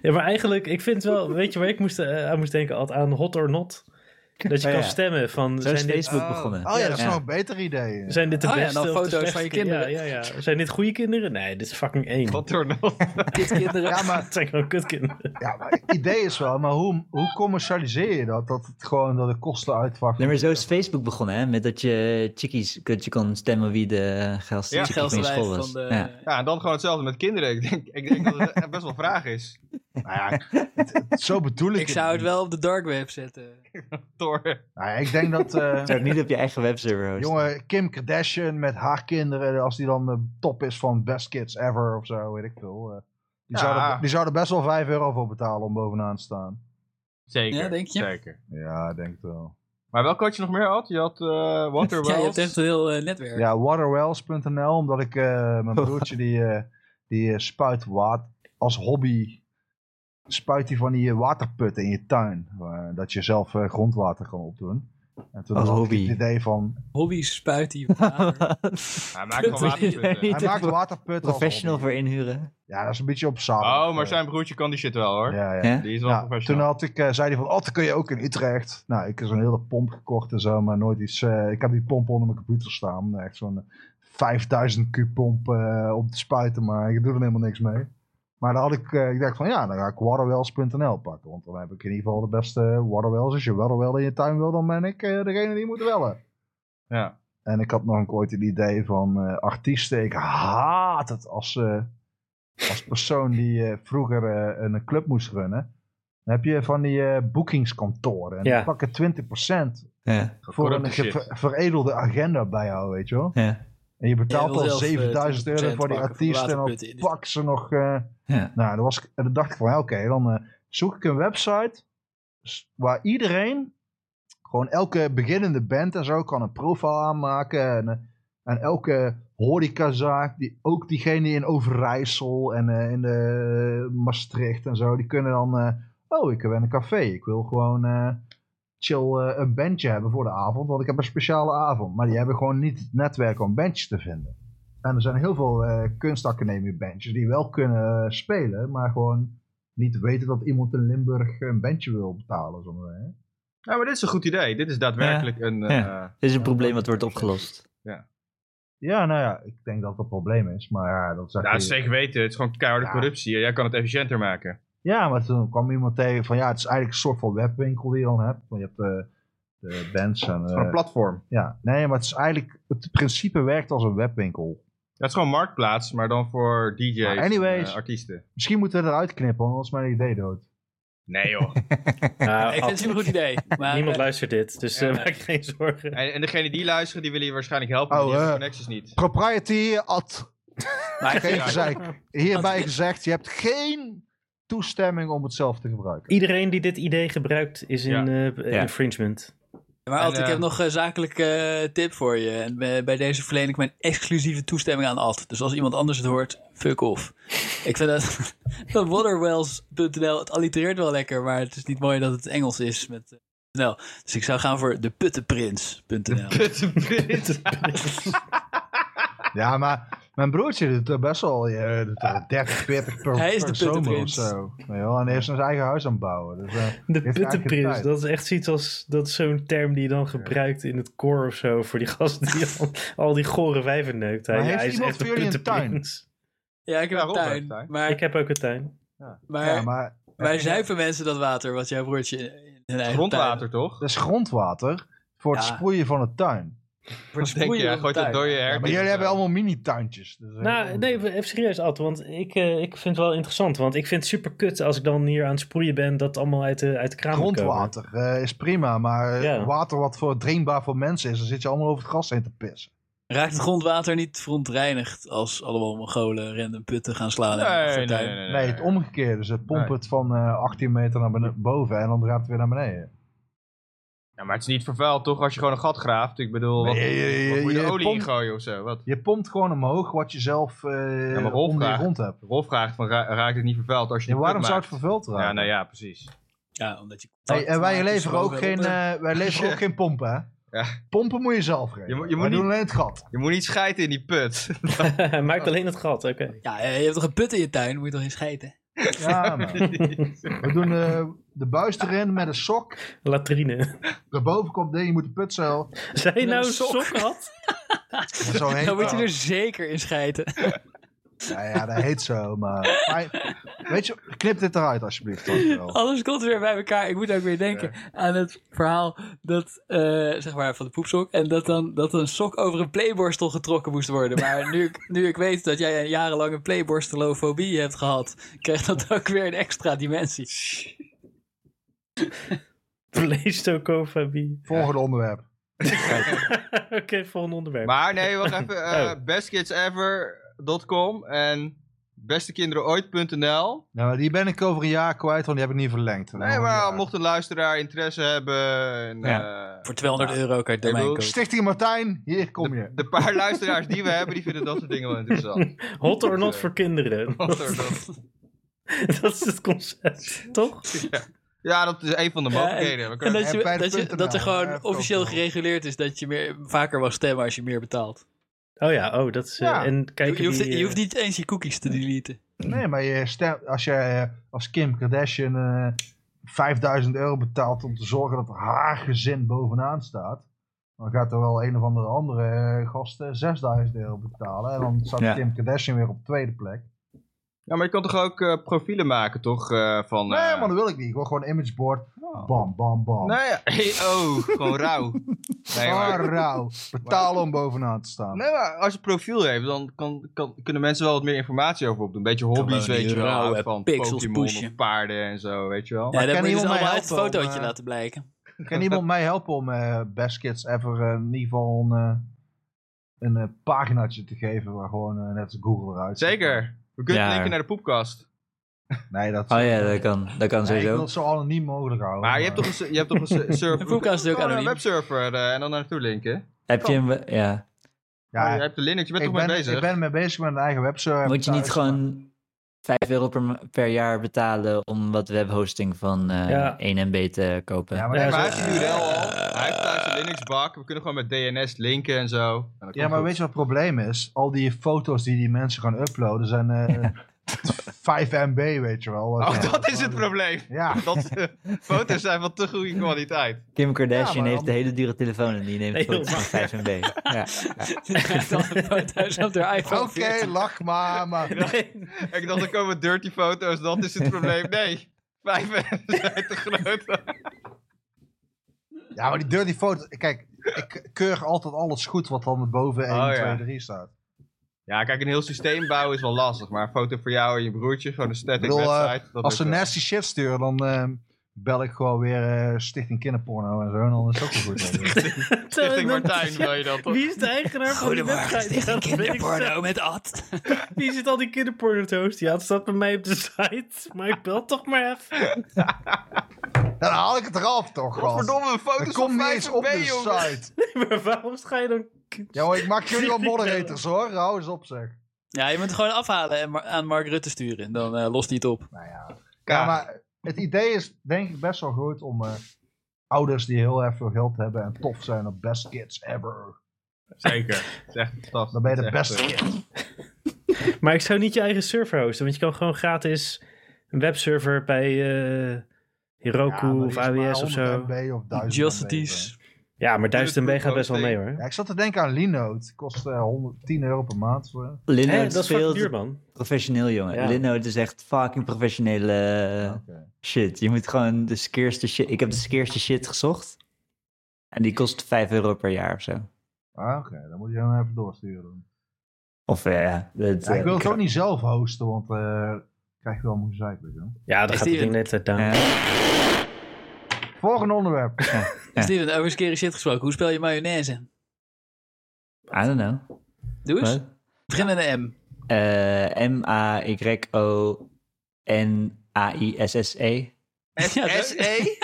ja maar eigenlijk, ik vind wel... Weet je waar ik moest, eh, aan moest denken? Altijd aan hot or not. Dat je Oh, kan ja. stemmen van... Zo is Zijn dit, Facebook begonnen. Oh ja, dat is Ja. nog een beter idee. zijn dit de Oh ja, beste en dan of de foto's van slechtste? je kinderen. Ja, ja, ja. Zijn dit goede kinderen? Nee, dit is fucking één. Wat door nog? Kinderen. [LAUGHS] Ja, maar [LAUGHS] Het zijn gewoon [LAUGHS] kutkinderen. Ja, maar het idee is wel, maar hoe, hoe commercialiseer je dat? Dat het gewoon dat de kosten uitvakken. Nee, maar zo is Facebook begonnen, hè? Met dat je chickies, dat je kon stemmen wie de geilste Ja, ja, Geld van je school dus. was. van de... Ja. Ja, en dan gewoon hetzelfde met kinderen. Ik denk, ik denk dat het best wel vraag is. Nou ja, het- het- zo bedoel ik Ik zou het wel op de dark web zetten. Door. Nou ja, ik denk [LAUGHS] dat eh, Zou het niet op je eigen webserver hosten. [LAUGHS] jonge Kim Kardashian met haar kinderen, als die dan de top is van best kids ever of zo, weet ik veel. eh, die, Ja. zouden, die zouden best wel 5 euro voor betalen om bovenaan te staan. Zeker. Ja, denk je? Zeker. Ja, ik denk het wel. Maar welke had je nog meer had? Je had eh Waterworld. Ja, je hebt echt een heel eh, netwerk. Ja, waterwells.nl, omdat ik eh, [LAUGHS] mijn broertje die, eh, die eh, spuit water als hobby. Spuit hij van die eh, waterputten in je tuin. eh, dat je zelf eh, grondwater kan opdoen. En toen Als had hobby. ik het idee van. Hobby's spuit [LAUGHS] die water. Hij maakt gewoon [LAUGHS] waterputten. Hij maakt waterputten. als Professional hobby. voor inhuren. Ja, dat is een beetje op zaal. Oh, maar zijn broertje kan die shit wel hoor. Ja, ja. Ja? Die is wel Ja, toen professional. had ik, eh, zei hij van, oh, dat kun je ook in Utrecht. Nou, ik heb zo'n hele pomp gekocht en zo, maar nooit iets. eh, ik had die pomp onder mijn computer staan. Echt zo'n eh, 5000 Q pomp eh, om te spuiten, maar ik doe er helemaal niks mee. Maar dan had ik, eh, ik dacht van, ja, dan ga ik waterwells.nl pakken. Want dan heb ik in ieder geval de eh, beste waterwells. Als je waterwell in je tuin wil, dan ben ik eh, degene die je moet wellen. Ja. En ik had nog een ooit het idee van eh, artiesten. Ik haat het als, eh, als persoon die eh, vroeger eh, een club moest runnen. Dan heb je van die eh boekingskantoren. En Ja. die pakken 20% Ja, voor een Corrupte shit. ge- veredelde agenda bij jou, weet je wel. ja, En je betaalt Jij wil al zelf, eh, 7000 euro 20% voor die pakken voor artiest. En dan waterputten in de pak ze nog. eh, ja. nou, dan, was ik, dan dacht ik van ja, oké, dan eh, zoek ik een website s- waar iedereen, gewoon elke beginnende band en zo, kan een profiel aanmaken. En, eh, en elke horecazaak, die, ook diegene in Overijssel en eh, in de Maastricht en zo, die kunnen dan, eh, oh, ik ben een café, ik wil gewoon eh, chill eh, een bandje hebben voor de avond, want ik heb een speciale avond. Maar die hebben gewoon niet het netwerk om bandjes te vinden. En er zijn heel veel eh kunstacademie bandjes die wel kunnen eh, spelen, maar gewoon niet weten dat iemand in Limburg een bandje wil betalen. Zo maar, zeggen. Ja, maar dit is een goed idee. Dit is daadwerkelijk een... eh, Ja. Dit is een probleem dat wordt opgelost. Ja, nou ja, ik denk dat dat het probleem is, maar ja, dat is nou, dat eigenlijk- is zeker weten. Het is gewoon keiharde Ja. corruptie. Jij kan het efficiënter maken. Ja, maar toen kwam iemand tegen van ja, het is eigenlijk een soort van webwinkel die je dan hebt. Want je hebt eh, de bands en... Het is gewoon eh, een platform. ja, nee, maar het is eigenlijk, het principe werkt als een webwinkel. Ja, het is gewoon marktplaats, maar dan voor DJ's Maar anyways. en eh, artiesten. Misschien moeten we eruit knippen, want anders is mijn idee dood. Nee joh. Nou, [LAUGHS] Ik vind het een goed idee. Maar, Niemand eh, luistert dit, dus eh, Ja. [LAUGHS] maak je geen zorgen. en, en degene die luisteren, die willen je waarschijnlijk helpen, Oh, maar die hebben eh. connecties niet. Propriety at maar ik Geen vind- gezeik. Hierbij gezegd, je hebt geen toestemming om het zelf te gebruiken. Iedereen die dit idee gebruikt is in Ja. eh, Ja. infringement. Maar Alt, En, ik eh, heb nog een zakelijke tip voor je. En eh, bij, bij deze verleen ik mijn exclusieve toestemming aan Alt. Dus als iemand anders het hoort, fuck [LAUGHS] off. ik vind dat, [LAUGHS] dat waterwells.nl, het allitereert wel lekker, maar het is niet mooi dat het Engels is met eh, .nl. Dus ik zou gaan voor [LAUGHS] deputtenprins.nl. [LAUGHS] Kuttenprins. Ja, maar mijn broertje doet er best wel eh, doet er 30, 40 per, Hij is per de zomer of puttenprins. zo. Weet je wel, En hij is zijn eigen huis aan het bouwen. Dus, eh, De heeft eigenlijk puttenprins, tijd. dat is echt zoiets als... Dat is zo'n term die je dan gebruikt in het koor of zo... voor die gast [LAUGHS] die al, al die gore wijven neukt. Hij, Maar heeft hij is iemand echt een voor jullie een tuin? puttenprins. Ja, ik heb Ja, een Robert, tuin. tuin. Maar, Ik heb ook een tuin. maar, ja, maar eh, wij zuipen mensen dat water, wat jouw broertje in hun eigen [LAUGHS] Grondwater toch? dat is grondwater voor het Ja. sproeien van de tuin. tuin- Wat denk je? sproeien Hij van gooit de het tuin. door je Ja, herten. maar jullie hebben allemaal mini-tuintjes. Dus, eh, Nou, nee, even serieus, Ad. Want ik, eh, ik vind het wel interessant. Want ik vind het super kut als ik dan hier aan het sproeien ben... dat allemaal uit de, uit de kraan moet komen. [LAUGHS] grondwater eh, is prima, maar eh, Ja. water wat voor drinkbaar voor mensen is, dan zit je allemaal over het gras heen te pissen. Raakt het grondwater niet verontreinigd als allemaal Mongolen random putten gaan slaan? in hun Nee, nee, achtertuin? nee, nee, Nee, het omgekeerde. Dus het pompt Eh, Nee. het van eh, 18 meter naar bene- boven en dan gaat het weer naar beneden. Ja, maar het is niet vervuild toch als je gewoon een gat graaft? Ik bedoel, wat, Nee, je- je- wat moet je je er olie in pompt- gooien of zo? Wat? Je pompt gewoon omhoog wat je zelf eh maar Rolf onder je vraagt- grond hebt. Rolf vraagt van, ra- raakt het niet vervuild als je Ja, die waarom pluk zou het maakt? vervuild raken? Ja, nou ja, precies. Ja, omdat je Hey, en wij contact leveren, maakt, ook dus geen, wel eh, wij [LAUGHS] leveren ook geen pompen, hè? Ja. Pompen moet je zelf regelen. Je moet- je Wij moet doen niet- alleen het gat. [LAUGHS] Je moet niet schijten in die put. [LAUGHS] Maakt alleen het gat, oké. Ja, eh, je hebt toch een put in je tuin, moet je toch geen scheiden? Ja, man. We doen eh, de buis erin met een sok. Latrine. [LAUGHS] Daarboven komt ding, je moet de put zo. Zijn een nou een sok. sok, [LAUGHS] Ad? en [LAUGHS] zo heet Dan moet je het. dus- er zeker in scheiden. Ja, ja, dat heet zo, maar... [LAUGHS] maar weet je, knip dit eruit alsjeblieft. dankjewel. [LAUGHS] Alles komt weer bij elkaar. Ik moet ook weer denken aan het verhaal dat, eh, zeg maar, van de poepsok. En dat dan dat een sok over een playborstel getrokken moest worden. [LAUGHS] Maar nu, ik- nu ik weet dat jij jarenlang een playborstelofobie hebt gehad, krijgt dat ook weer een extra dimensie. Vleestokofobie. Volgende onderwerp. [LAUGHS] oké, volgende onderwerp. maar nee, wacht even. eh, Oh. bestkidsever.com en bestekinderenooit.nl Nou, die ben ik over een jaar kwijt, want die heb ik niet verlengd. Nee, maar mocht een luisteraar interesse hebben... En, eh, Voor 200 euro kan je het domein Ik bedoel, kopen. Stichting Martijn, hier kom je. de, de paar luisteraars die we hebben, die vinden dat soort dingen wel [LAUGHS] interessant. Hot or eh. not voor [LAUGHS] kinderen. [LAUGHS] Wat er dan- Dat is het concept, toch? ja, dat is een van de Ja, en- mogelijkheden. We En kunnen- dat, je, En beide dat, je, punten dat er nou, hè, gewoon verkopen officieel wel. gereguleerd is dat je meer, vaker mag stemmen als je meer betaalt. Oh ja, oh, dat is... eh, Ja. En Je, kijk, je hoeft, die, eh, je hoeft [LAUGHS] niet eens je cookies te deleten. Nee, maar je stem, als jij eh, als Kim Kardashian eh 5000 euro betaalt om te zorgen dat haar gezin bovenaan staat, dan gaat er wel een of andere andere eh, gast eh, 6000 euro betalen. En dan staat Ja. Kim Kardashian weer op tweede plek. Ja, maar je kan toch ook eh, profielen maken, toch? eh, van, Nee, eh, maar dat wil ik niet. Ik wil gewoon een imageboard. Bam, bam, bam. Nou ja, oh, gewoon [LAUGHS] rauw. Nee, Ah, maar, [LAUGHS] rauw. Betaal om bovenaan te staan. nee, maar als je profiel heeft, dan kan, kan, kunnen mensen wel wat meer informatie over opdoen. Een beetje hobby's, Gewoon die weet je wel. rauwe houden van pixels Pokémon of pushen. paarden en zo, weet je wel. Ja, kan dan moet je dus iemand mij allemaal uit het helpen om, fotootje eh, laten [LAUGHS] blijken. Kan iemand mij helpen om eh Best Kids Ever eh, in ieder geval een, eh, een eh, paginaatje te geven waar gewoon eh, net Google eruit zit? Zeker. We kunnen Ja. linken naar de poepkast. Nee, dat, Oh ja, dat kan, dat kan nee, ik wil sowieso. het zo anoniem mogelijk houden. Maar je hebt toch een, se- je hebt toch een se- [LAUGHS] server. De poepkast is ook Gewoon naar een anoniem. webserver eh, en dan naartoe linken. Heb je een... Ja. Ja, Ja, je hebt de Linux, je bent ik, toch mee ben, bezig? ik ben mee bezig met een eigen webserver. Moet je niet thuis. gewoon 5 euro per, ma- per jaar betalen om wat webhosting van eh Ja. 1 MB te kopen? Ja, Ja, maar, Ja, dat Maar is- hij heeft de URL al. Hij heeft thuis een Linux-bak. We kunnen gewoon met DNS linken en zo. En dat komt ja, maar goed. weet je wat het probleem is? Al die foto's die die mensen gaan uploaden zijn eh [LAUGHS] 5 MB, weet je wel. Oh, dat is het probleem. [LAUGHS] Ja, Dat eh, [LAUGHS] foto's zijn van te goede kwaliteit. Kim Kardashian Ja, maar heeft dan- een hele dure telefoon en die neemt Nee, foto's van 5 MB. Ja. Die [LAUGHS] krijgt dan een foto's op haar oké, iPhone Oh, 14. lach [LAUGHS] maar. maar [LAUGHS] Ik dacht, er komen dirty foto's. Dat is het probleem. Nee, vijf zijn te groot. Ja, maar die dirty foto's. Kijk, ik keur altijd alles goed wat dan boven 1, Oh, ja. 2, 3 staat. Ja, kijk, een heel systeem bouwen is wel lastig. Maar een foto voor jou en je broertje, gewoon een static Ik bedoel, eh, website. dat Als ze lukt wel. nasty shit sturen, dan ehm, bel ik gewoon weer eh, Stichting Kinderporno en zo. En dan is het ook wel [LAUGHS] goed. Stichting [LAUGHS] Martijn wil je dat toch? Wie eh, is de eigenaar van die Goedemorgen, [LAUGHS] website? stichting Ja, dat weet ik zelf. kinderporno met Ad. Wie zit al die kinderporno te hosten? Ja, het staat bij mij op de site. Maar ik bel toch maar even. [LAUGHS] eh, dan haal ik het eraf toch, gast. Godverdomme, Dat foto's komt van niet vijf eens op de MB, jongen. site. Maar waarom ga je dan... Ja, maar ik maak jullie [LAUGHS] wel moderators hoor. Hou eens op zeg. Ja, je moet het gewoon afhalen en maar- aan Mark Rutte sturen. Dan eh, lost hij het op. Nou ja. Ja, maar het idee is denk ik best wel goed om eh, ouders die heel erg veel geld hebben en tof zijn op best kids ever. Zeker. Dat is echt fantastisch. Dan ben je de Dat is echt, beste eh, kid. Maar ik zou niet je eigen server hosten. Want je kan gewoon gratis een webserver bij eh, Heroku Ja, maar of die is maar AWS of 100 zo. MB of 1000 MB. Justities. Ja, maar 1000 MB gaat best wel mee Ja, hoor. ik zat te denken aan Linode. Kost eh, 110 euro per maand. Voor. Hè, Linode dat is fucking duur speelt man. professioneel, jongen. Ja. Linode is echt fucking professionele eh, Oké. shit. Je moet gewoon de skeerste shit... Ik heb de skeerste shit gezocht. En die kost 5 euro per jaar of zo. Ah, Oké, dan moet je hem even doorsturen. dan. Of eh, ja, dat, Ja, ik eh, wil het ook niet zelf hosten, want eh krijg je wel moeite. weet je wel. Ja, dan Is gaat die het ding een- net uit down. eh, Volgende [LAUGHS] onderwerp. Ja. Steven, over scary shit gesproken. Hoe spel je mayonaise? I don't know. Doe eens. Wat? Begin met een M. Eh, M-A-Y-O-N-A-I-S-S-E. Ja, zo- SE?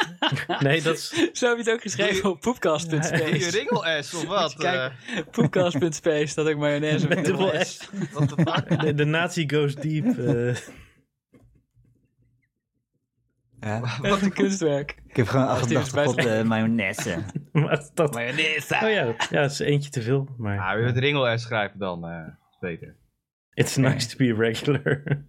Nee, dat is... [LAUGHS] Zo heb je het ook geschreven op Doe je poepkast.space. ringel S of Moet wat? eh, je kijken. Poepkast.space staat ook mayonaise met Dubbel dubbel S. S. De, de nazi goes deep. eh. [LAUGHS] Ja. Wat een kunstwerk. Ik heb gewoon die is 88 best- potten mayonaise. maar dat... Oh Mayonaise. ja, ja, het is eentje te veel. Maar Ah, wil je het ringel S schrijven dan? eh, is beter. it's nice to be a regular. [LAUGHS]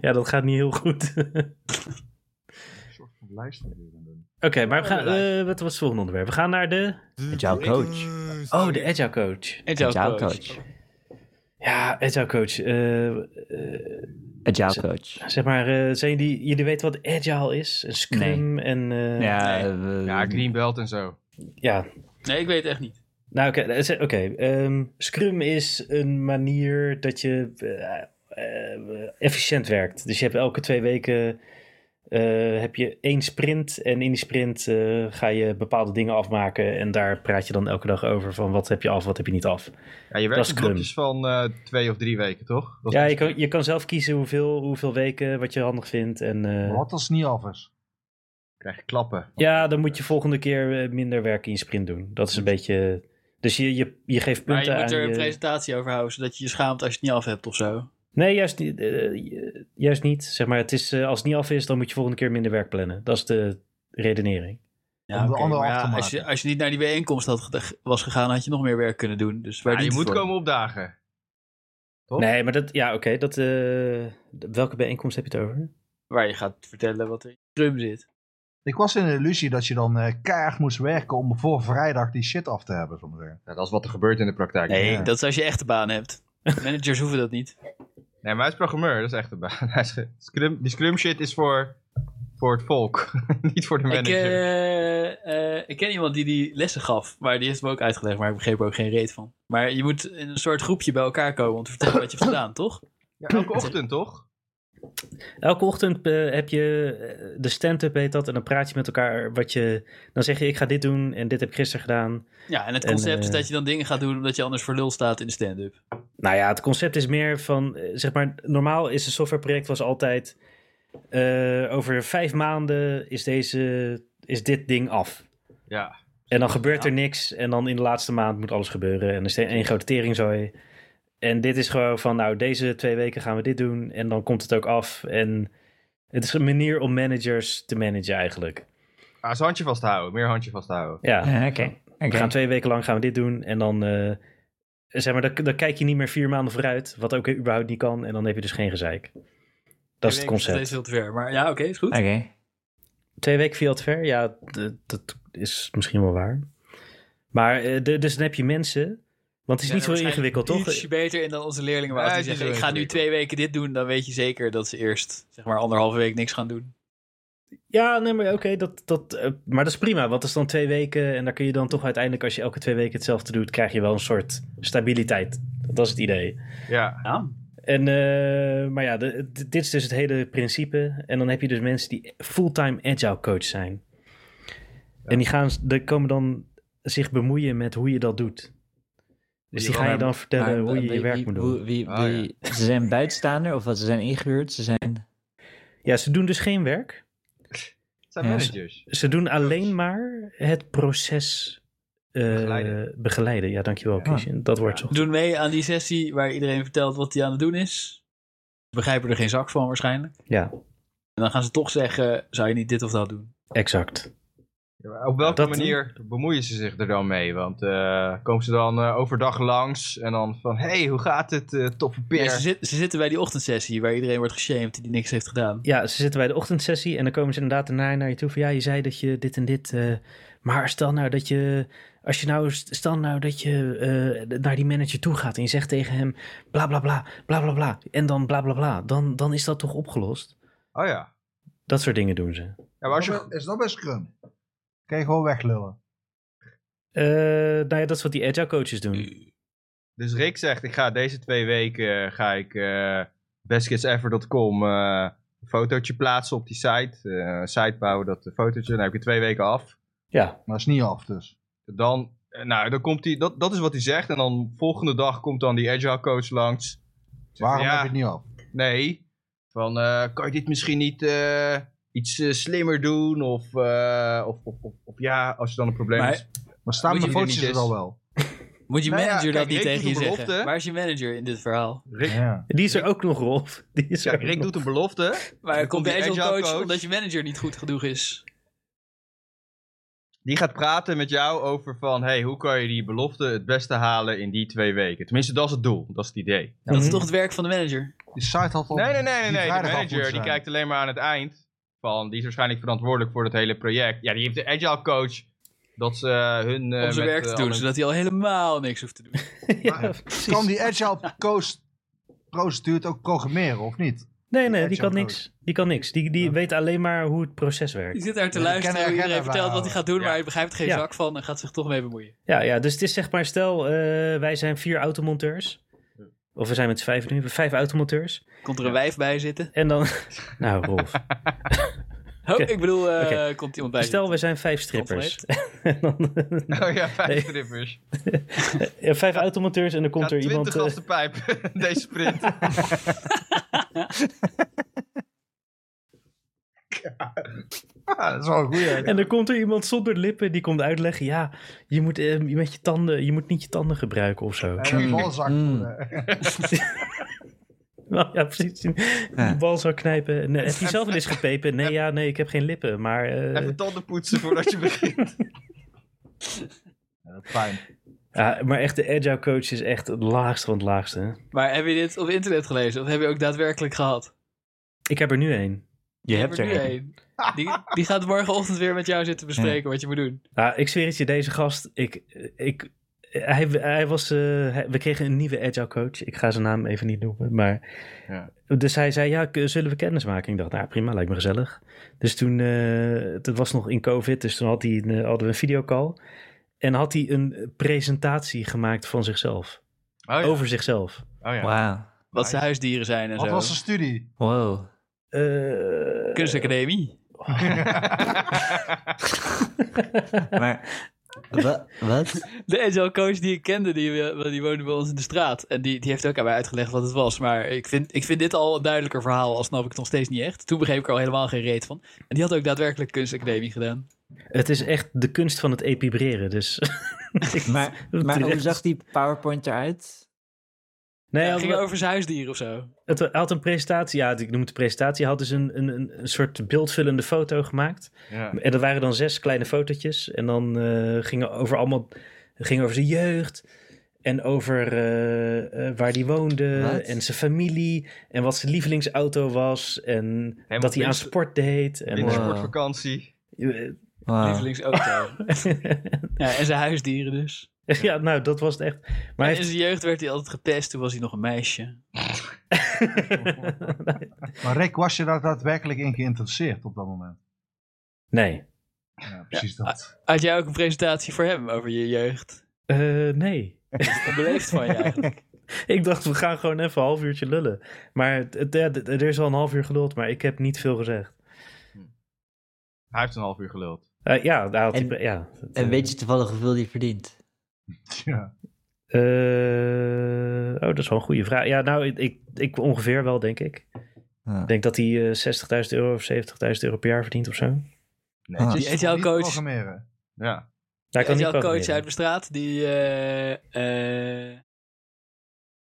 ja, dat gaat niet heel goed. [LAUGHS] Oké, Een soort van lijst moet je dan doen. maar we gaan, eh, wat was het volgende onderwerp? We gaan naar de... jouw coach. Oh, de agile coach. En jouw coach. Agile coach. Ja, agile coach. eh, eh, Agile coach. zeg maar, eh, zijn jullie, jullie weten wat agile is? Een scrum en... eh, Ja, nee. eh, Ja, Greenbelt en zo. ja, Nee, ik weet het echt niet. Nou, oké. eh, ze- oké, ehm, Scrum is een manier dat je eh, eh, efficiënt werkt. Dus je hebt elke twee weken eh, heb je één sprint. En in die sprint eh, ga je bepaalde dingen afmaken. En daar praat je dan elke dag over van wat heb je af, wat heb je niet af. Ja, je Dat werkt is in krum. groepjes van eh, twee of drie weken, toch? Dat is Ja, je kan, je kan zelf kiezen hoeveel, hoeveel weken, wat je handig vindt. En eh, Wat als het niet af is? krijg je klappen. ja, dan moet je volgende keer eh, minder werk in je sprint doen. Dat is een beetje... Dus je, je, je geeft Maar punten je moet aan er een je- presentatie over houden, zodat je je schaamt als je het niet af hebt of zo. Nee, juist niet. eh, juist niet. Zeg maar, het is, eh, als het niet af is, dan moet je volgende keer minder werk plannen. Dat is de redenering. Ja, Om de oké, ander maar af te ja, als, maken. je, als je niet naar die bijeenkomst had, ged- was gegaan, had je nog meer werk kunnen doen. Dus waar Ja, je dient het moet voor? komen opdagen. Toch? Nee, maar dat, ja, oké. dat, eh, de- welke bijeenkomst heb je het over? Waar je gaat vertellen wat er in je drum zit. Ik was in de illusie dat je dan eh, keihard moest werken om voor vrijdag die shit af te hebben. Zo maar Ja, dat is wat er gebeurt in de praktijk. Nee, Ja. dat is als je echte baan hebt. Managers hoeven dat niet. [LAUGHS] Nee, maar hij is programmeur, dat is echt een baan. Hij is ge- scrum, die scrum shit is voor voor het volk. [LAUGHS] Niet voor de Ik, manager. eh, eh, ik ken iemand die die lessen gaf, maar die heeft me ook uitgelegd, maar ik begreep er ook geen reet van. Maar je moet in een soort groepje bij elkaar komen om te vertellen wat je hebt gedaan, toch? Ja, elke ochtend toch? Elke ochtend eh, heb je eh, de stand-up heet dat en dan praat je met elkaar wat je... Dan zeg je ik ga dit doen en dit heb ik gisteren gedaan. Ja, en het En, concept is eh, dat je dan dingen gaat doen omdat je anders voor lul staat in de stand-up. Nou ja, het concept is meer van, eh, zeg maar, normaal is een softwareproject was altijd, eh, over vijf maanden is, deze, is dit ding af. Ja. En dan gebeurt er niks en dan in de laatste maand moet alles gebeuren en er is één grote teringzooi. En dit is gewoon van, nou, deze twee weken gaan we dit doen en dan komt het ook af. En het is een manier om managers te managen eigenlijk. Ah, is handje vasthouden, meer handje vasthouden. Ja, Ja, eh, Oké. we oké. gaan twee weken lang gaan we dit doen en dan... eh, Zeg maar, dan, dan kijk je niet meer vier maanden vooruit, wat ook überhaupt niet kan, en dan heb je dus geen gezeik. Dat is het Dat concept. is heel te ver, maar ja, oké, is goed. Oké. Twee weken viel het ver, ja, d- dat is misschien wel waar. Maar eh, de- dus dan heb je mensen, want het is zijn niet er zo ingewikkeld, waarschijnlijk toch? Ietsje beter in dan onze leerlingen. Maar Ja, als die het is zeggen, ik wel ga nu twee ingewikkeld. weken dit doen, dan weet je zeker dat ze eerst zeg maar anderhalve week niks gaan doen. Ja, nee, maar oké, dat, dat, eh, maar dat is prima, want dat is dan twee weken en daar kun je dan toch uiteindelijk, als je elke twee weken hetzelfde doet, krijg je wel een soort stabiliteit. Dat is het idee. Ja. Ja, En, eh, maar ja, de- d- dit is dus het hele principe. En dan heb je dus mensen die fulltime agile coach zijn. En die, gaan, die komen dan zich bemoeien met hoe je dat doet. Dus die wel gaan je naar- dan vertellen Maar hoe je wie- je werk wie- moet doen. hoe- wie- Ah, ja. Mm. wie- Ze zijn buitenstaander of wat? Ze zijn ingehuurd? Ze zijn... Ja, ze doen dus geen werk. Het zijn Ja, managers. Ze doen alleen maar het proces eh, Begeleiden. begeleiden. Ja, dankjewel, Christian. Dat wordt zo. doen mee aan die sessie waar iedereen vertelt wat hij aan het doen is. Ze begrijpen er geen zak van waarschijnlijk. Ja, En dan gaan ze toch zeggen, zou je niet dit of dat doen? exact. Ja, maar op welke Dat- manier bemoeien ze zich er dan mee? Want eh, komen ze dan eh, overdag langs en dan van... Hé, hey, hoe gaat het, eh toffe peer? Ja, ze, zit- ze zitten bij die ochtendsessie waar iedereen wordt geshamed die niks heeft gedaan. Ja, ze zitten bij de ochtendsessie en dan komen ze inderdaad daarna naar je toe van ja, je zei dat je dit en dit. eh, maar stel nou dat je, als je nou, stel nou dat je eh, naar die manager toe gaat en je zegt tegen hem bla bla bla, bla bla bla en dan bla bla bla, dan, dan is dat toch opgelost? Oh ja. Dat soort dingen doen ze. ja maar als je... Is dat bij Scrum? Kan je gewoon weglullen. Eh, nou ja, dat is wat die agile coaches doen. Dus Rick zegt, ik ga deze twee weken eh, ga ik eh bestkidsever.com eh, een fotootje plaatsen op die site. Eh, een site bouwen, dat eh, fotootje. Dan heb je twee weken af. Ja, Maar is niet af dus. Dan, eh, nou, dan komt hij, dat, dat is wat hij zegt. En dan volgende dag komt dan die agile coach langs. Waarom ja. heb je het niet af? Nee, van eh, kan je dit misschien niet eh, iets eh, slimmer doen? Of, eh, of, of, of, of ja, als je dan een probleem Maar- hebt. Maar staan Moet je mijn er foto's niet er eens- al wel? Moet je Nou ja, manager dat kijk, niet Rick tegen je doet een zeggen? belofte. Waar is je manager in dit verhaal? Rick, Ja. die is er ook nog, Rolf. Die is er kijk, ook Rick nog. doet een belofte. Waar komt de die agile agile coach, coach. omdat je manager niet goed genoeg is? Die gaat praten met jou over van, hey, hoe kan je die belofte het beste halen in die twee weken? Tenminste, dat is het doel, dat is het idee. Dat is Mhm. toch het werk van de manager? Die site had al... Oh, Nee, nee, nee, nee, die nee. de vrijdag af manager moeten die zijn. kijkt alleen maar aan het eind. Van, die is waarschijnlijk verantwoordelijk voor het hele project. Ja, die heeft de agile coach. Dat ze eh, hun... eh, Om zijn met, werk te eh, doen, al hun- zodat hij al helemaal niks hoeft te doen. [LAUGHS] ja, Kan precies. die agile coach procedure het ook programmeren of niet? Nee, nee, die agile kan niks. Die kan niks. Die, die weet alleen maar hoe het proces werkt. Die zit daar te Ja, die luisteren, kennen hoe iedereen agenda vertelt wat hij bijhouden. gaat doen, Ja. maar hij begrijpt er geen Ja. zak van en gaat zich toch mee bemoeien. Ja, ja, dus het is zeg maar, stel eh, wij zijn vier automonteurs. Of we zijn met z'n vijf nu, vijf automonteurs. Komt er een wijf bij zitten? En dan, nou Rolf, Oh, Oké. ik bedoel, eh, Oké. komt iemand bij stel we zijn vijf strippers. [LAUGHS] en dan, [LAUGHS] Oh ja, vijf Nee. strippers. ja, vijf automonteurs en dan komt Komt er iemand... eh, twintig af de pijp, [LAUGHS] deze sprint. Ja, dat is wel een goeie. eh, en dan komt er iemand zonder lippen die komt uitleggen, ja, je moet, eh, met je, tanden, je moet niet je tanden gebruiken of zo. En een balzak. [LAUGHS] Mm. Nou, ja, precies. Ja. Bal zou knijpen. Nee, heb je zelf wel eens gepepen? Nee, ja, nee, ik heb geen lippen, maar... eh, Even tanden poetsen voordat je begint. Fijn. ja, maar echt, de agile coach is echt het laagste van het laagste. Maar heb je dit op internet gelezen? Of heb je ook daadwerkelijk gehad? Ik heb er nu één. Je hebt nu er een. één. Die, die gaat morgenochtend weer met jou zitten bespreken wat je moet doen. Nou, ik zweer het je, deze gast, ik, ik, hij, hij was, eh, hij- we kregen een nieuwe agile coach. Ik ga zijn naam even niet noemen. Maar, Dus hij zei, ja, k- zullen we kennis maken? Ik dacht, nou prima, lijkt me gezellig. Dus toen, eh het was nog in COVID, dus toen had hij een, eh, hadden we een videocall. En had hij een presentatie gemaakt van zichzelf. [LAUGHS] Oh ja. Over zichzelf. Oh ja. Wauw. Wat zijn huisdieren zijn en Wat zo. was de studie? Wow. Eh, Kunstacademie. Maar [LAUGHS] wa- wat? De agile coach die ik kende, die, eh, die woonde bij ons in de straat. En die, die heeft ook aan mij uitgelegd wat het was. Maar ik vind, ik vind dit al een duidelijker verhaal, al snap ik het nog steeds niet echt. Toen begreep ik er al helemaal geen reet van. En die had ook daadwerkelijk kunstacademie gedaan. Het is echt de kunst van het epibreren. [LAUGHS] Dus. Maar, [LAUGHS] maar hoe zag die PowerPoint eruit? Nee, Ja, hij het had, ging over zijn huisdier of zo. het, hij had een presentatie. Ja, ik noem het presentatie. Hij had dus een, een- een, een soort beeldvullende foto gemaakt. ja. En dat waren dan zes kleine fotootjes. En dan eh, gingen over allemaal. Ging over zijn jeugd. En over eh, eh, waar hij woonde. Wat? En zijn familie. En wat zijn lievelingsauto was. En Helemaal dat hij aan winst- sport deed. En, winst- Wintersportvakantie. Ah. Wow. Lievelingsauto. [LAUGHS] ja, en zijn huisdieren dus. [LAUGHS] ja, nou, dat was het echt. Maar hij in zijn jeugd werd hij altijd gepest, toen was hij nog een meisje. Maar Rick, was je daar daadwerkelijk in geïnteresseerd op dat moment? [LAUGHS] nee. Ja, Ah. precies dat. Had jij ook een presentatie voor hem over je jeugd? Eh, nee. Beleefd van je [LAUGHS] eigenlijk. Ik dacht, we gaan gewoon even een half uurtje lullen. Maar het, het- ja, het- er is al een half uur geduld, maar ik heb niet veel gezegd. Hij heeft een half uur geluld. Eh, ja, daar had En- ik pre- ja, En weet je toevallig hoeveel die verdient? Ja. Eh, oh, dat is wel een goede vraag. Ja, nou, ik, ik, ik ongeveer wel, denk ik. Ja. Ik denk dat hij eh, 60.000 euro of 70.000 euro per jaar verdient of zo. Nou, Nee, Ah. het is Die toch agile niet coach- Programmeren. Ja. ik kan en niet jouw coach programmeren. uit mijn straat, die, eh, eh,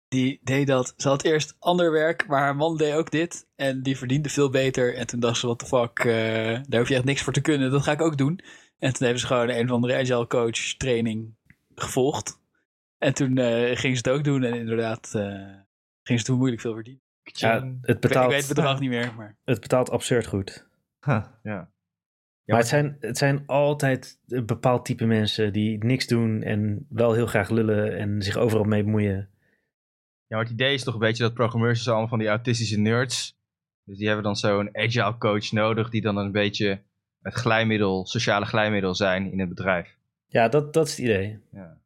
die deed dat. Ze had eerst ander werk, maar haar man deed ook dit. En die verdiende veel beter. En toen dacht ze, what the fuck, eh, daar hoef je echt niks voor te kunnen. Dat ga ik ook doen. En toen hebben ze gewoon een of andere agile coach training gevolgd. En toen eh ging ze het ook doen. En inderdaad eh, ging ze toen moeilijk veel verdienen. Ja, het Ik weet, ik betaalt, weet het bedrag niet meer, maar... het betaalt absurd goed. Huh. maar het zijn, het zijn altijd een bepaald type mensen die niks doen en wel heel graag lullen en zich overal mee bemoeien. Ja, maar het idee is toch een beetje dat programmeurs zijn allemaal van die autistische nerds. Dus die hebben dan zo'n agile coach nodig die dan een beetje het glijmiddel, sociale glijmiddel zijn in het bedrijf. Ja, dat, dat is het idee.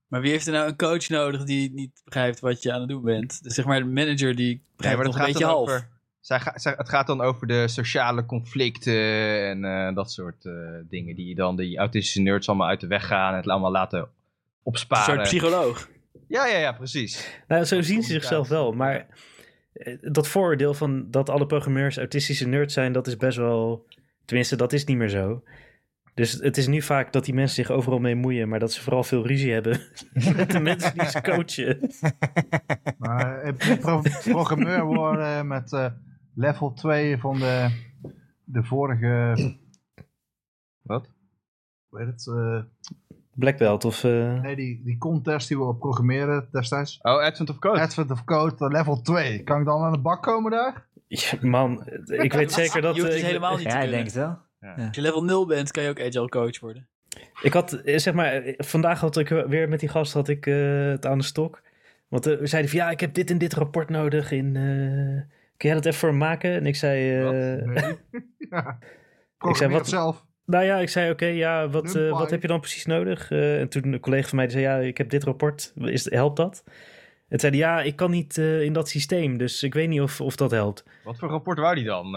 Maar wie heeft er nou een coach nodig die niet begrijpt wat je aan het doen bent? Dus zeg maar de manager die begrijpt nog een beetje half. Zij ga- zij- het gaat dan over de sociale conflicten en eh, dat soort eh, dingen. Die dan die autistische nerds allemaal uit de weg gaan en het allemaal laten Een opsparen. soort psycholoog. Ja, ja, ja, precies. Nou, zo zien ze communicatie. zichzelf wel, maar eh, dat vooroordeel van dat alle programmeurs autistische nerds zijn, dat is best wel. Tenminste, dat is niet meer zo. Dus het is nu vaak dat die mensen zich overal mee moeien, maar dat ze vooral veel ruzie hebben [LAUGHS] met de mensen die ze coachen. Maar eh, pro- programmeur worden met eh, level 2 van de, de vorige... Wat? Weet het? eh, Black Belt of. eh, nee, die, die contest die we op programmeren destijds. Oh, Advent of Code. Advent of Code, eh, level 2. Kan ik dan aan de bak komen daar? ja, man, ik weet zeker [LAUGHS] dat. Je hoeft eh, het ik- helemaal niet te Ja, ik kunnen. denk het wel. Als je level 0 bent, kan je ook agile coach worden. Ik had, eh, zeg maar, eh, vandaag had ik weer met die gast had ik, eh, het aan de stok. Want eh, we zeiden van ja, ik heb dit en dit rapport nodig. In, eh, kun jij dat even voor me maken? En ik zei. eh, Programmeer zei, wat- het zelf. Nou ja, ik zei oké, ja, wat, Numpy. eh, wat heb je dan precies nodig? Eh, en toen een collega van mij die zei, ja, ik heb dit rapport, is, helpt dat? En zei hij, ja, ik kan niet eh, in dat systeem, dus ik weet niet of, of dat helpt. Wat voor rapport wou die dan? Eh,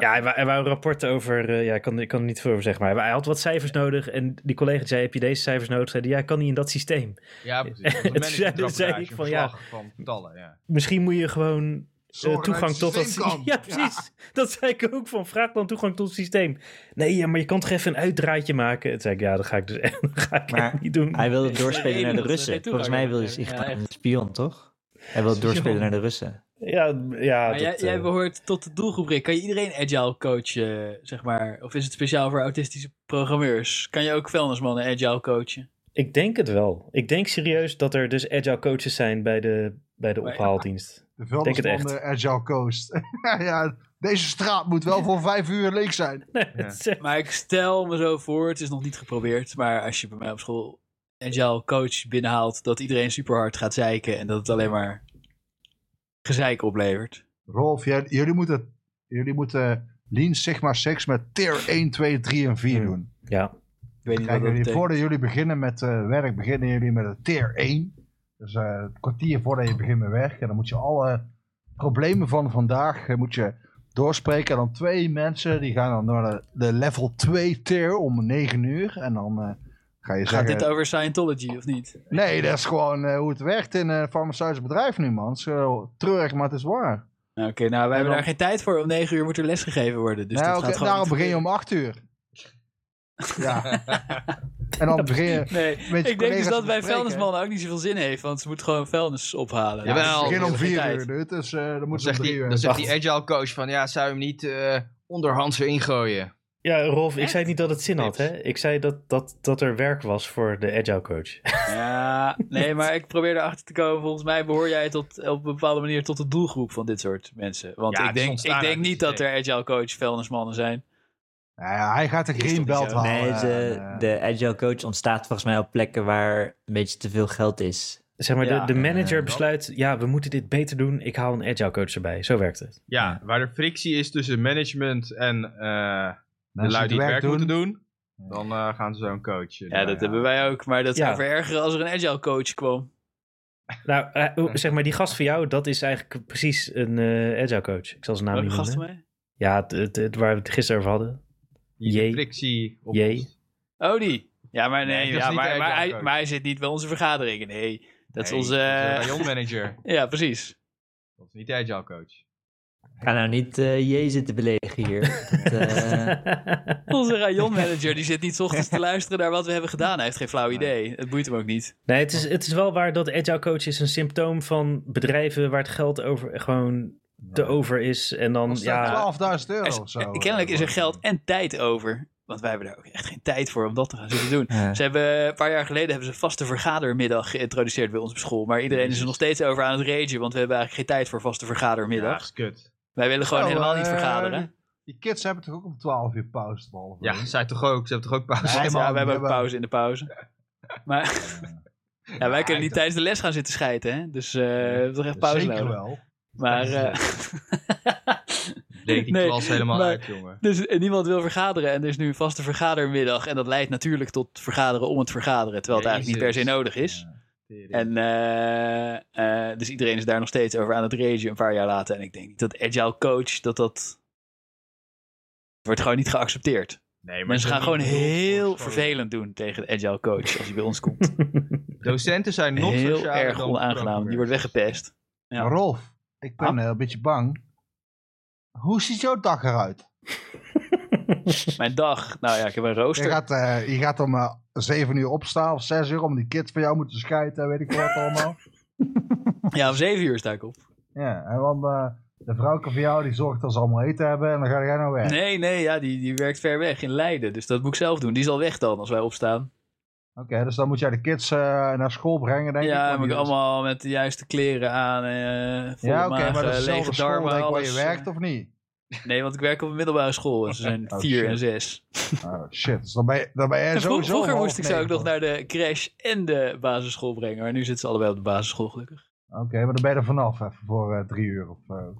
Ja, hij, wou- hij wou een rapport over, eh, ja, ik kan, ik kan er niet veel over zeggen, maar hij had wat cijfers nodig. En die collega die zei, heb je deze cijfers nodig? Zei hij, ja, ik kan niet in dat systeem. ja, precies. Het zei- zei ik van, ja. van getallen, [LAUGHS] ja. Misschien moet je gewoon eh, Zorg dat toegang het tot dat systeem kan. [LAUGHS] Ja, precies. Dat zei ik ook van, vraag dan toegang tot het systeem. Nee, ja, maar je kan toch even een uitdraadje maken? En zei ik, ja, dat ga ik dus echt, [LAUGHS] dat ga ik Maar echt niet doen. Hij [LAUGHS] wilde Nee, doorspelen nee, naar de dat- Russen. dat- dat- Volgens mij wilde hij ja, zich een echt. spion, toch? Hij wilde doorspelen naar de Russen. Ja, ja, maar jij, dat, jij eh, behoort tot de doelgroep, Rick. Kan je iedereen agile coachen, zeg maar? Of is het speciaal voor autistische programmeurs? Kan je ook vuilnismannen agile coachen? Ik denk het wel. Ik denk serieus dat er dus agile coaches zijn bij de, bij de Maar ja. [LAUGHS] ophaaldienst. De Denk het vuilnisman echt. van de Agile Coast. [LAUGHS] ja, deze straat moet wel voor vijf uur leeg zijn. Het is echt- Maar ik stel me zo voor, het is nog niet geprobeerd, maar als je bij mij op school agile coach binnenhaalt, dat iedereen super hard gaat zeiken en dat het alleen maar gezeik oplevert. Rolf, jij- jullie, moeten, jullie moeten eh, Lean Sigma 6 met tier 1, 2, 3 en 4 Hmm. doen. Ja, Ik weet niet wat Kijk, dat jullie, betekent. voordat jullie beginnen met eh, werk, beginnen jullie met een tier 1. Dus eh het kwartier voordat je begint met werk. En dan moet je alle problemen van vandaag eh, moet je doorspreken. En dan twee mensen, die gaan dan naar de, de level 2 tier om 9 uur. En dan eh, ga je Gaat zeggen... dit over Scientology of niet? Nee, dat is gewoon eh, hoe het werkt in een farmaceutisch bedrijf nu, man. Zo treurig, maar het is waar. Nou, Oké, nou, we En hebben dan- daar geen tijd voor. Om negen uur moet er lesgegeven worden. Dus Nou, dat oké, gaat gewoon daarom niet begin je om 8 uur. Ja. en [LAUGHS] dan begin je... Nee, je ik denk dus collega's dat bij bespreken. vuilnismannen ook niet zoveel zin heeft, want ze moeten gewoon vuilnis ophalen. Jawel. Dat is begin om geen 4 tijd. uur, dude. Dus eh dan Dan moeten ze zegt, om 3 die, uur. dan zegt Wacht. die agile coach van, ja, zou je hem niet eh onderhands weer ingooien? ja Rolf, ik zei niet dat het zin had. Tips. Hè? Ik zei dat, dat, dat er werk was voor de agile coach. [LAUGHS] Ja, nee, maar ik probeer erachter te komen. Volgens mij behoor jij tot, op een bepaalde manier tot de doelgroep van dit soort mensen. Want Ja, ik het is denk, ontstaan ik denk uit niet het dat er agile coach vuilnismannen zijn. Nou ja, hij gaat de Is green toch niet belt zo? halen. Nee, ze- en, eh, de agile coach ontstaat volgens mij op plekken waar een beetje te veel geld is. Zeg maar, Ja, de, de manager eh, besluit, ja, we moeten dit beter doen. Ik haal een agile coach erbij. Zo werkt het. Ja, waar er frictie is tussen management en eh, mensen het doen, dan eh, gaan ze zo'n coach. Nou Ja, dat hebben wij ook. Maar dat Ja. zou verergeren als er een agile coach kwam. Nou, eh, oh, zeg maar, die gast van jou, dat is eigenlijk precies een eh, agile coach. Ik zal zijn naam Welke niet gast van noemen. mij? Ja, het, het, het waar we het gisteren over hadden. Jee. Frictie. op- Jee. Oh, die. Ja, maar nee, Nee, dat is ja, niet maar, de maar, agile hij, coach. maar hij zit niet bij onze vergaderingen. Nee, dat is Nee, onze... dat is eh, een [LAUGHS] rayonmanager. ja, precies. Dat is niet de agile coach. Ga nou niet eh je zitten belegen hier. Dat, [LAUGHS] eh, [LAUGHS] [LAUGHS] Onze rayon-manager die zit niet 's ochtends [LAUGHS] te luisteren naar wat we hebben gedaan. Hij heeft geen flauw idee. Het boeit hem ook niet. Oh, nee, het is, het is wel waar dat agile coach is een symptoom van bedrijven waar het geld over, gewoon te over is. En dan, kost dat ja, 12.000 euro Er of is- zo. eh, kennelijk is er geld en tijd over. Want wij hebben daar ook echt geen tijd voor om dat te gaan zitten doen. ja. Ze hebben, een paar jaar geleden hebben ze een vaste vergadermiddag geïntroduceerd bij ons op school. Maar iedereen is er nog steeds over aan het ragen, want we hebben eigenlijk geen tijd voor vaste vergadermiddag. kut. Wij willen gewoon Nou, helemaal eh, niet [LAUGHS] vergaderen. Die kids hebben toch ook om 12 uur pauze, 12 uur? Ja, zij toch ook. Ze hebben toch ook pauze. Ja, helemaal- we hebben ook we pauze in de pauze. [LAUGHS] Maar ja, wij kunnen niet ik dacht- tijdens de les gaan zitten schijten, hè? Dus eh, we hebben toch echt Ja, pauze Zeker nodig. wel. [LAUGHS] Maar eh, [LAUGHS] Leek die Nee, klas helemaal maar- uit, jongen. Dus eh, niemand wil vergaderen en er is nu een vaste vergadermiddag. En dat leidt natuurlijk tot vergaderen om het vergaderen. Terwijl het eigenlijk niet per se Jezus. nodig is. En En, eh, eh, dus iedereen is daar nog steeds over aan het ragen een paar jaar later. En ik denk niet dat agile coach, dat dat... Wordt gewoon niet geaccepteerd. nee, maar Mensen ze gaan gewoon hebben niet heel bedoeld voor scholen. vervelend doen tegen de agile coach als hij bij ons komt. Docenten zijn [LAUGHS] nog Heel socialer erg dan onaangenaam. Die wordt weggepest. [LAUGHS] Ja. Maar Rolf, ik ben eh, een beetje bang. Hoe ziet jouw dag eruit? Mijn dag. Nou ja, ik heb een Je rooster. gaat, eh, je gaat om eh 7 uur opstaan of 6 uur om die kids van jou moeten scheiden en weet ik wat [LAUGHS] allemaal. Ja, om zeven uur sta ik op. Ja, en dan eh, de vrouwke van jou die zorgt dat ze allemaal eten hebben en dan ga jij nou weg. Nee, nee, ja, die, die werkt ver weg in Leiden. Dus dat moet ik zelf doen. Die is al weg dan als wij opstaan. Oké, dus dan moet jij de kids eh, naar school brengen, denk ik. ja, want maar die- dus. allemaal met de juiste kleren aan. eh volle Ja, oké, maag, maar dat eh, lege is dezelfde school darmen, denk ik, waar alles. eh. je werkt, of niet? Nee, want ik werk op een middelbare school. En ze zijn Oh, vier shit. en zes. Oh, shit, dus dan ben je, dan ben jij En vro- sowieso vroeger om half moest ik ze ook negen. nog naar de crash en de basisschool brengen. Maar nu zitten ze allebei op de basisschool, gelukkig. Oké, maar dan ben je er vanaf even voor eh, drie uur of zo.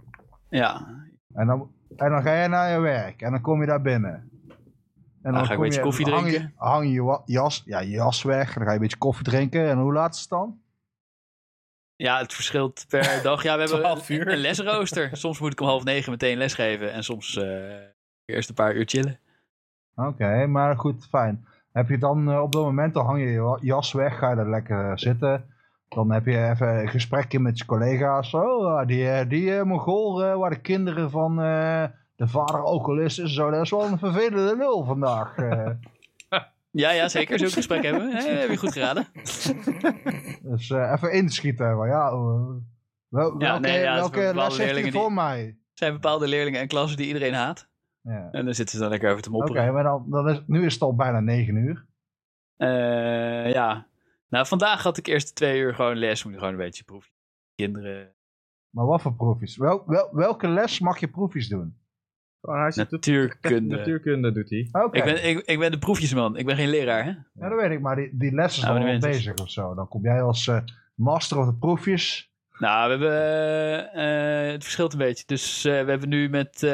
Ja, En dan, en dan ga jij naar je werk en dan kom je daar binnen. En ga ik een kom beetje je- koffie hang je- drinken. Hang je, wa- jas, ja, je jas weg, dan ga je een beetje koffie drinken. En hoe laat is het dan? ja het verschilt [LAUGHS] per dag. Ja, we hebben Twaalf een, uur. een lesrooster. Soms moet ik om half negen meteen lesgeven. En soms eh, eerst een paar uur chillen. Oké, maar goed, fijn. Heb je dan eh, op dat moment, dan hang je je wa- jas weg, ga je er lekker eh, zitten. Dan heb je even een gesprekje met je collega's. Zo, ah, die, eh, die eh, Mongool eh, waar de kinderen van eh, de vader alcoholist is, en zo, dat is wel een vervelende lul [LAUGHS] vandaag. eh. Ja, ja, zeker. Zullen we een gesprek hebben? Hey, heb je goed geraden. Dus eh, even inschieten. Maar ja, eh, wel- welke, nee, ja, het is welke bepaalde les heeft hij leerlingen voor die- mij? Er zijn bepaalde leerlingen en klassen die iedereen haat. Ja. En dan zitten ze dan lekker over te Oké, mopperen. maar dan, dan is, nu is het al bijna 9 uur. Eh, ja. Nou, vandaag had ik eerst twee uur gewoon les. Moet ik gewoon een beetje proefje. Kinderen. [LAUGHS] Maar wat voor proefjes? Wel, wel, welke les mag je proefjes doen? Gewoon, Oh, hij zit te- Natuurkunde. natuurkunde doet hij. Oké, Ik, ben, ik, ik ben de proefjesman. Ik ben geen leraar, hè? ja, dat weet ik, maar die, die les is dan wel Abonnement is- bezig of zo. Dan kom jij als eh, master of de proefjes. Nou, we hebben... eh, eh, het verschilt een beetje. Dus eh, we hebben nu met eh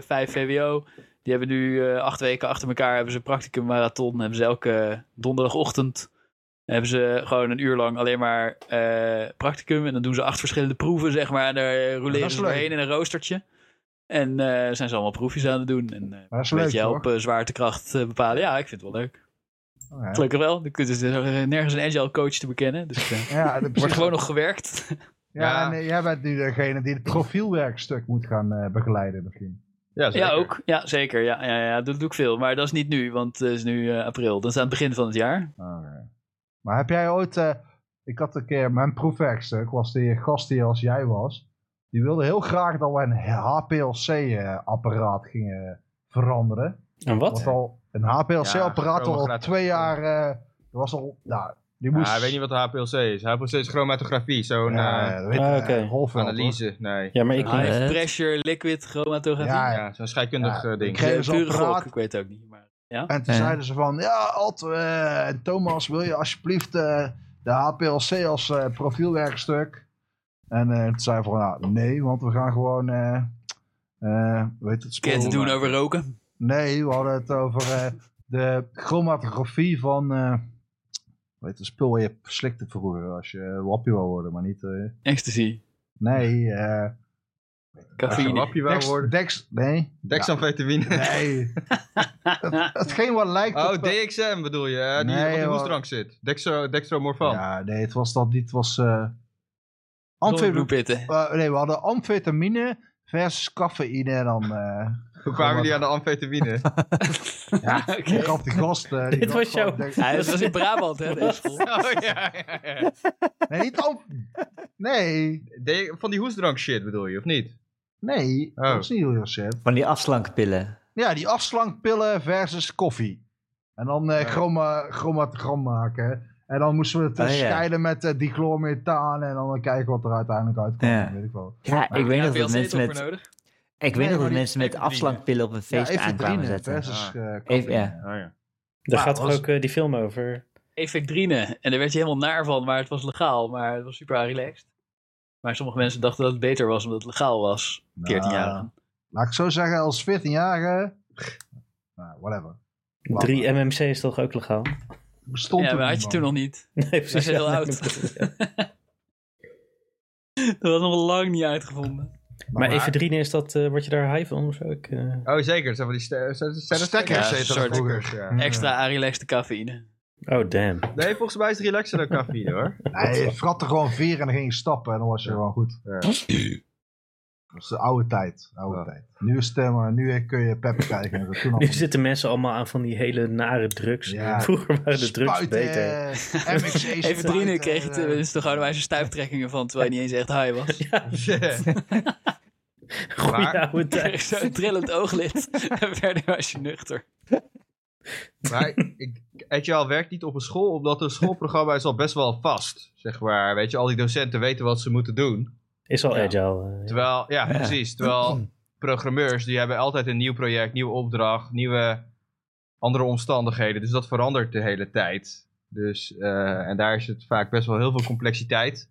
5 VWO... Die hebben nu eh, acht weken achter elkaar hebben ze een practicummarathon. Hebben ze elke donderdagochtend hebben ze gewoon een uur lang alleen maar eh, practicum. En dan doen ze acht verschillende proeven, zeg maar. En daar roleren is ze leuk. doorheen in een roostertje. En eh, zijn ze allemaal proefjes aan het doen. En eh, Maar dat is een leuk, beetje hoor. helpen, zwaartekracht eh, bepalen. Ja, ik vind het wel leuk. Oh, ja. Gelukkig wel. Er is nergens een agile coach te bekennen. Dus eh, [LAUGHS] Ja, dat- er wordt gewoon nog gewerkt. ja, Ja. en eh, jij bent nu degene die het profielwerkstuk moet gaan eh, begeleiden misschien. Ja, zeker. Ja, ook. Ja, zeker. Ja, ja, ja, dat doe ik veel. Maar dat is niet nu, want het is nu eh, april. Dat is aan het begin van het jaar. Oké. Oh, Maar heb jij ooit... eh, ik had een keer mijn proefwerkstuk, was die gast die als jij was. Die wilde heel graag dat we een HPLC-apparaat eh, gingen veranderen. En wat? Want al een HPLC-apparaat Ja, al gratis. twee jaar... eh, dat was al... Nou, die Ja, moest... hij weet niet wat de HPLC is. HPLC is chromatografie, zo'n Ja, eh, dat weet Ah, ik, eh, oké. Holveld, hoor. analyse. Nee. Ja, maar ik... Ah, High het. pressure, liquid, chromatografie. Ja, Ah, dus Ja, Ja, zo'n scheikundig Ja, eh, ding. kreeg zo'n pure apparaat. gok. Ik weet het ook niet. Maar... En toen Ja. zeiden ze van, ja, Alt, eh, Thomas, wil je alsjeblieft eh, de HPLC als eh, profielwerkstuk? En eh, toen zei hij van, nou, nee, want we gaan gewoon, eh eh, weet het spel? Kent te doen over roken. Nee, we hadden het over eh, de chromatografie van, eh, weet het spul waar je slikte vroeger als je eh, wappie wou worden, maar niet, eh, Ecstasy. nee, eh Als je een Cafeïne. wapje wou dex, worden. dex, nee, Dexamfetamine. nee, Het- hetgeen wat lijkt [LAUGHS] Oh, op... DXM bedoel je, hè? die Nee, op de hoor. hoestdrank zit. Dextro, dextromorfan. Ja, nee, het was dat niet. Het was. eh amfetamine, Bloedpitten. eh, nee, we hadden amfetamine versus cafeïne. En dan. eh Hoe kwamen die aan de [LAUGHS] amfetamine? [LAUGHS] ja, ik had die gast. eh, [LAUGHS] die Dit had was gewoon jouw- denk- Ja, dat was in Brabant, hè, deze school. oh ja, ja, [LAUGHS] ja. Nee, niet amf... Nee, De- van die hoestdrank shit bedoel je, of niet? nee, Oh. dat is niet heel shit. Van die afslankpillen. Ja, die afslankpillen versus koffie. En dan eh Ja. chroma, chromatogram maken. En dan moesten we het eh, Oh, ja. scheiden met eh, dichlormethaan. En dan kijken wat er uiteindelijk uitkomt. Ja. Weet ik wel. Ja, ik weet nog dat mensen met, nodig. ik Nee, weet nog maar dat die mensen met efedrine. afslankpillen op een feest ja, aankwamen efedrine zetten. versus eh Even- ja. cafeïne. Oh, ja. Daar Maar gaat toch was- ook eh, die film over? Effectrine. En daar werd je helemaal naar van, maar het was legaal. Maar het was super relaxed. Maar sommige mensen dachten dat het beter was omdat het legaal was. 14 Nou, jaar. Laat ik het zo zeggen, als 14-jarige. Nou, whatever. 3 MMC is toch ook legaal? [LAUGHS] Bestond ja, er maar had je niemand. toen nog niet. [LAUGHS] Nee, precies. Dat is heel ja, nee, [LAUGHS] oud. dat- Dat was nog lang niet uitgevonden. Maar efedrine is dat, eh word je daar high van of zo? Ik, eh, Oh, zeker. Zijn van die ste- zijn- zijn er Stekkers stekkers? Ja, heette dat soort- vroeger. Ja. Extra Arilex de cafeïne. Oh, damn. Nee, volgens mij is het relaxer dan cafeïne hoor. Nee, je frat er gewoon vier en dan ging je stappen en dan was je gewoon [LAUGHS] goed. Ja. Dat is de oude tijd. Oude Ja. tijd. Nu is het, eh, maar nu kun je pep krijgen. [LAUGHS] en Dat toen [LAUGHS] Nu zitten mensen allemaal aan van die hele nare drugs. [LAUGHS] Ja. Vroeger waren de drugs beter. eh, [LAUGHS] Everdrine kreeg het eh, is toch gewoon wijze stuiptrekkingen van, terwijl hij niet eens echt high [LAUGHS] was. [LAUGHS] Goeie maar- oude Hij tijd. kreeg Zo'n trillend [LAUGHS] ooglid. En verder was je nuchter. [LAUGHS] Maar ik, Agile werkt niet op een school, omdat het schoolprogramma is al best wel vast. Zeg maar, weet je, al die docenten weten wat ze moeten doen. Is al Ja. agile. eh, ja. Terwijl, ja, Ja. precies. Terwijl programmeurs, die hebben altijd een nieuw project, nieuwe opdracht, nieuwe andere omstandigheden. Dus dat verandert de hele tijd. Dus, eh, en daar is het vaak best wel heel veel complexiteit.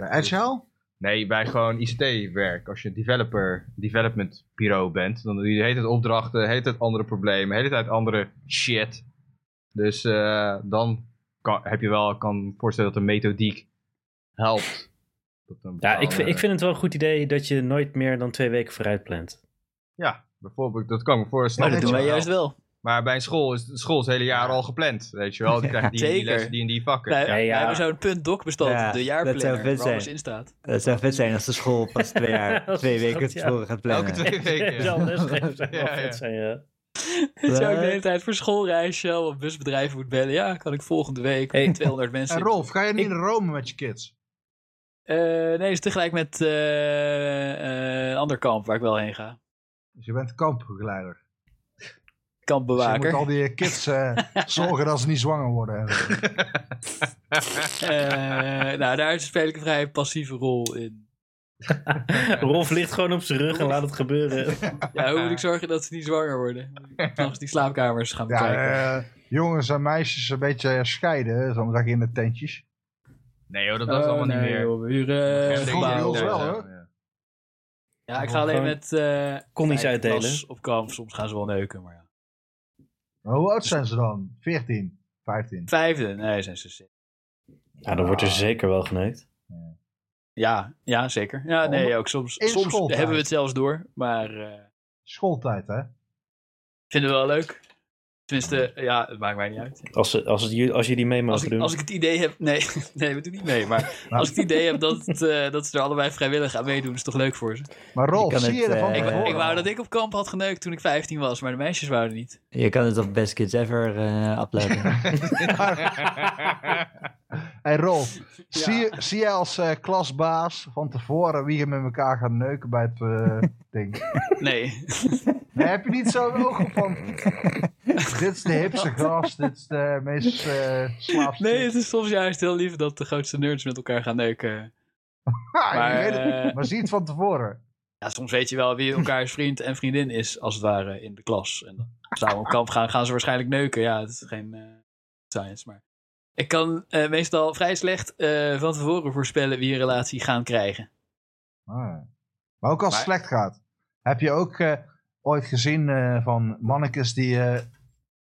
Agile? Nee, bij gewoon ICT-werk. Als je developer, development bureau bent, dan doe je de hele tijd opdrachten, de hele tijd andere problemen, de hele tijd andere shit. Dus eh, dan kan, heb je wel, kan voorstellen dat de methodiek helpt. Tot een Ja, ik, vind- bepaalde- ik vind het wel een goed idee dat je nooit meer dan twee weken vooruit plant. Ja, bijvoorbeeld, dat kan ik me Maar voorstellen. dat doen wij juist wel. Maar bij een school is de school is het hele jaar al gepland, weet je wel. Die krijgen die, en die Zeker. lessen, die en die vakken. Wij, Ja, wij ja. hebben zo'n punt doc bestand, Ja, de dat zou jaarplanner, vet waar alles zijn. in staat. [LAUGHS] Het zou vet zijn als de school [LAUGHS] pas twee jaar, Als twee het weken gaat, ja. tevoren gaat plannen. Elke twee weken. Agile [LAUGHS] lesgeven zou wel Ja, ja. vet zijn, ja. Dat zou ik de Wat? hele tijd voor schoolreisje of busbedrijven moet bellen. Ja, kan ik volgende week Hey. 200 mensen. En in- Rolf, ga je niet naar Rome met je kids? Eh, nee, is tegelijk met eh eh ander kamp waar ik wel heen ga. Dus je bent kampbegeleider. Dus je moet Kampbewaker. al die eh, [LAUGHS] kids eh, zorgen dat ze niet zwanger worden. Eh, nou, daar speel ik een vrij passieve rol in. Rolf ligt gewoon op zijn rug en laat het [LAUGHS] gebeuren. Ja, [LAUGHS] hoe moet ik zorgen dat ze niet zwanger worden? Als die slaapkamers gaan Ja, bekijken. eh, jongens en meisjes een beetje scheiden, zo zeg je in de tentjes. Nee joh, dat was allemaal niet meer. Oh, Joh, Eh, buren, gebouwen. Geen Vroeger bij ons nee, wel, zo, hè? ja. Ja, ik ga alleen met... eh Connie's kijk, uitdelen. Bas Op kamp, soms gaan ze wel neuken, maar ja. Maar hoe Dus- oud zijn ze dan? 14, 15. Vijfde? Nee, zijn ze zes. Ja, Nou, dan wordt er zeker wel geneukt. Ja, ja, zeker. Ja, nee, ook soms, In soms schooltijd. hebben we het zelfs door, maar eh, Schooltijd, hè? vinden we wel leuk. Tenminste, ja, het maakt mij niet uit. Als, ze- als, het ju- als jullie mee Als mogen ik, doen. als ik het idee heb, nee, [LAUGHS] nee, we doen niet mee, maar Nou. als ik het idee heb dat, het, eh, dat ze er allebei vrijwillig aan meedoen, is toch leuk voor ze. Maar Rolf, Je kan zie het, je ervan eh, Ik, tevoren ik wou al? dat ik op kamp had geneukt toen ik 15 was, maar de meisjes wouden niet. Je kan het op Best Kids Ever eh uploaden. [LAUGHS] [LAUGHS] Hey Rolf, zie, je, zie jij als eh, klasbaas van tevoren wie je met elkaar gaat neuken bij het eh, [LAUGHS] ding? [LAUGHS] Nee, Nee, heb je niet zo'n ogen [LAUGHS] van... dit is de hipste gast, dit is de meest eh slaafste. nee, het is soms juist heel lief dat de grootste nerds met elkaar gaan neuken. Ha, je Maar, weet het, eh, maar zie het van tevoren. ja, soms weet je wel wie elkaars vriend en vriendin is, als het ware, in de klas. En dan samen op kamp gaan, gaan ze waarschijnlijk neuken. Ja, het is geen eh, science, maar... Ik kan eh, meestal vrij slecht eh, van tevoren voorspellen wie een relatie gaan krijgen. [LAUGHS] Ah. Maar ook als het Maar- slecht gaat. Heb je ook eh, ooit gezien eh, van mannetjes die eh,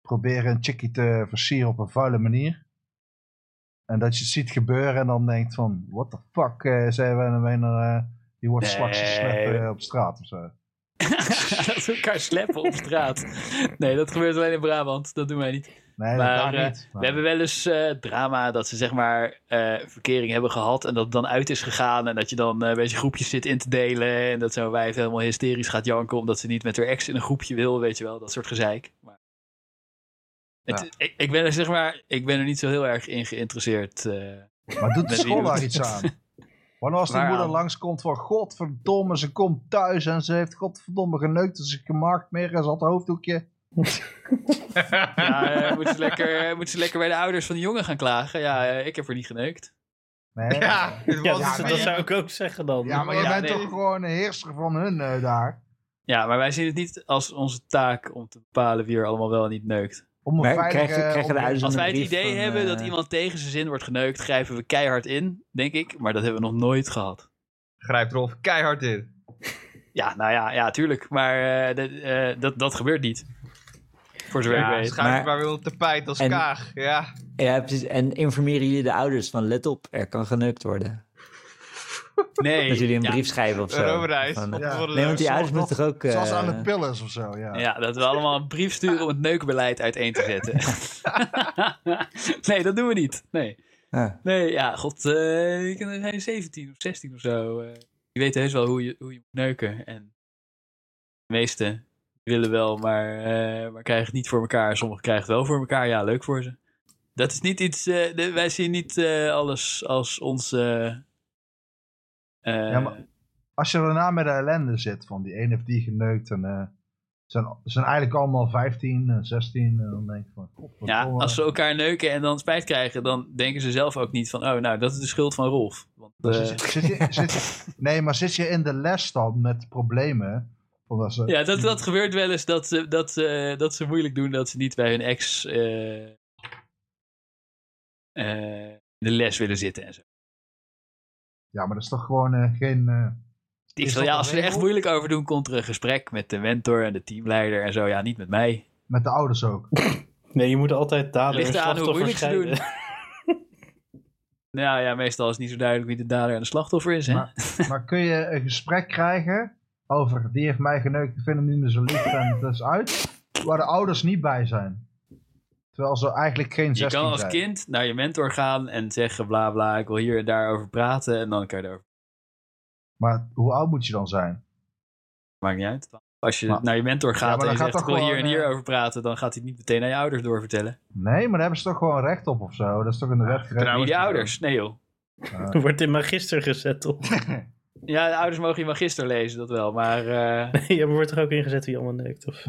proberen een chickie te versieren op een vuile manier? En dat je het ziet gebeuren en dan denkt van, what the fuck, eh, zijn we en dan eh die wordt Nee. slaks geslept eh, op straat of zo. dat ze elkaar sleppen op straat. Nee, dat gebeurt alleen in Brabant. Dat doen wij niet. Nee, Maar, dat eh, daar niet. Maar- We hebben wel eens eh, drama dat ze zeg maar eh, verkering hebben gehad en dat het dan uit is gegaan. En dat je dan eh, een beetje groepjes zit in te delen. En dat zo'n wijf helemaal hysterisch gaat janken omdat ze niet met haar ex in een groepje wil. Weet je wel, dat soort gezeik. Maar het, Ja. ik, ik ben er zeg maar, ik ben er niet zo heel erg in geïnteresseerd. eh. Maar doet de Met wie school doet daar het? iets [LAUGHS] aan? Wanneer als de Waaraan? moeder langskomt van godverdomme, ze komt thuis en ze heeft godverdomme geneukt en ze gemaakt meer en ze had een hoofddoekje. ja, eh, moet, ze lekker, moet ze lekker bij de ouders van de jongen gaan klagen. Ja, eh, ik heb er niet geneukt. [LAUGHS] Nee. Ja, dit Ja, was dat, Ja, dat maar je- zou ik ook zeggen dan. Ja, maar je Ja, bent nee. toch gewoon een heerser van hun eh, daar. Ja, maar wij zien het niet als onze taak om te bepalen wie er allemaal wel en niet neukt. Om een Maar veilige... krijg je- krijg je de om- uitzondering? Als wij het brief idee van, hebben dat eh, iemand tegen zijn zin wordt geneukt, grijpen we keihard in, denk ik. Maar dat hebben we nog nooit gehad. Grijpt Rolf keihard in. Ja, nou ja, ja tuurlijk. Maar eh, dat- eh, dat, dat gebeurt niet. Voor zover Ja, ik weet. schuift maar- maar weer op het tapijt als En- kaag. Ja. ja, precies. En informeren jullie de ouders van let op, er kan geneukt worden. Nee. Dat jullie een ja, brief schrijven of zo. Roverreis. Van, eh, Ja. Nee, want die ouders Zoals- moeten toch ook... eh, Zoals aan de pillers of zo, ja. Ja, dat we allemaal een brief sturen om het neukenbeleid uiteen te zetten. [LAUGHS] nee, dat doen we niet. Nee, ah. nee ja, god, eh, ik ben zijn 17 of 16 of zo. eh, die weten heus wel hoe je, hoe je moet neuken. En de meesten willen wel, maar, eh, maar krijgen het niet voor elkaar. Sommigen krijgen het wel voor elkaar. Ja, leuk voor ze. Dat is niet iets... eh, de- wij zien niet eh, alles als ons... eh, eh, Ja, maar- Als je daarna met de ellende zit, van die een heeft die geneukt en... eh, zijn, zijn eigenlijk allemaal 15 en 16 en dan denk ik van... godverdomme. Ja, als ze elkaar neuken en dan spijt krijgen, dan denken ze zelf ook niet van, oh, nou, dat is de schuld van Rolf. Want, Dan eh, zit je- zit [LAUGHS] je- zit je- Nee, maar zit je in de les dan met problemen? Van dat eh, ze, ja, dat, dat gebeurt wel eens dat ze, dat, ze, dat ze moeilijk doen dat ze niet bij hun ex eh, eh, in de les willen zitten en zo. ja, maar dat is toch gewoon eh, geen... eh, Ik Is zeg, dat ja, een als ze er echt regel? moeilijk over doen, komt er een gesprek met de mentor en de teamleider en zo. Ja, niet met mij. met de ouders ook. Nee, je moet altijd dader en Ligt eraan hoe slachtoffer moeilijk ze doen. scheiden. [LAUGHS] Nou ja, meestal is het niet zo duidelijk wie de dader en de slachtoffer is, hè? Maar- maar kun je een gesprek krijgen over... Die heeft mij geneukt, ik vind hem niet meer zo lief en dat is uit. Waar de ouders niet bij zijn. Terwijl ze eigenlijk geen 16 Je zijn. kan als kind naar je mentor gaan en zeggen, bla bla, ik wil hier en daarover praten en dan kan je daarover Maar hoe oud moet je dan zijn? Maakt niet uit. Als je Maar- naar je mentor Ja, gaat maar en dan je gaat zegt, ik toch wil hier en gewoon, hier eh, over praten, dan gaat hij het niet meteen aan je ouders doorvertellen. Nee, maar daar hebben ze toch gewoon recht op of zo? Dat is toch in de wet geregeld? vertrouwen. Niet ouders je niet ouders, nee [LAUGHS] joh. Wordt in magister gezet, [LAUGHS] toch? Ja, de ouders mogen je magister lezen, dat wel. Maar, eh, ja, maar wordt er ook ingezet wie allemaal neukt? Of...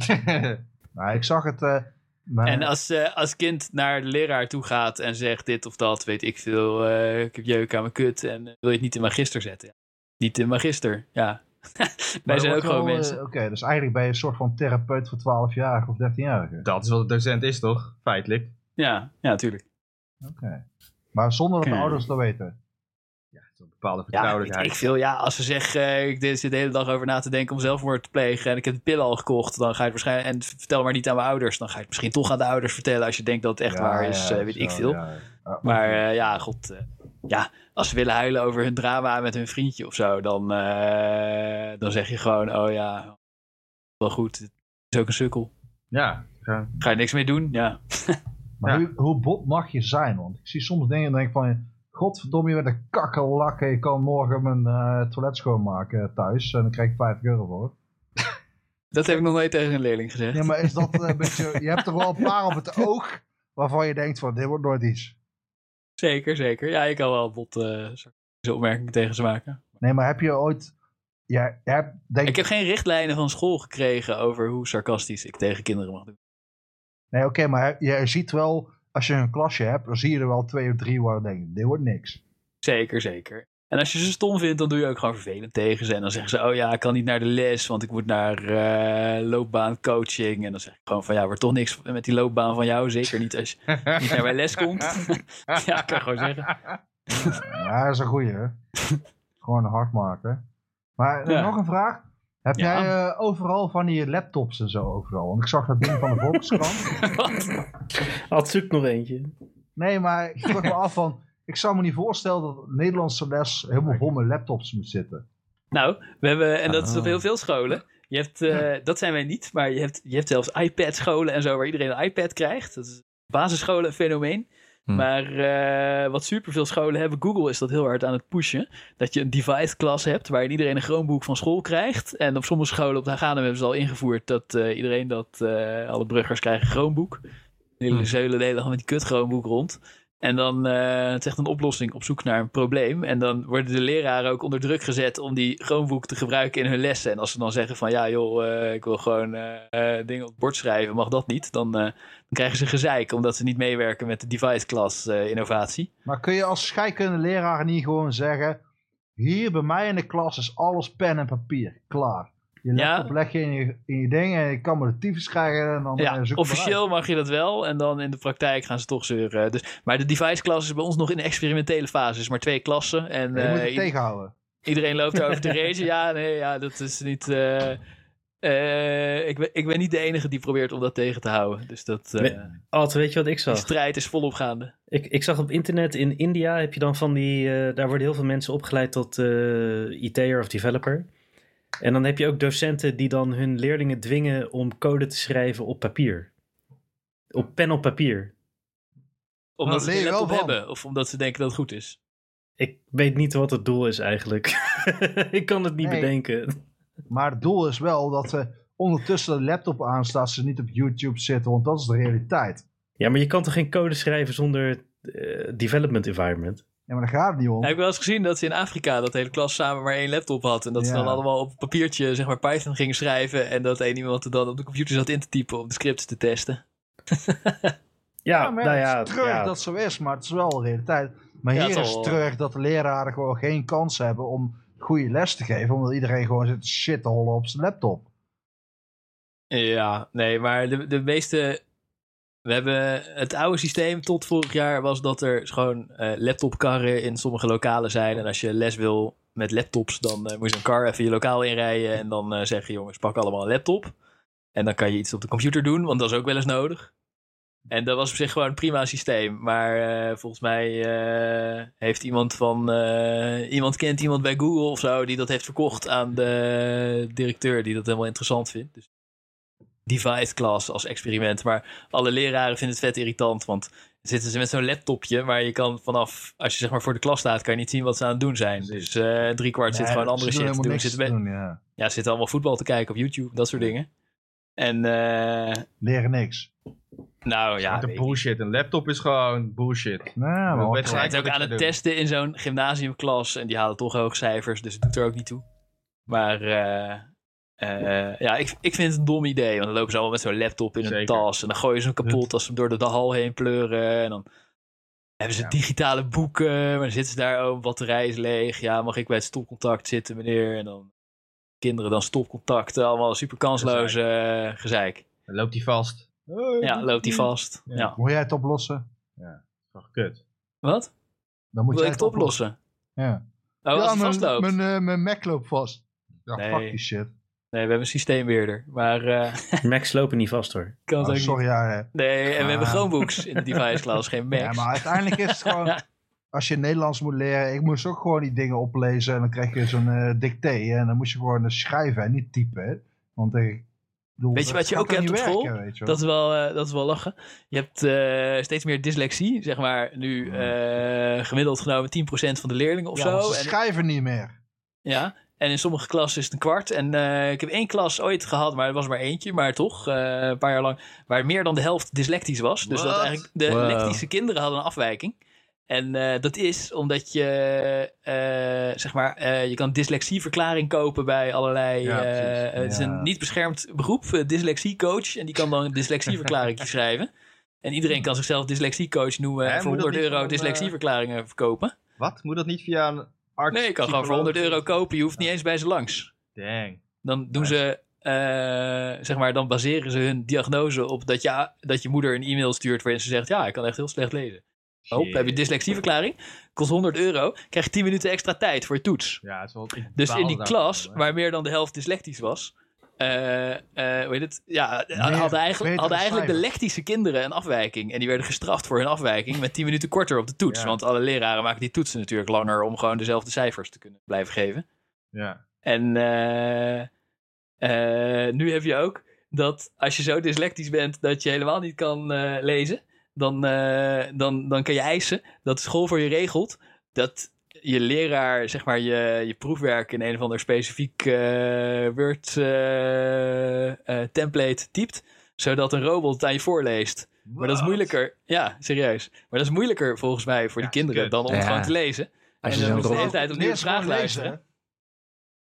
Nou, ik zag het... eh, maar- en als, eh, als kind naar de leraar toe gaat en zegt dit of dat, weet ik veel, eh, ik heb jeuk aan mijn kut en eh, wil je het niet in magister zetten. Niet de magister, ja. [LAUGHS] Wij zijn ook gewoon mensen. Oké, dus eigenlijk ben je een soort van therapeut voor 12 jaar of 13-jarigen. Dat is wat een docent is, toch? Feitelijk. Ja, ja, natuurlijk. Oké. Maar zonder dat de Oké. ouders dat weten. Een bepaalde Ja, ik, vertrouwelijkheid. ik veel, ja, als ze zeggen, eh, ik zit de hele dag over na te denken om zelfmoord te plegen en ik heb de pillen al gekocht, dan ga je het waarschijnlijk, en vertel maar niet aan mijn ouders, dan ga je het misschien toch aan de ouders vertellen als je denkt dat het echt Ja, waar is, ja, eh, weet ik zo, veel. ja. Ja, Maar eh, ja, god, eh, ja, als ze willen huilen over hun drama met hun vriendje of zo, dan, eh, dan zeg je gewoon, oh ja, wel goed, het is ook een sukkel. Ja, ja. Ga je niks mee doen? Ja. Maar Ja. hoe, hoe bot mag je zijn? Want ik zie soms dingen en denk van... Godverdomme, je bent een kakkerlak. en Je kan morgen mijn eh, toilet schoonmaken eh, thuis. En dan krijg ik 5 euro voor. Dat heb ik nog nooit tegen een leerling gezegd. Ja, maar is dat eh, een [LAUGHS] beetje... Je hebt er wel een paar op het oog... waarvan je denkt van, dit wordt nooit iets. Zeker, zeker. Ja, ik kan wel bot eh, sarcastische opmerkingen tegen ze maken. Nee, maar heb je ooit... Ja, je hebt, denk Ik heb geen richtlijnen van school gekregen over hoe sarcastisch ik tegen kinderen mag doen. Nee, oké, maar je ziet wel, als je een klasje hebt, dan zie je er wel twee of drie waar je denkt, dit wordt niks. Zeker, zeker. En als je ze stom vindt, dan doe je ook gewoon vervelend tegen ze. En dan zeggen ze, oh ja, ik kan niet naar de les, want ik moet naar eh, loopbaancoaching. En dan zeg ik gewoon van, ja, wordt toch niks met die loopbaan van jou. Zeker niet als je niet naar mijn les komt. [LAUGHS] ja, ik kan gewoon zeggen. Ja, dat is een goeie. hè. Gewoon hard maken. Maar eh, Ja. nog een vraag. Heb Ja. jij eh, overal van die laptops en zo overal? Want ik zag dat ding van de Volkskrant. Wat? Had zoek nog eentje. Nee, maar ik vroeg me af van... Ik zou me niet voorstellen dat een Nederlandse les helemaal vol met laptops moet zitten. nou, we hebben, en dat is op Oh. heel veel scholen. Je hebt, eh, dat zijn wij niet, maar je hebt, je hebt zelfs iPad-scholen en zo, waar iedereen een iPad krijgt. Dat is basisscholen een fenomeen. Hm. Maar eh, wat superveel scholen hebben, Google is dat heel hard aan het pushen. Dat je een device klas hebt waarin iedereen een Chromebook van school krijgt. En op sommige scholen op de Haganum hebben ze al ingevoerd dat eh, iedereen dat, eh, alle bruggers krijgen een Chromebook. Die Hm. zeulen de hele dag met die kut Chromebook rond. En dan, eh het is echt een oplossing op zoek naar een probleem. En dan worden de leraren ook onder druk gezet om die Chromebook te gebruiken in hun lessen. En als ze dan zeggen van, ja joh, eh, ik wil gewoon eh, eh, dingen op het bord schrijven, mag dat niet? Dan, eh, dan krijgen ze gezeik omdat ze niet meewerken met de device class eh, innovatie. Maar kun je als scheikunde leraar niet gewoon zeggen... Hier bij mij in de klas is alles pen en papier. Klaar. Je Ja. laptop leg je in je, in je ding en je kan me de tyfus krijgen en dan eh, Ja, zoek ik maar uit. officieel mag je dat wel en dan in de praktijk gaan ze toch zeuren. Dus, maar de device class is bij ons nog in de experimentele fase, is maar twee klassen. En Je moet eh, het i- tegenhouden. iedereen loopt erover te rage. Ja, nee, ja, dat is niet... eh, eh, ik, ben, ik ben niet de enige die probeert om dat tegen te houden. Dus dat, eh, Nee. Ad, weet je wat ik die zag? strijd is volop gaande. Ik, ik zag op internet in India heb je dan van die. eh, daar worden heel veel mensen opgeleid tot eh IT'er of developer. En dan heb je ook docenten die dan hun leerlingen dwingen om code te schrijven op papier. Op pen op papier. Omdat Nou, ze leer er je wel laptop van. hebben of omdat ze denken dat het goed is. Ik weet niet wat het doel is eigenlijk. [LAUGHS] ik kan het niet Nee. bedenken. Maar het doel is wel dat ze ondertussen de laptop aanstaat, ze niet op YouTube zitten, want dat is de realiteit. Ja, maar je kan toch geen code schrijven zonder eh, development environment? Ja, maar daar gaat het niet om. Heb ik wel eens gezien dat ze in Afrika dat de hele klas samen maar één laptop had. En dat ze Ja. dan allemaal op een papiertje zeg maar Python gingen schrijven. En dat één iemand er dan op de computer zat in te typen om de scripts te testen. Ja, maar nou het ja. is treurig ja. dat zo is, maar het is wel de realiteit. Maar Ja, hier het eh, is zal het wel. treurig dat de leraren gewoon geen kans hebben om goede les te geven, omdat iedereen gewoon zit shit te hollen op zijn laptop. Ja, nee, maar de, de meeste. We hebben het oude systeem tot vorig jaar was dat er gewoon eh, laptopkarren in sommige lokalen zijn. En als je les wil met laptops, dan eh, moet je zo'n kar even je lokaal inrijden. En dan eh zeggen jongens, pak allemaal een laptop. En dan kan je iets op de computer doen, want dat is ook wel eens nodig. En dat was op zich gewoon een prima systeem. Maar eh, volgens mij eh, heeft iemand van. eh, iemand kent iemand bij Google of zo die dat heeft verkocht aan de directeur, die dat helemaal interessant vindt. Dus device class als experiment. Maar alle leraren vinden het vet irritant, want zitten ze met zo'n laptopje, maar je kan vanaf, als je zeg maar voor de klas staat, kan je niet zien wat ze aan het doen zijn. Dus eh driekwart zit Nee, gewoon ze andere doen shit te helemaal doen. niks Zit te bij- doen, ja. ja, ze zitten allemaal voetbal te kijken op YouTube, dat soort dingen. En eh, Leren niks. nou ja, Met een weet ik bullshit. Een laptop is gewoon bullshit. Nou, De Ze maar zijn wedstrijd- wat- het ook aan het testen in zo'n gymnasiumklas. En die halen toch hoge cijfers, dus het doet er ook niet toe. Maar eh, eh, ja, ik, ik vind het een dom idee. Want dan lopen ze allemaal met zo'n laptop in hun Zeker. tas. En dan gooien ze hem kapot als ze hem door de, de hal heen pleuren. En dan Hebben ze digitale boeken, maar dan zitten ze daar, oh, batterij is leeg. Ja, mag ik bij het stopcontact zitten, meneer? En dan kinderen dan stopcontact, allemaal super kansloze eh, gezeik. Dan loopt hij vast. Ja, loopt die vast. Ja. Ja. Moet jij het oplossen? Toch kut. Wat? Dan moet Wil jij ik het oplossen? Ja. Oh, als ja, het mijn, vastloopt. mijn, eh, mijn Mac loopt vast. Ja, Nee. fuck die shit. Nee, we hebben een systeembeheerder. Maar eh, [LAUGHS] Macs lopen niet vast hoor. kan het Oh, ook niet. sorry, ja. hè. Nee, en we hebben Ah. Chromebooks in de device class, geen Macs. [LAUGHS] Ja, maar uiteindelijk is het [LAUGHS] gewoon... Als je Nederlands moet leren, ik moest ook gewoon die dingen oplezen. En dan krijg je zo'n eh dicté. En dan moest je gewoon eh, schrijven en niet typen. hè. Want eh, ik bedoel, Weet je dat wat je gaat ook dan hebt niet op school? werken, weet je wel. Dat is, wel, eh, dat is wel lachen. Je hebt eh, steeds meer dyslexie, zeg maar. Nu eh, gemiddeld genomen 10% van de leerlingen of Ja, want zo. ze En, schrijven niet meer. ja. en in sommige klassen is het een kwart. En eh, ik heb één klas ooit gehad, maar er was maar eentje. Maar toch, eh, een paar jaar lang, waar meer dan de helft dyslectisch was. Dus dat Wat? eigenlijk de Wow. lectische kinderen hadden een afwijking. En eh, dat is omdat je, eh, zeg maar, eh, je kan dyslexieverklaring kopen bij allerlei... Ja, eh, precies. het is Ja. een niet beschermd beroep, eh, dyslexiecoach. En die kan dan een [LAUGHS] dyslexieverklaring schrijven. En iedereen kan zichzelf dyslexiecoach noemen. Hè, en voor moet dat 100 niet euro gewoon, eh, dyslexieverklaringen verkopen. Wat? Moet dat niet via een arts? Nee, je kan gewoon voor psycholoog? 100 euro kopen. Je hoeft niet eens bij ze langs. Dang. Dan doen ze, eh, zeg maar, dan baseren ze hun diagnose op dat je, dat je moeder een e-mail stuurt waarin ze zegt: Ja, ik kan echt heel slecht lezen. Oh, Shit. heb je dyslexieverklaring? Kost 100 euro. Krijg je 10 minuten extra tijd voor je toets. Ja, het is wel, ik Dus baal in die daar klas, van, hè. waar meer dan de helft dyslectisch was. eh, eh, hoe heet het? Ja, hadden eigenlijk, betere hadden eigenlijk de cijfers. lectische kinderen een afwijking. En die werden gestraft voor hun afwijking met 10 minuten korter op de toets. Ja. Want alle leraren maken die toetsen natuurlijk langer om gewoon dezelfde cijfers te kunnen blijven geven. Ja. En eh, eh, nu heb je ook dat als je zo dyslectisch bent dat je helemaal niet kan eh, lezen, dan, eh, dan, dan kan je eisen dat school voor je regelt dat je leraar zeg maar, je, je proefwerk in een of ander specifiek eh, Word eh, eh, template typt, zodat een robot het aan je voorleest. Maar dat is Wat? moeilijker. Ja, serieus. Maar dat is moeilijker volgens mij voor Ja, die is kinderen kut. dan om het Ja. gewoon te lezen. Als en dan je zo'n moet je de hele robot- tijd opnieuw Nee, de is gewoon vraag lezen, luisteren.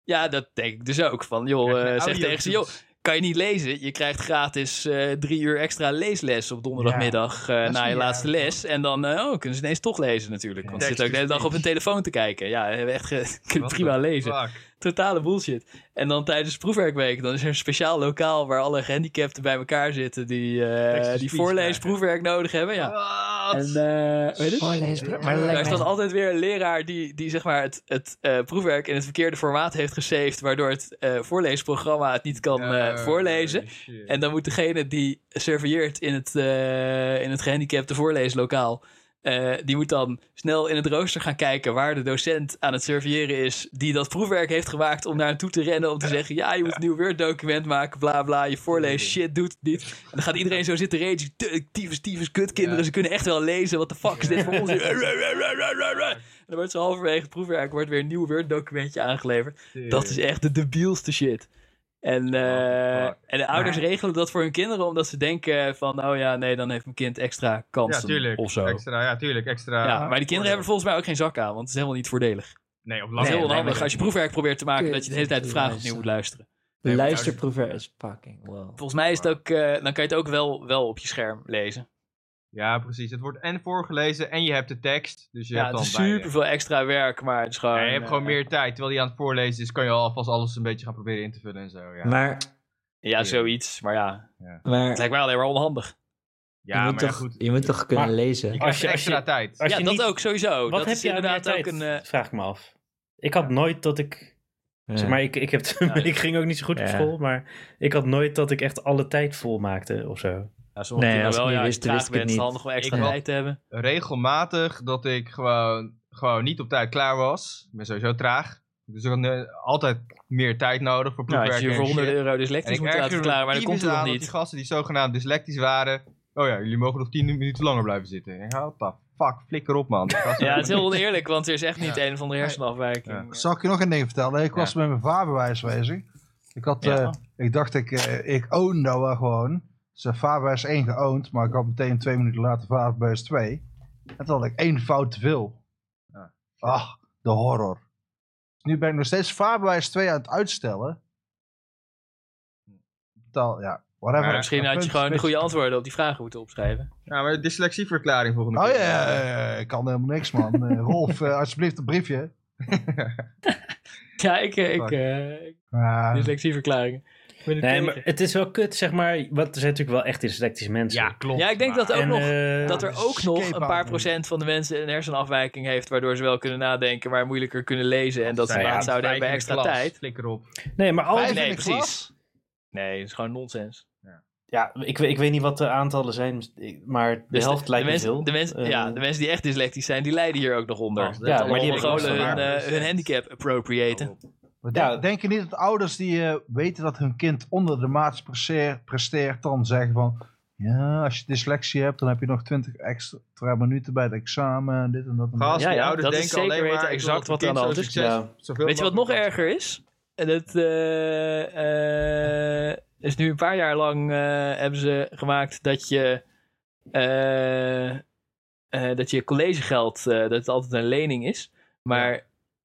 hè. Ja, dat denk ik dus ook. Van joh, Krijg je eh, zeg audio tegen ze, joh, toets? kan je niet lezen? Je krijgt gratis eh, drie uur extra leesles op donderdagmiddag eh, is na je niet laatste aardig, les. En dan eh, oh, kunnen ze ineens toch lezen natuurlijk. Want ze Text zitten ook de hele to dag op hun speech. telefoon te kijken. Ja, we hebben echt ge- [LAUGHS] kunnen What [LAUGHS] prima the lezen. fuck? Totale bullshit. En dan tijdens proefwerkweek, dan is er een speciaal lokaal waar alle gehandicapten bij elkaar zitten die, Text to eh die speech voorlees krijgen. proefwerk nodig hebben. Ja. Wat? En, eh, weet je het? Voorlezen, maar dat Daar is lijkt dan mij... altijd weer een leraar die, die zeg maar het, het eh, proefwerk in het verkeerde formaat heeft gesaved, waardoor het eh, voorleesprogramma het niet kan eh, Eh, voorlezen. shit. En dan moet degene die surveilleert in het, eh, in het gehandicapte voorleeslokaal, eh, die moet dan snel in het rooster gaan kijken waar de docent aan het surveilleren is, die dat proefwerk heeft gemaakt om naar hem toe te rennen om te zeggen, ja, je moet een nieuw Word-document maken, bla bla, je voorlees shit, doet het niet. En dan gaat iedereen zo zitten rage, tyfus, tyfus, kutkinderen, Ja. ze kunnen echt wel lezen, wat de fuck is dit voor ons? En dan wordt ze halverwege het proefwerk, wordt weer een nieuw Word-documentje aangeleverd. Dat is echt de debielste shit. En, eh, What the fuck? en de ouders regelen dat voor hun kinderen omdat ze denken van, oh ja, nee, dan heeft mijn kind extra Ja, kansen tuurlijk. of zo. Extra, ja, tuurlijk. Extra. Ja, maar die kinderen hebben er volgens mij ook geen zak aan, want het is helemaal niet voordelig. Nee, op Het is lange heel termijn onhandig als je proefwerk probeert te maken Kut, dat je de hele tijd de vraag opnieuw luisteren. moet luisteren. Nee, maar- Luisterproever is fucking wow. Volgens mij is het ook, eh, dan kan je het ook wel, wel op je scherm lezen. Ja, precies. Het wordt en voorgelezen en je hebt de tekst. Dus je Ja, hebt het dan is super veel extra werk, maar het is gewoon... Ja, je hebt gewoon eh, meer tijd. Terwijl die aan het voorlezen is, kan je alvast alles een beetje gaan proberen in te vullen en zo. Ja, Maar, Ja, zoiets, maar ja. Het maar lijkt mij alleen maar onhandig. ja je, maar moet ja, toch, goed. je moet toch kunnen Maar- lezen? Je krijgt Als je- als je- extra tijd. Als ja, je dat niet- ook sowieso. Wat dat heb is je aan meer inderdaad ook tijd? een... eh, Vraag ik me af. Ik had nooit dat ik... Ja. Zeg maar, ik, ik, heb, [LAUGHS] ik ging ook niet zo goed op Ja. school, maar ik had nooit dat ik echt alle tijd volmaakte of zo. Ja, sommige Nee, kinderen als ik wel, niet ja, wist, je wist ik traag bent, het is niet. handig om extra Ik wel. tijd te hebben. Regelmatig dat ik gewoon, gewoon niet op tijd klaar was. Ik ben sowieso traag. Dus ik had eh, altijd meer tijd nodig voor Nou, als proefwerk je voor en 100 shit. euro En dyslectisch ik moet laten erger verklaren, maar dat komt er nog aan dat die niet. gasten die zogenaamd dyslectisch waren. Oh ja, jullie mogen nog 10 minuten langer blijven zitten. Ik denk, oh, what the fuck, flikker op man. Die gasten- Ja, het is heel oneerlijk, want er is echt niet een of andere Ja. hersenafwijking. Zal ik je nog een ding vertellen? Ik was met mijn vaarbewijs bezig. Ik, had, Ja. eh, ik dacht, ik, eh, ik own dat wel gewoon. Dus eh, vaarbewijs 1 geoond, maar ik had meteen twee minuten later vaarbewijs 2. En toen had ik één fout te veel. Ja. Ah, de horror. Nu ben ik nog steeds vaarbewijs 2 aan het uitstellen. taal, ja, whatever. Maar Een Misschien had je punt gewoon de gemist. goede antwoorden op die vragen moeten opschrijven. Ja, Nou, maar dyslexieverklaring volgende Oh keer. ja, ja, eh. ja, ja, ik kan helemaal niks, man. Eh, Rolf, eh, alsjeblieft een [LAUGHS] briefje. Ja, ik, eh, ik, Fuck. eh, Maar- dyslexieverklaringen. Ik ben het Nee, tegen. maar het is wel kut, zeg maar. Want er zijn natuurlijk wel echt dyslectische mensen. Ja, klopt. Ja, ik denk dat ook en, nog. eh, dat er ook nog een paar skateboarden. procent van de mensen een hersenafwijking heeft, waardoor ze wel kunnen nadenken, maar moeilijker kunnen lezen. En dat ze Nou ja, baat zouden hebben bij Vijf in extra de klas, tijd. Flikker op. Nee, maar al Vijf die- in Nee, de precies. klas? Nee, dat is gewoon nonsens. Ja, ik, weet- ik weet niet wat de aantallen zijn, maar de Dus helft lijkt de me mensen, veel. De mensen, Eh, ja, de mensen die echt dyslectisch zijn, die lijden hier ook nog onder. Oh, dat Ja, ja, maar maar die die hebben Mongolen ook hun, nog eh, maar. hun handicap appropriaten. Maar Ja. denk- Denk je niet dat ouders die eh, weten dat hun kind onder de maat presteert, presteert, dan zeggen van... Ja, als je dyslexie hebt, dan heb je nog 20 extra minuten bij het examen en dit en dat. En dat. Gast, Ja, die ja, ouders dat is denken zeker alleen weten maar... exact wat er aan de hand is. Ja. Weet je wat nog erger is? En dat eh, eh, is nu een paar jaar lang eh, hebben ze gemaakt dat je. eh, eh, dat je collegegeld, eh, dat het altijd een lening is. Maar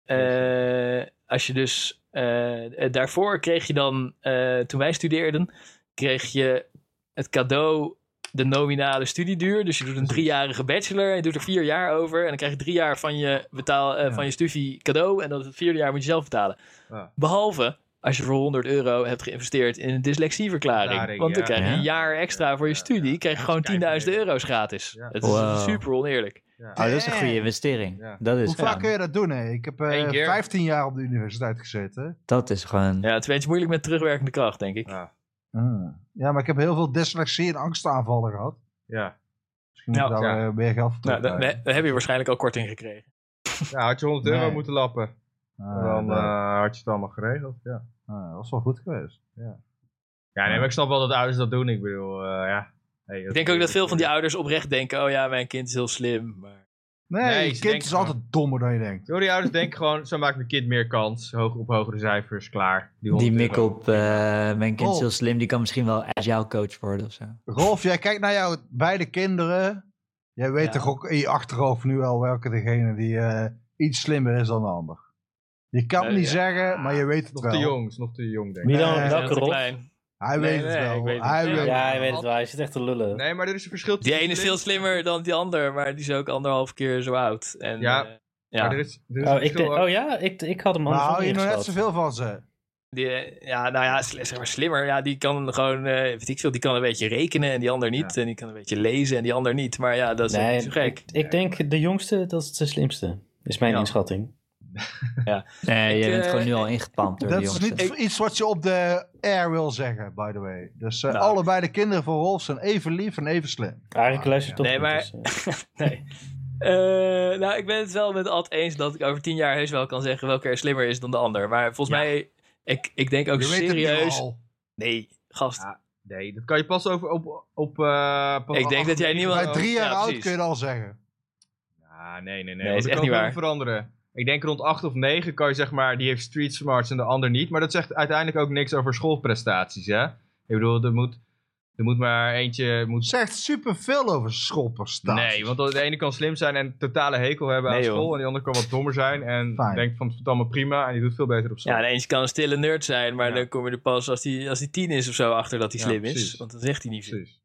eh, als je dus. eh, eh, daarvoor kreeg je dan. eh, toen wij studeerden, kreeg je het cadeau. De nominale studieduur. Dus je doet een driejarige bachelor. En je doet er vier jaar over. En dan krijg je drie jaar van je, betaal, eh, Ja. van je studie cadeau. En dan het vierde jaar moet je zelf betalen. Ja. Behalve als je voor 100 euro hebt geïnvesteerd in een dyslexieverklaring. Verklaring, Want dan ja. krijg je een Ja. jaar extra voor je Ja, studie. ja. Krijg je gewoon Dat is 10.000 keihard. euro's gratis. Ja. Het is Wow. super oneerlijk. Oh, dat is een goede Damn. investering. Ja. Dat, is Hoe vaak kun gewoon, je dat doen, hè? Ik heb eh, Eén keer. 15 jaar op de universiteit gezeten. dat is gewoon... Ja, het is een beetje moeilijk met terugwerkende kracht, denk ik. Ah. Ja, maar ik heb heel veel dyslexie en angstaanvallen gehad. Ja. Misschien moet ik Ja, daar ja. eh, meer geld voor Nou, dan, terugkrijgen. dan heb je waarschijnlijk al korting gekregen. Ja, had je 100 euro Nee. moeten lappen. Ah, dan nee. eh, had je het allemaal geregeld, ja. Ah, dat was wel goed geweest. Ja, nee, maar ik snap wel dat ouders dat doen. Ik bedoel, eh, ja. Hey, Ik denk ook dat veel van die ouders oprecht denken: oh ja, mijn kind is heel slim. Maar... Nee, Nee, je ze kind denken is altijd dommer dan je denkt. Door die ouders denken gewoon, zo maakt mijn kind meer kans. Hoog op hogere cijfers, klaar. Die 100 mik euro. op, eh, mijn kind is Oh. heel slim, die kan misschien wel agile coach worden of zo. Rolf, jij kijkt naar jouw beide kinderen. Jij weet Ja. toch ook in je achterhoofd nu al welke degene die eh, iets slimmer is dan de ander. Je kan het Nee, niet Eh, ja. zeggen, maar je weet het Nog wel. te jong, is nog te jong, denk ik. Wie dan? Nee, Ze welke zijn te rol? klein. Hij Nee, weet nee, het ik wel. weet het Hij niet. weet Ja, het hij wel. weet het wel. Hij zit echt te lullen. Nee, maar er is een verschil Die tussen ene is veel slimmer dan die ander, maar die is ook anderhalf keer zo oud. En, Ja. eh, Ja. ja. Maar er is, er is Oh, een ik verschil de- ook- oh ja, ik, ik had hem Maar anders hou je nog net ingeschat. zoveel van ze. Die, eh, ja, nou ja, sl- zeg maar slimmer. Ja, die kan gewoon, eh weet ik veel, die kan een beetje rekenen en die ander niet. En die kan een beetje lezen en die ander niet. Maar ja, dat is ook niet zo Nee, gek. ik, ik denk de jongste, dat is de slimste. Is mijn Ja. inschatting. Nee, Ik, je bent eh, gewoon nu al ingepalmd door Dat de is jongste. niet iets wat je op de air wil zeggen, by the way. Dus eh, Nou. allebei de kinderen van Rolf zijn even lief en even slim. Eigenlijk luistert toch Ah, Nee, goed, maar- dus, eh. nee. Eh, nou, ik ben het wel met Ad eens dat ik over tien jaar heus wel kan zeggen welke er slimmer is dan de ander. Maar volgens mij, ik, ik denk ook je weet het nu serieus. al. Nee, gast. Ja, Nee, dat kan je pas over op... op eh, pas ik denk acht- dat jij niemand. Bij drie jaar Ja, oud precies. kun je dat al zeggen. Ah, nee, nee, nee. Nee, want is dat echt kan niet ook waar. veranderen. Ik denk rond 8 of 9 kan je zeg maar, die heeft street smarts en de ander niet. Maar dat zegt uiteindelijk ook niks over schoolprestaties, hè? Ik bedoel, er moet, er moet maar eentje... Moet... Zegt superveel over schoolprestaties. Nee, want de ene kan slim zijn en totale hekel hebben aan Nee, joh. school. En die ander kan wat dommer zijn en Fijn. denkt van, het is allemaal prima. En die doet veel beter op school. Ja, en eentje kan een stille nerd zijn, maar Ja. dan kom je er pas als die, als die tien is of zo achter dat hij Ja, slim is. precies. Want dan zegt hij niet veel. Precies.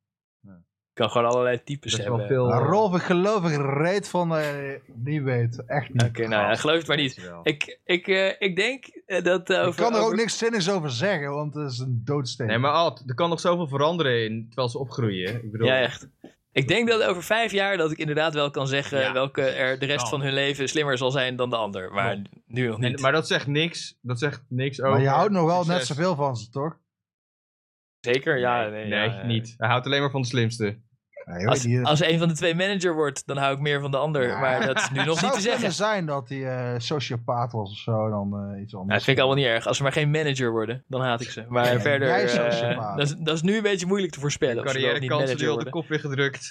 Kan gewoon allerlei types Dat Dus is hebben. wel veel... Maar Rolf, ik geloof ik reed van dat je het niet weet. Echt niet. Oké, nou ja, geloof het maar niet. Ik, ik, eh, ik denk eh, dat eh, Ik over, kan er ook over- niks zinnigs over zeggen, want het is een doodsteen. Nee, maar Ad, er kan nog zoveel veranderen in, terwijl ze opgroeien. Ik bedoel, Ja, echt. Ik denk dat over vijf jaar dat ik inderdaad wel kan zeggen Ja, welke precies. er de rest Dan. van hun leven slimmer zal zijn dan de ander. Maar nu nog niet. En- maar dat zegt niks. Dat zegt niks over. Maar je houdt nog wel net succes. zoveel van ze, toch? Zeker? Ja, nee. Nee, ja, ja. niet. Hij houdt alleen maar van de slimste. Nee, hoor, Als, die- eh, als een van de twee manager wordt, dan hou ik meer van de ander. Ja. Maar dat is nu nog zou niet te het kunnen zeggen. zijn dat hij eh, sociopaat was of zo, dan eh, iets anders. Nou, dat vind ik allemaal niet erg. Als ze maar geen manager worden, dan haat ik ze. Maar Nee, verder, jij zou eh, ze maar. dat, is, dat is nu een beetje moeilijk te voorspellen. Of ze wel of niet Carrièrekansen die manager op worden. de kop weer gedrukt.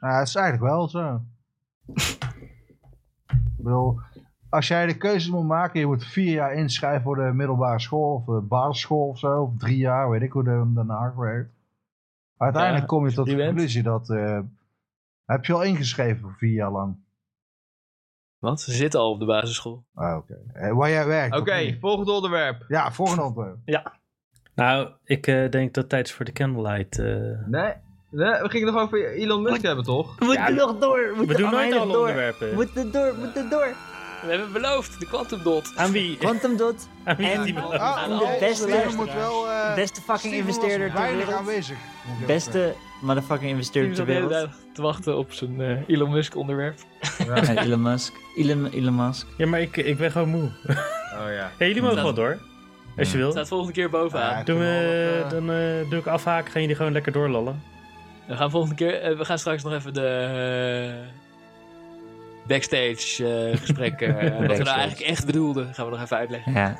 Ja, het is eigenlijk [LAUGHS] wel zo. ik bedoel, als jij de keuze moet maken, je moet vier jaar inschrijven voor de middelbare school of de basisschool of zo, of drie jaar, weet ik hoe de, Den Haag werkt. Uiteindelijk Ja, kom je tot de die wet. conclusie dat eh, heb je al ingeschreven voor vier jaar lang. Want ze zitten al op de basisschool. Ah, Oké. Eh, waar jij werkt. Oké, of niet? volgende onderwerp. Ja, volgende [LAUGHS] onderwerp. Nou, ik eh, denk dat het tijd is voor de candlelight. eh. Nee, nee, we gingen nog over Elon Musk hebben, toch? We moeten nog door. We, we moeten doen nooit allemaal alle door. onderwerpen. We moeten door, we moeten door. We hebben beloofd, de Quantum Dot. Aan wie? Quantum [LAUGHS] Dot, Aan wie en- die beloofd? Ah, Ah, de oh, beste- Steven moet wel... eh, beste fucking Steven was investeerder ter weinig wereld. aanwezig. moet ik even Beste motherfucking investeerder ter wereld. te wachten op zijn eh, Elon Musk onderwerp. Ja, [LAUGHS] Elon Musk. Elon, Elon Musk. Ja, maar ik, ik ben gewoon moe. Oh ja. Hey, jullie mogen wel door. Als je wil. Staat volgende keer zeggen. bovenaan. Ja, Doen we, ik vind wel dat, eh, dan eh, doe ik afhaken, gaan jullie gewoon lekker doorlallen. We gaan volgende keer. eh, we gaan straks nog even de eh, backstage eh, [LAUGHS] gesprekken. eh, wat we Backstage. nou eigenlijk echt bedoelden, gaan we nog even uitleggen. Ja.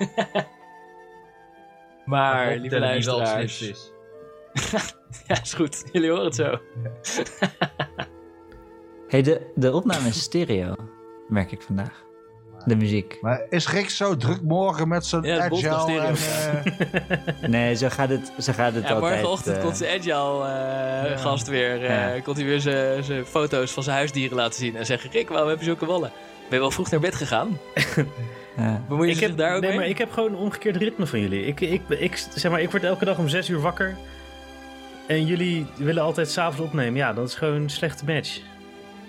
Maar, Optellen lieve wie wel het luisteraars. slimst is. Ja, is goed. Jullie horen het zo. hey, de, de opname is stereo, merk ik vandaag. De muziek. Maar is Rick zo druk morgen met zijn Ja, het bot nog agile en... stereo. eh, Nee, zo gaat het, zo gaat het Ja, altijd. morgenochtend eh. komt zijn agile eh, gast weer. eh, Komt hij weer zijn- zijn foto's van zijn huisdieren laten zien. En zeggen: Rick, waarom heb je zulke wallen? Ben je wel vroeg naar bed gegaan? ja. Bemoeien Ik ze zich heb, daar ook nee, mee? maar ik heb gewoon een omgekeerd ritme van jullie. Ik, ik, ik, zeg maar, ik word elke dag om zes uur wakker. En jullie willen altijd s'avonds opnemen. Ja, dat is gewoon een slechte match.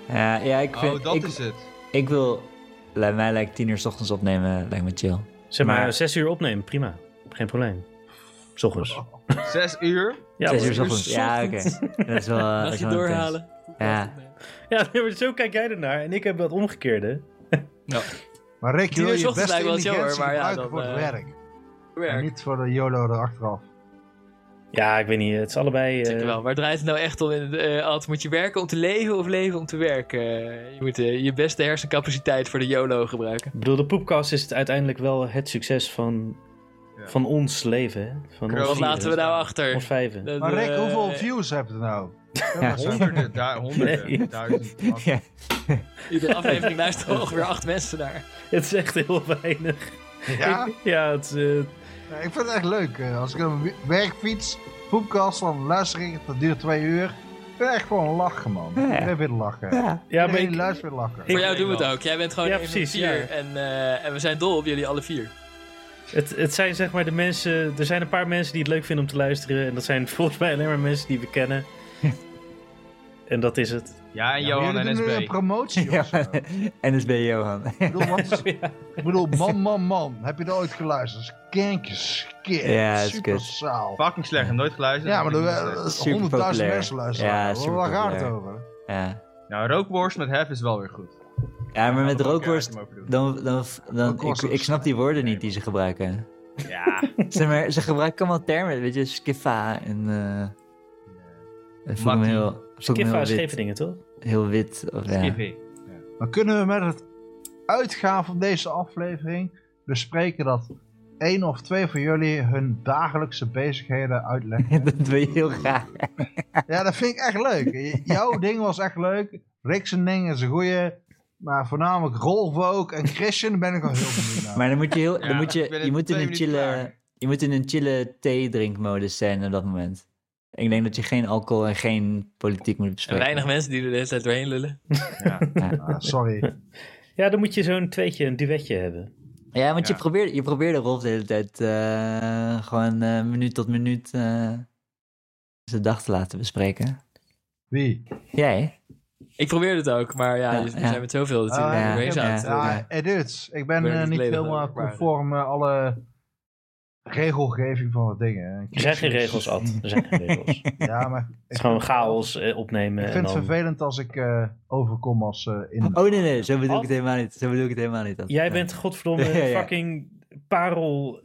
Ja, ja, ik vind... Oh, dat ik, is het. ik wil... Laat mij lijkt tien uur s ochtends opnemen, lijkt me chill. Zeg maar, Maar- zes uur opnemen, prima. Geen probleem. S ochtends. Zes uur. Ja, Zes uur hoor. s ochtends. Ja, oké. Dat [LAUGHS] is wel... eh, dat is Nachtje wel intens. doorhalen. Ja. [LAUGHS] ja nee, maar zo kijk jij ernaar. En ik heb dat omgekeerde. Maar Rick, je Tien uur wil je ochtends beste lijkt wel chill, intelligentie hoor, maar ja, gebruiken dan, voor het eh, werk. En Werk. niet voor de YOLO erachteraf. Ja, ik weet niet. Het is allebei... eh, Zeker wel. Waar draait het nou echt om? In, eh, Ad, moet je werken om te leven of leven om te werken? Eh, je moet eh, je beste hersencapaciteit voor de YOLO gebruiken. Ik bedoel, de poepkast is het uiteindelijk wel het succes van, Ja. van ons leven. hè? Van Kroon, ons Wat vieren, laten we nou Ons achter? vijven. Dat, Maar Rick, eh, hoeveel views heb je [LAUGHS] er nou? Ja. Honderden, daar, honderden. Nee. Duizend. [LAUGHS] Ja. [LAUGHS] Iedere aflevering luisteren ongeveer acht mensen naar. Het is echt heel weinig. [LAUGHS] Ja? [LAUGHS] Ja, het, is, eh, Ja, ik vind het echt leuk. eh, Als ik op mijn werkfiets, poepkast, dan luister ik. Dat duurt twee uur. Ik vind het echt gewoon lachen, man. Ja. Ik ben weer lachen. Ja. ja maar Iedereen ik, luistert weer lachen. Voor jou weet doen we het wel. ook. Jij bent gewoon Ja, een van de precies, vier. ja. En, eh, en we zijn dol op jullie alle vier. het, het zijn zeg maar de mensen... Er zijn een paar mensen die het leuk vinden om te luisteren. En dat zijn [LAUGHS] volgens mij alleen maar mensen die we [LAUGHS] kennen. en dat is het. Ja, en Ja, maar Johan jullie en doen nu een SB. promotie Ja. [LAUGHS] of zo. Ik NSB Johan. bedoel, wat [LAUGHS] is- ik bedoel, man, man, man. Heb je dat ooit geluisterd? Dat is Kankjes, skit, Ja, dat is super kut. saal. Fucking slecht, heb nooit geluisterd. Ja, maar er Ik vind het eh, slecht. Super honderdduizend populair. mensen luisteren. Ja, Ja, super Waar gaat het populair. over? Ja. Nou, rookworst met hef is wel weer goed. ja, maar met Oké, rookworst... laat hem overdoen. Dan, dan, dan, ik, Rookworst ik is- snap die woorden niet die ze gebruiken. Ja, [LAUGHS] Zeg maar, ze gebruiken allemaal termen, weet je, skiffa en... eh dat vond ik me Mattie. heel, vond ik me Kiffa heel is wit. Scheveningen, toch? Heel wit, of ja. Skiffy. Dan kunnen we met het uitgaan van deze aflevering bespreken dat één of twee van jullie hun dagelijkse bezigheden [LAUGHS] uitleggen. [LAUGHS] dat wil je heel graag. ja, dat vind ik echt leuk. J- Jouw ding was echt leuk. Rick's ding is een goeie. Maar voornamelijk Rolf ook. En Christian daar ben ik wel heel benieuwd [LAUGHS] naar. Maar dan moet je heel, dan Ja, moet ik ben je, je in moet in twee een minuten chille, klaar. je moet in een chille theedrinkmodus zijn op dat moment. Ik denk dat je geen alcohol en geen politiek moet En bespreken. weinig mensen die er de hele tijd doorheen lullen. Ah, sorry. Ja, dan moet je zo'n tweetje, een duetje hebben. Ja, want Ja. je probeerde, je probeerde Rolf de hele tijd eh, gewoon eh, minuut tot minuut eh, zijn dag te laten bespreken. Wie? Jij? Ik probeerde het ook, maar ja, Ja, dus we ja. zijn met zoveel dat Ah, jullie ja, er doorheen ja, zaten. ja. Ja, edits. Ik ben Ik weet eh, niet niet leden helemaal ook, maar- conform eh, alle regelgeving van het ding. hè. Er zijn geen regels, Ad. Er zijn geen regels. [LAUGHS] Het Ja, maar ik is gewoon vind- chaos eh, opnemen. Ik en vind het dan... vervelend als ik eh, overkom als eh in. Oh nee, nee, zo bedoel Ad? ik het helemaal niet. Zo bedoel ik het helemaal niet. Ad. Jij Nee. bent godverdomme Ja, ja. fucking parel